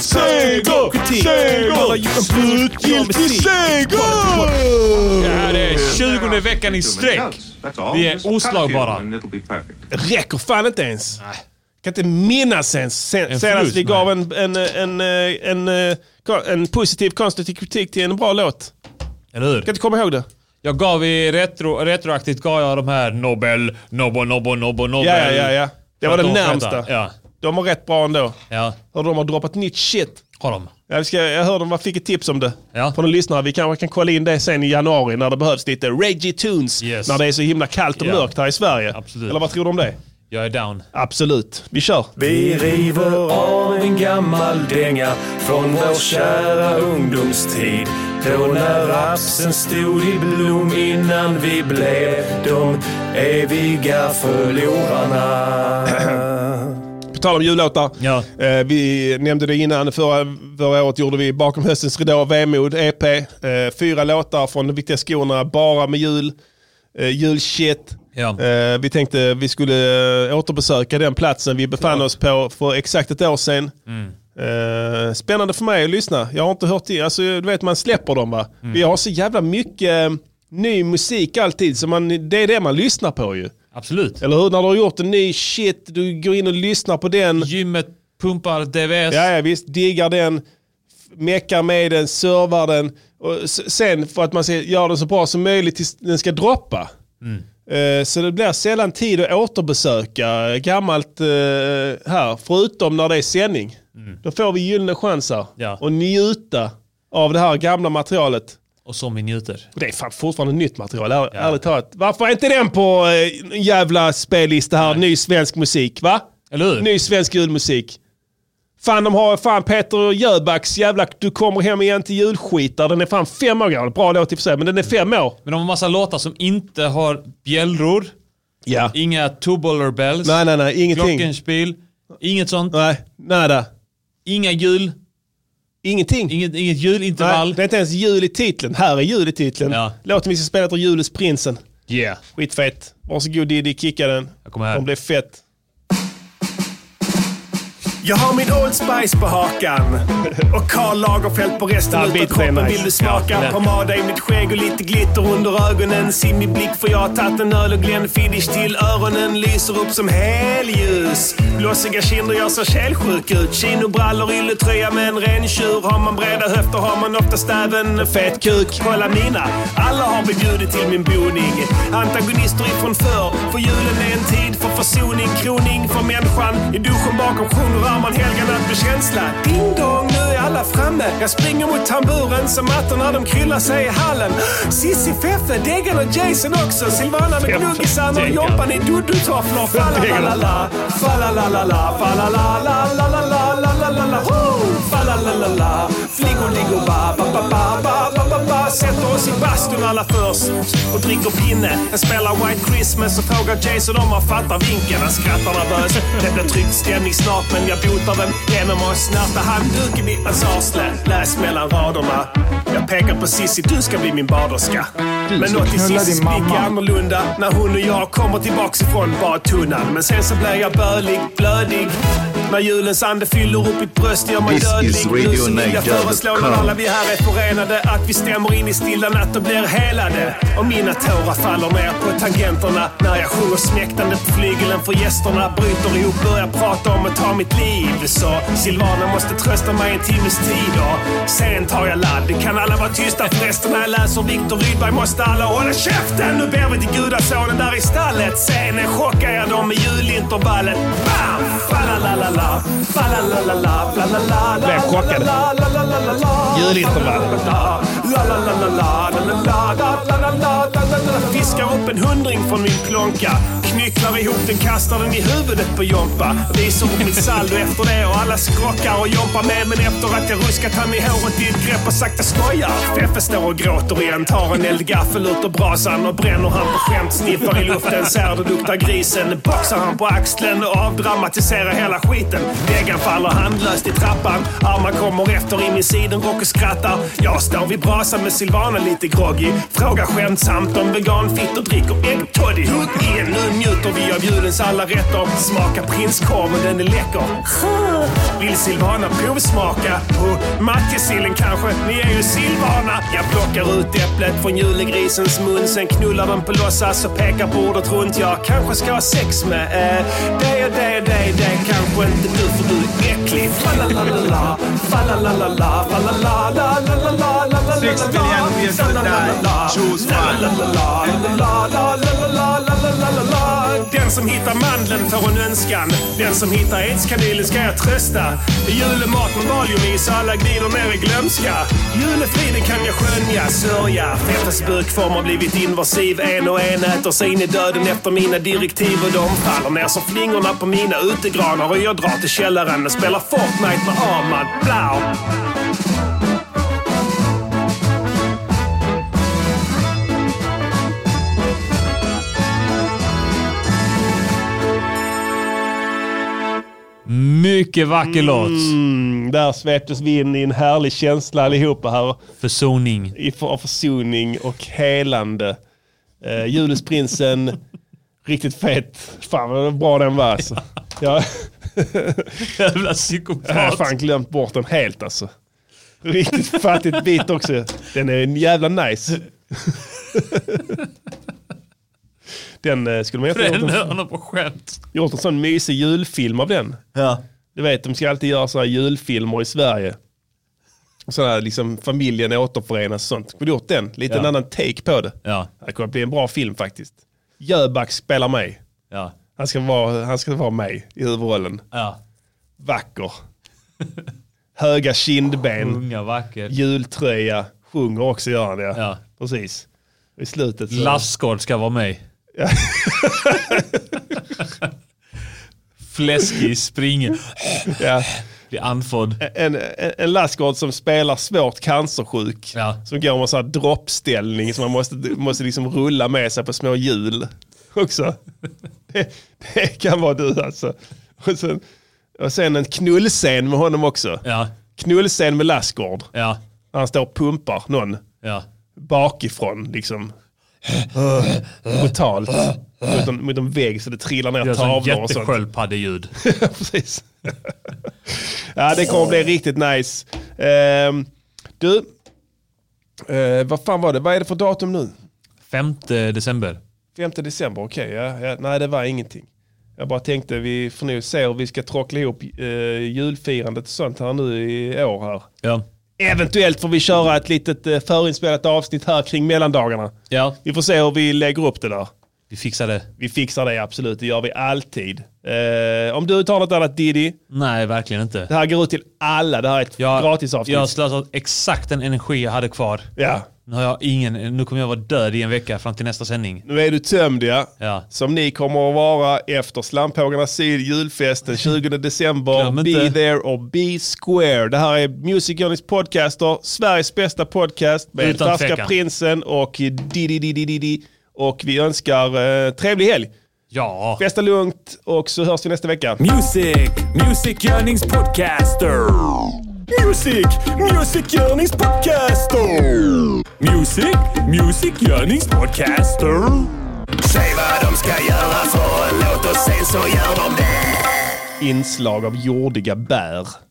Speaker 7: Seger! Seger! Slutgiltig seger!
Speaker 4: Det här är 20 veckan i sträck. Vi är oslagbara.
Speaker 7: Räcker fan inte ens. Kan inte minnas ens sen,
Speaker 4: En
Speaker 7: senast
Speaker 4: förlust,
Speaker 7: vi gav en, en, en, eh, en, eh, ko- en positiv konstruktiv kritik till en bra låt.
Speaker 4: Eller hur? Kan
Speaker 7: inte komma ihåg det.
Speaker 4: Jag gav i retro, retroaktivt gav jag de här Nobel, Nobel, Nobel, Nobel, Nobel.
Speaker 7: Ja, ja, ja, ja. Det
Speaker 4: För
Speaker 7: var
Speaker 4: att
Speaker 7: den
Speaker 4: de
Speaker 7: närmsta.
Speaker 4: heter- Ja.
Speaker 7: De var rätt bra ändå.
Speaker 4: Ja.
Speaker 7: Hör de har droppat nytt shit.
Speaker 4: Har de?
Speaker 7: Ja, vi ska, jag hörde de var- fick ett tips om det
Speaker 4: ja.
Speaker 7: från en lyssnare. Vi kanske kan kolla in det sen i januari när det behövs lite Reggie Tunes. När det är så himla kallt och
Speaker 4: Ja.
Speaker 7: mörkt här i Sverige.
Speaker 4: Absolut.
Speaker 7: Eller vad tror du om det?
Speaker 4: Jag är down.
Speaker 7: Absolut. Vi kör.
Speaker 6: Vi river av en gammal dänga från vår kära ungdomstid. Då när rapsen stod i blom innan vi blev de eviga förlorarna.
Speaker 7: På tal om jullåtar. Eh, vi nämnde det innan. Förra, förra året gjorde vi Bakom höstens ridå, Vemod, EP. Eh, fyra låtar från de viktiga skorna, bara med jul. Eh, julshit. Eh, vi tänkte vi skulle eh, återbesöka den platsen vi befann oss på för exakt ett år sedan. Eh, spännande för mig att lyssna. Jag har inte hört det. Alltså, du vet, man släpper dem va? Vi har så jävla mycket eh, ny musik alltid, så man, det är det man lyssnar på ju.
Speaker 4: Absolut.
Speaker 7: Eller hur? När du har gjort en ny shit, du går in och lyssnar på den.
Speaker 4: Gymmet pumpar DVS.
Speaker 7: Ja, ja visst. Diggar den, f- meckar med den, servar den. Och s- sen för att man ska göra den så bra som möjligt tills den ska droppa. Eh, Så det blir sällan tid att återbesöka gammalt eh, här, förutom när det är sändning. Då får vi gyllene chanser
Speaker 4: Ja.
Speaker 7: och njuta av det här gamla materialet.
Speaker 4: Och som vi njuter.
Speaker 7: Och Det är fan fortfarande nytt material, är, ärligt talat. Varför är inte den på eh, en jävla spellista här? Ny svensk musik, va?
Speaker 4: Eller hur?
Speaker 7: Ny svensk julmusik. Fan, de har fan Peter Jöbacks jävla Du kommer hem igen till julskit där. Den är fan fem år gammal. Bra låt i och för sig, men den är fem år.
Speaker 4: Men de har massa låtar som inte har bjällror.
Speaker 7: Ja.
Speaker 4: Inga tubular bells.
Speaker 7: Nej, nej, nej. Ingenting.
Speaker 4: Glockenspiel. Inget sånt.
Speaker 7: Nej, nada.
Speaker 4: Inga jul.
Speaker 7: Ingenting.
Speaker 4: Inget, inget julintervall.
Speaker 7: Nej, det är inte ens jul i titeln. Här är jul i titeln. Låten vi ska spela heter Julens prinsen.
Speaker 4: Yeah.
Speaker 7: Skitfett. Varsågod Diddy, kicka den. Jag
Speaker 4: kommer här.
Speaker 7: Den blir fett.
Speaker 6: Jag har min Old Spice på hakan och Karl Lagerfeld på resten
Speaker 7: Ja,
Speaker 6: utav
Speaker 7: bitet är
Speaker 6: kroppen.
Speaker 7: nice.
Speaker 6: Vill du smaka?
Speaker 7: Ja, lätt.
Speaker 6: Pomada i mitt skägg och lite glitter under ögonen. Se min blick för jag har tagit en öl och Glenfiddich till öronen. Lyser upp som helljus. Blossiga kinder, jag ser kälsjuk ut. Chinobrallor, ylletröja med en renntjur. Har man breda höfter har man oftast även en fet kuk. Kolla mina. Alla har vi bjudit till min boning. Antagonister ifrån förr. För julen är en tid för försoning. Kroning för människan. I duschen bakom sjunger Arman Helga natt med känsla. Ding dong, nu är alla framme. Jag springer mot tamburen som mattorna de kryllar sig i hallen. Sissi, Feffe, Deggan och Jason också. Silvana med gnuggisarna och Jompan i Dudutofflor. Falalala, falalalala, falalalalalalalalala. Ho! Falalala, flingolingoba, ba ba ba ba ba ba ba. Sätter oss i bastun alla först och dricker pinne. Jag spelar White Christmas och frågar Jason om han fattar vinken. Han skrattar nervöst. Det blir tryckt stämning snart men jag botar den genom att snärta handduken i hans arsle. Läs mellan raderna. Jag pekar på Sissi, du ska bli min baderska.
Speaker 12: Du
Speaker 6: Men
Speaker 12: ska
Speaker 6: något i
Speaker 12: knulla
Speaker 6: Sissis
Speaker 12: din mamma.
Speaker 6: blick är annorlunda när hon och jag kommer tillbaks ifrån badtunnan. Men sen så blir jag bölig, blödig. När julens ande fyller upp mitt bröst gör mig
Speaker 9: This
Speaker 6: dödlig.
Speaker 9: is
Speaker 6: Nu så vill jag
Speaker 9: RadioNiger.com.
Speaker 6: föreslå när alla vi här är förenade att vi stämmer in i stilla natt och blir helade. Och mina tårar faller ner på tangenterna när jag sjunger smäktande på flygeln för gästerna. Bryter ihop, börjar prata om att ta mitt liv. Så Silvana måste trösta mig en timmes tid och sen tar jag ladd. Kan alla vara tysta förresten när jag läser Viktor Rydberg måste alla hålla käften. Nu ber vi till gudasonen där i stallet. Sen chockar jag dem med julintervallet. Bam! Falalalala, falalalala, falalalala.
Speaker 7: Blev chockad. Julintervallet.
Speaker 6: Fiskar upp en hundring från min plånka. Knycklar ihop den, kastar den i huvudet på Jompa. Visar upp mitt saldo efter det och alla skrockar och Jompa med. Men efter att jag ruskat han i håret i ett grepp och sakta skojar. Feffe står och gråter igen, tar en eldgaffel ut ur brasan och bränner han på skämt. Sniffar i luften, ser det luktar grisen. Boxar han på axeln och avdramatiserar hela skiten. Väggen faller handlöst i trappan. Armar kommer efter i min sidenrock och skrattar. Jag står vid brasan med Silvana lite groggy. Frågar skämtsamt om veganfitt och dricker äggtoddy. Hugg in, nu njuter vi av julens alla rätter. Smaka prinskorven, den är läcker. Vill Silvana provsmaka? Och matjessillen kanske? Ni är ju Silvana. Jag plockar ut äpplet från julegrisens mun. Sen knullar den på låtsas och pekar på ordet runt. Jag kanske ska ha sex med eh, det och det och det och det. Kanske inte du för du är äcklig. Falalalala, falalalala, falalalala, la la la la la la la la la.
Speaker 16: next million ways to die. Choose
Speaker 6: Den som hittar mandeln får en önskan. Den som hittar aidskanelen ska jag trösta. Julemat med valiumis och alla glider ner i glömska. Julefriden kan jag skönja, sörja. Fettas bukform har blivit invasiv. En och en äter sig in i döden efter mina direktiv och de faller ner som flingorna på mina utegranar. Och jag drar till källaren och spelar Fortnite med Armand Blau.
Speaker 4: Mycket vacker
Speaker 7: Mm. låt. Där sveptes vi in i en härlig känsla allihopa här.
Speaker 4: Försoning.
Speaker 7: I för, av försoning och helande. Eh, Julesprinsen, riktigt fet. Fan vad bra den var alltså. Ja.
Speaker 4: Jävla
Speaker 7: Jag
Speaker 4: psykopat.
Speaker 7: har fan glömt bort den helt alltså. Riktigt fattigt bit också. Den är en jävla nice. Den eh, skulle man egentligen gjort en-
Speaker 4: Bränner honom på skämt.
Speaker 7: gjort en sån mysig julfilm av den. Du vet, de ska alltid göra såna här julfilmer i Sverige. Och Sådana här liksom familjen återförenas och sånt. Skulle du gjort den? Lite
Speaker 4: Ja.
Speaker 7: en annan take på det.
Speaker 4: Ja.
Speaker 7: Det kommer bli en bra film faktiskt. Jöback spelar mig.
Speaker 4: Ja.
Speaker 7: Han ska vara, han ska vara mig i huvudrollen. Vacker. Höga kindben.
Speaker 4: Sjunga vackert.
Speaker 7: Jultröja. Sjunger också gör han ja. Precis. I slutet så...
Speaker 4: Lafsgård ska vara med. Fläskig springer.
Speaker 7: Ja.
Speaker 4: Blir andfådd.
Speaker 7: En, en, en lastgård som spelar svårt cancersjuk. Som går med sån här droppställning som man måste, måste liksom rulla med sig på små hjul. Också. Det, det kan vara du alltså. Och sen, och sen en knullscen med honom också. Knullscen med lastgård. När han står och pumpar någon. Bakifrån liksom. Brutalt. Mot en, mot en vägg så det trillar ner
Speaker 4: Gör sån
Speaker 7: tavlor och sånt.
Speaker 4: jättesköldpaddeljud.
Speaker 7: Precis. Ja, det kommer bli riktigt nice. Ehm, du, eh, vad fan var det? Vad är det för datum nu?
Speaker 4: 5 december.
Speaker 7: 5 december, okej. ja, ja, nej, det var ingenting. Jag bara tänkte vi får nog se hur vi ska trockla ihop eh, julfirandet och sånt här nu i år här.
Speaker 4: Ja.
Speaker 7: Eventuellt får vi köra ett litet eh, förinspelat avsnitt här kring mellandagarna.
Speaker 4: Ja.
Speaker 7: Vi får se hur vi lägger upp det där.
Speaker 4: Vi fixar det.
Speaker 7: Vi fixar det absolut, det gör vi alltid. Eh, om du tar något annat Diddy?
Speaker 4: Nej, verkligen inte.
Speaker 7: Det här går ut till alla, det här är ett gratisavsnitt.
Speaker 4: Jag har slösat exakt den energi jag hade kvar.
Speaker 7: Ja.
Speaker 4: Nu, har jag ingen, nu kommer jag vara död i en vecka fram till nästa sändning.
Speaker 7: Nu är du tömd ja.
Speaker 4: Ja.
Speaker 7: Som ni kommer att vara efter Slampågarnas syd julfest den 20 december. Be there or be square. Det här är Music Journeys podcaster, Sveriges bästa podcast med
Speaker 4: Utan
Speaker 7: Färska
Speaker 4: tvekan.
Speaker 7: Prinsen och Didi Didi Didi. Och vi önskar eh, trevlig helg.
Speaker 4: Ja.
Speaker 7: Festa lugnt och så hörs vi nästa vecka.
Speaker 17: Music, Music Yearnings Podcaster. Music, Music Yearnings Podcaster. Music, Music Yearnings Podcaster.
Speaker 10: Säg vad de ska göra för en låt och sen så gör de det.
Speaker 7: Inslag av jordiga bär.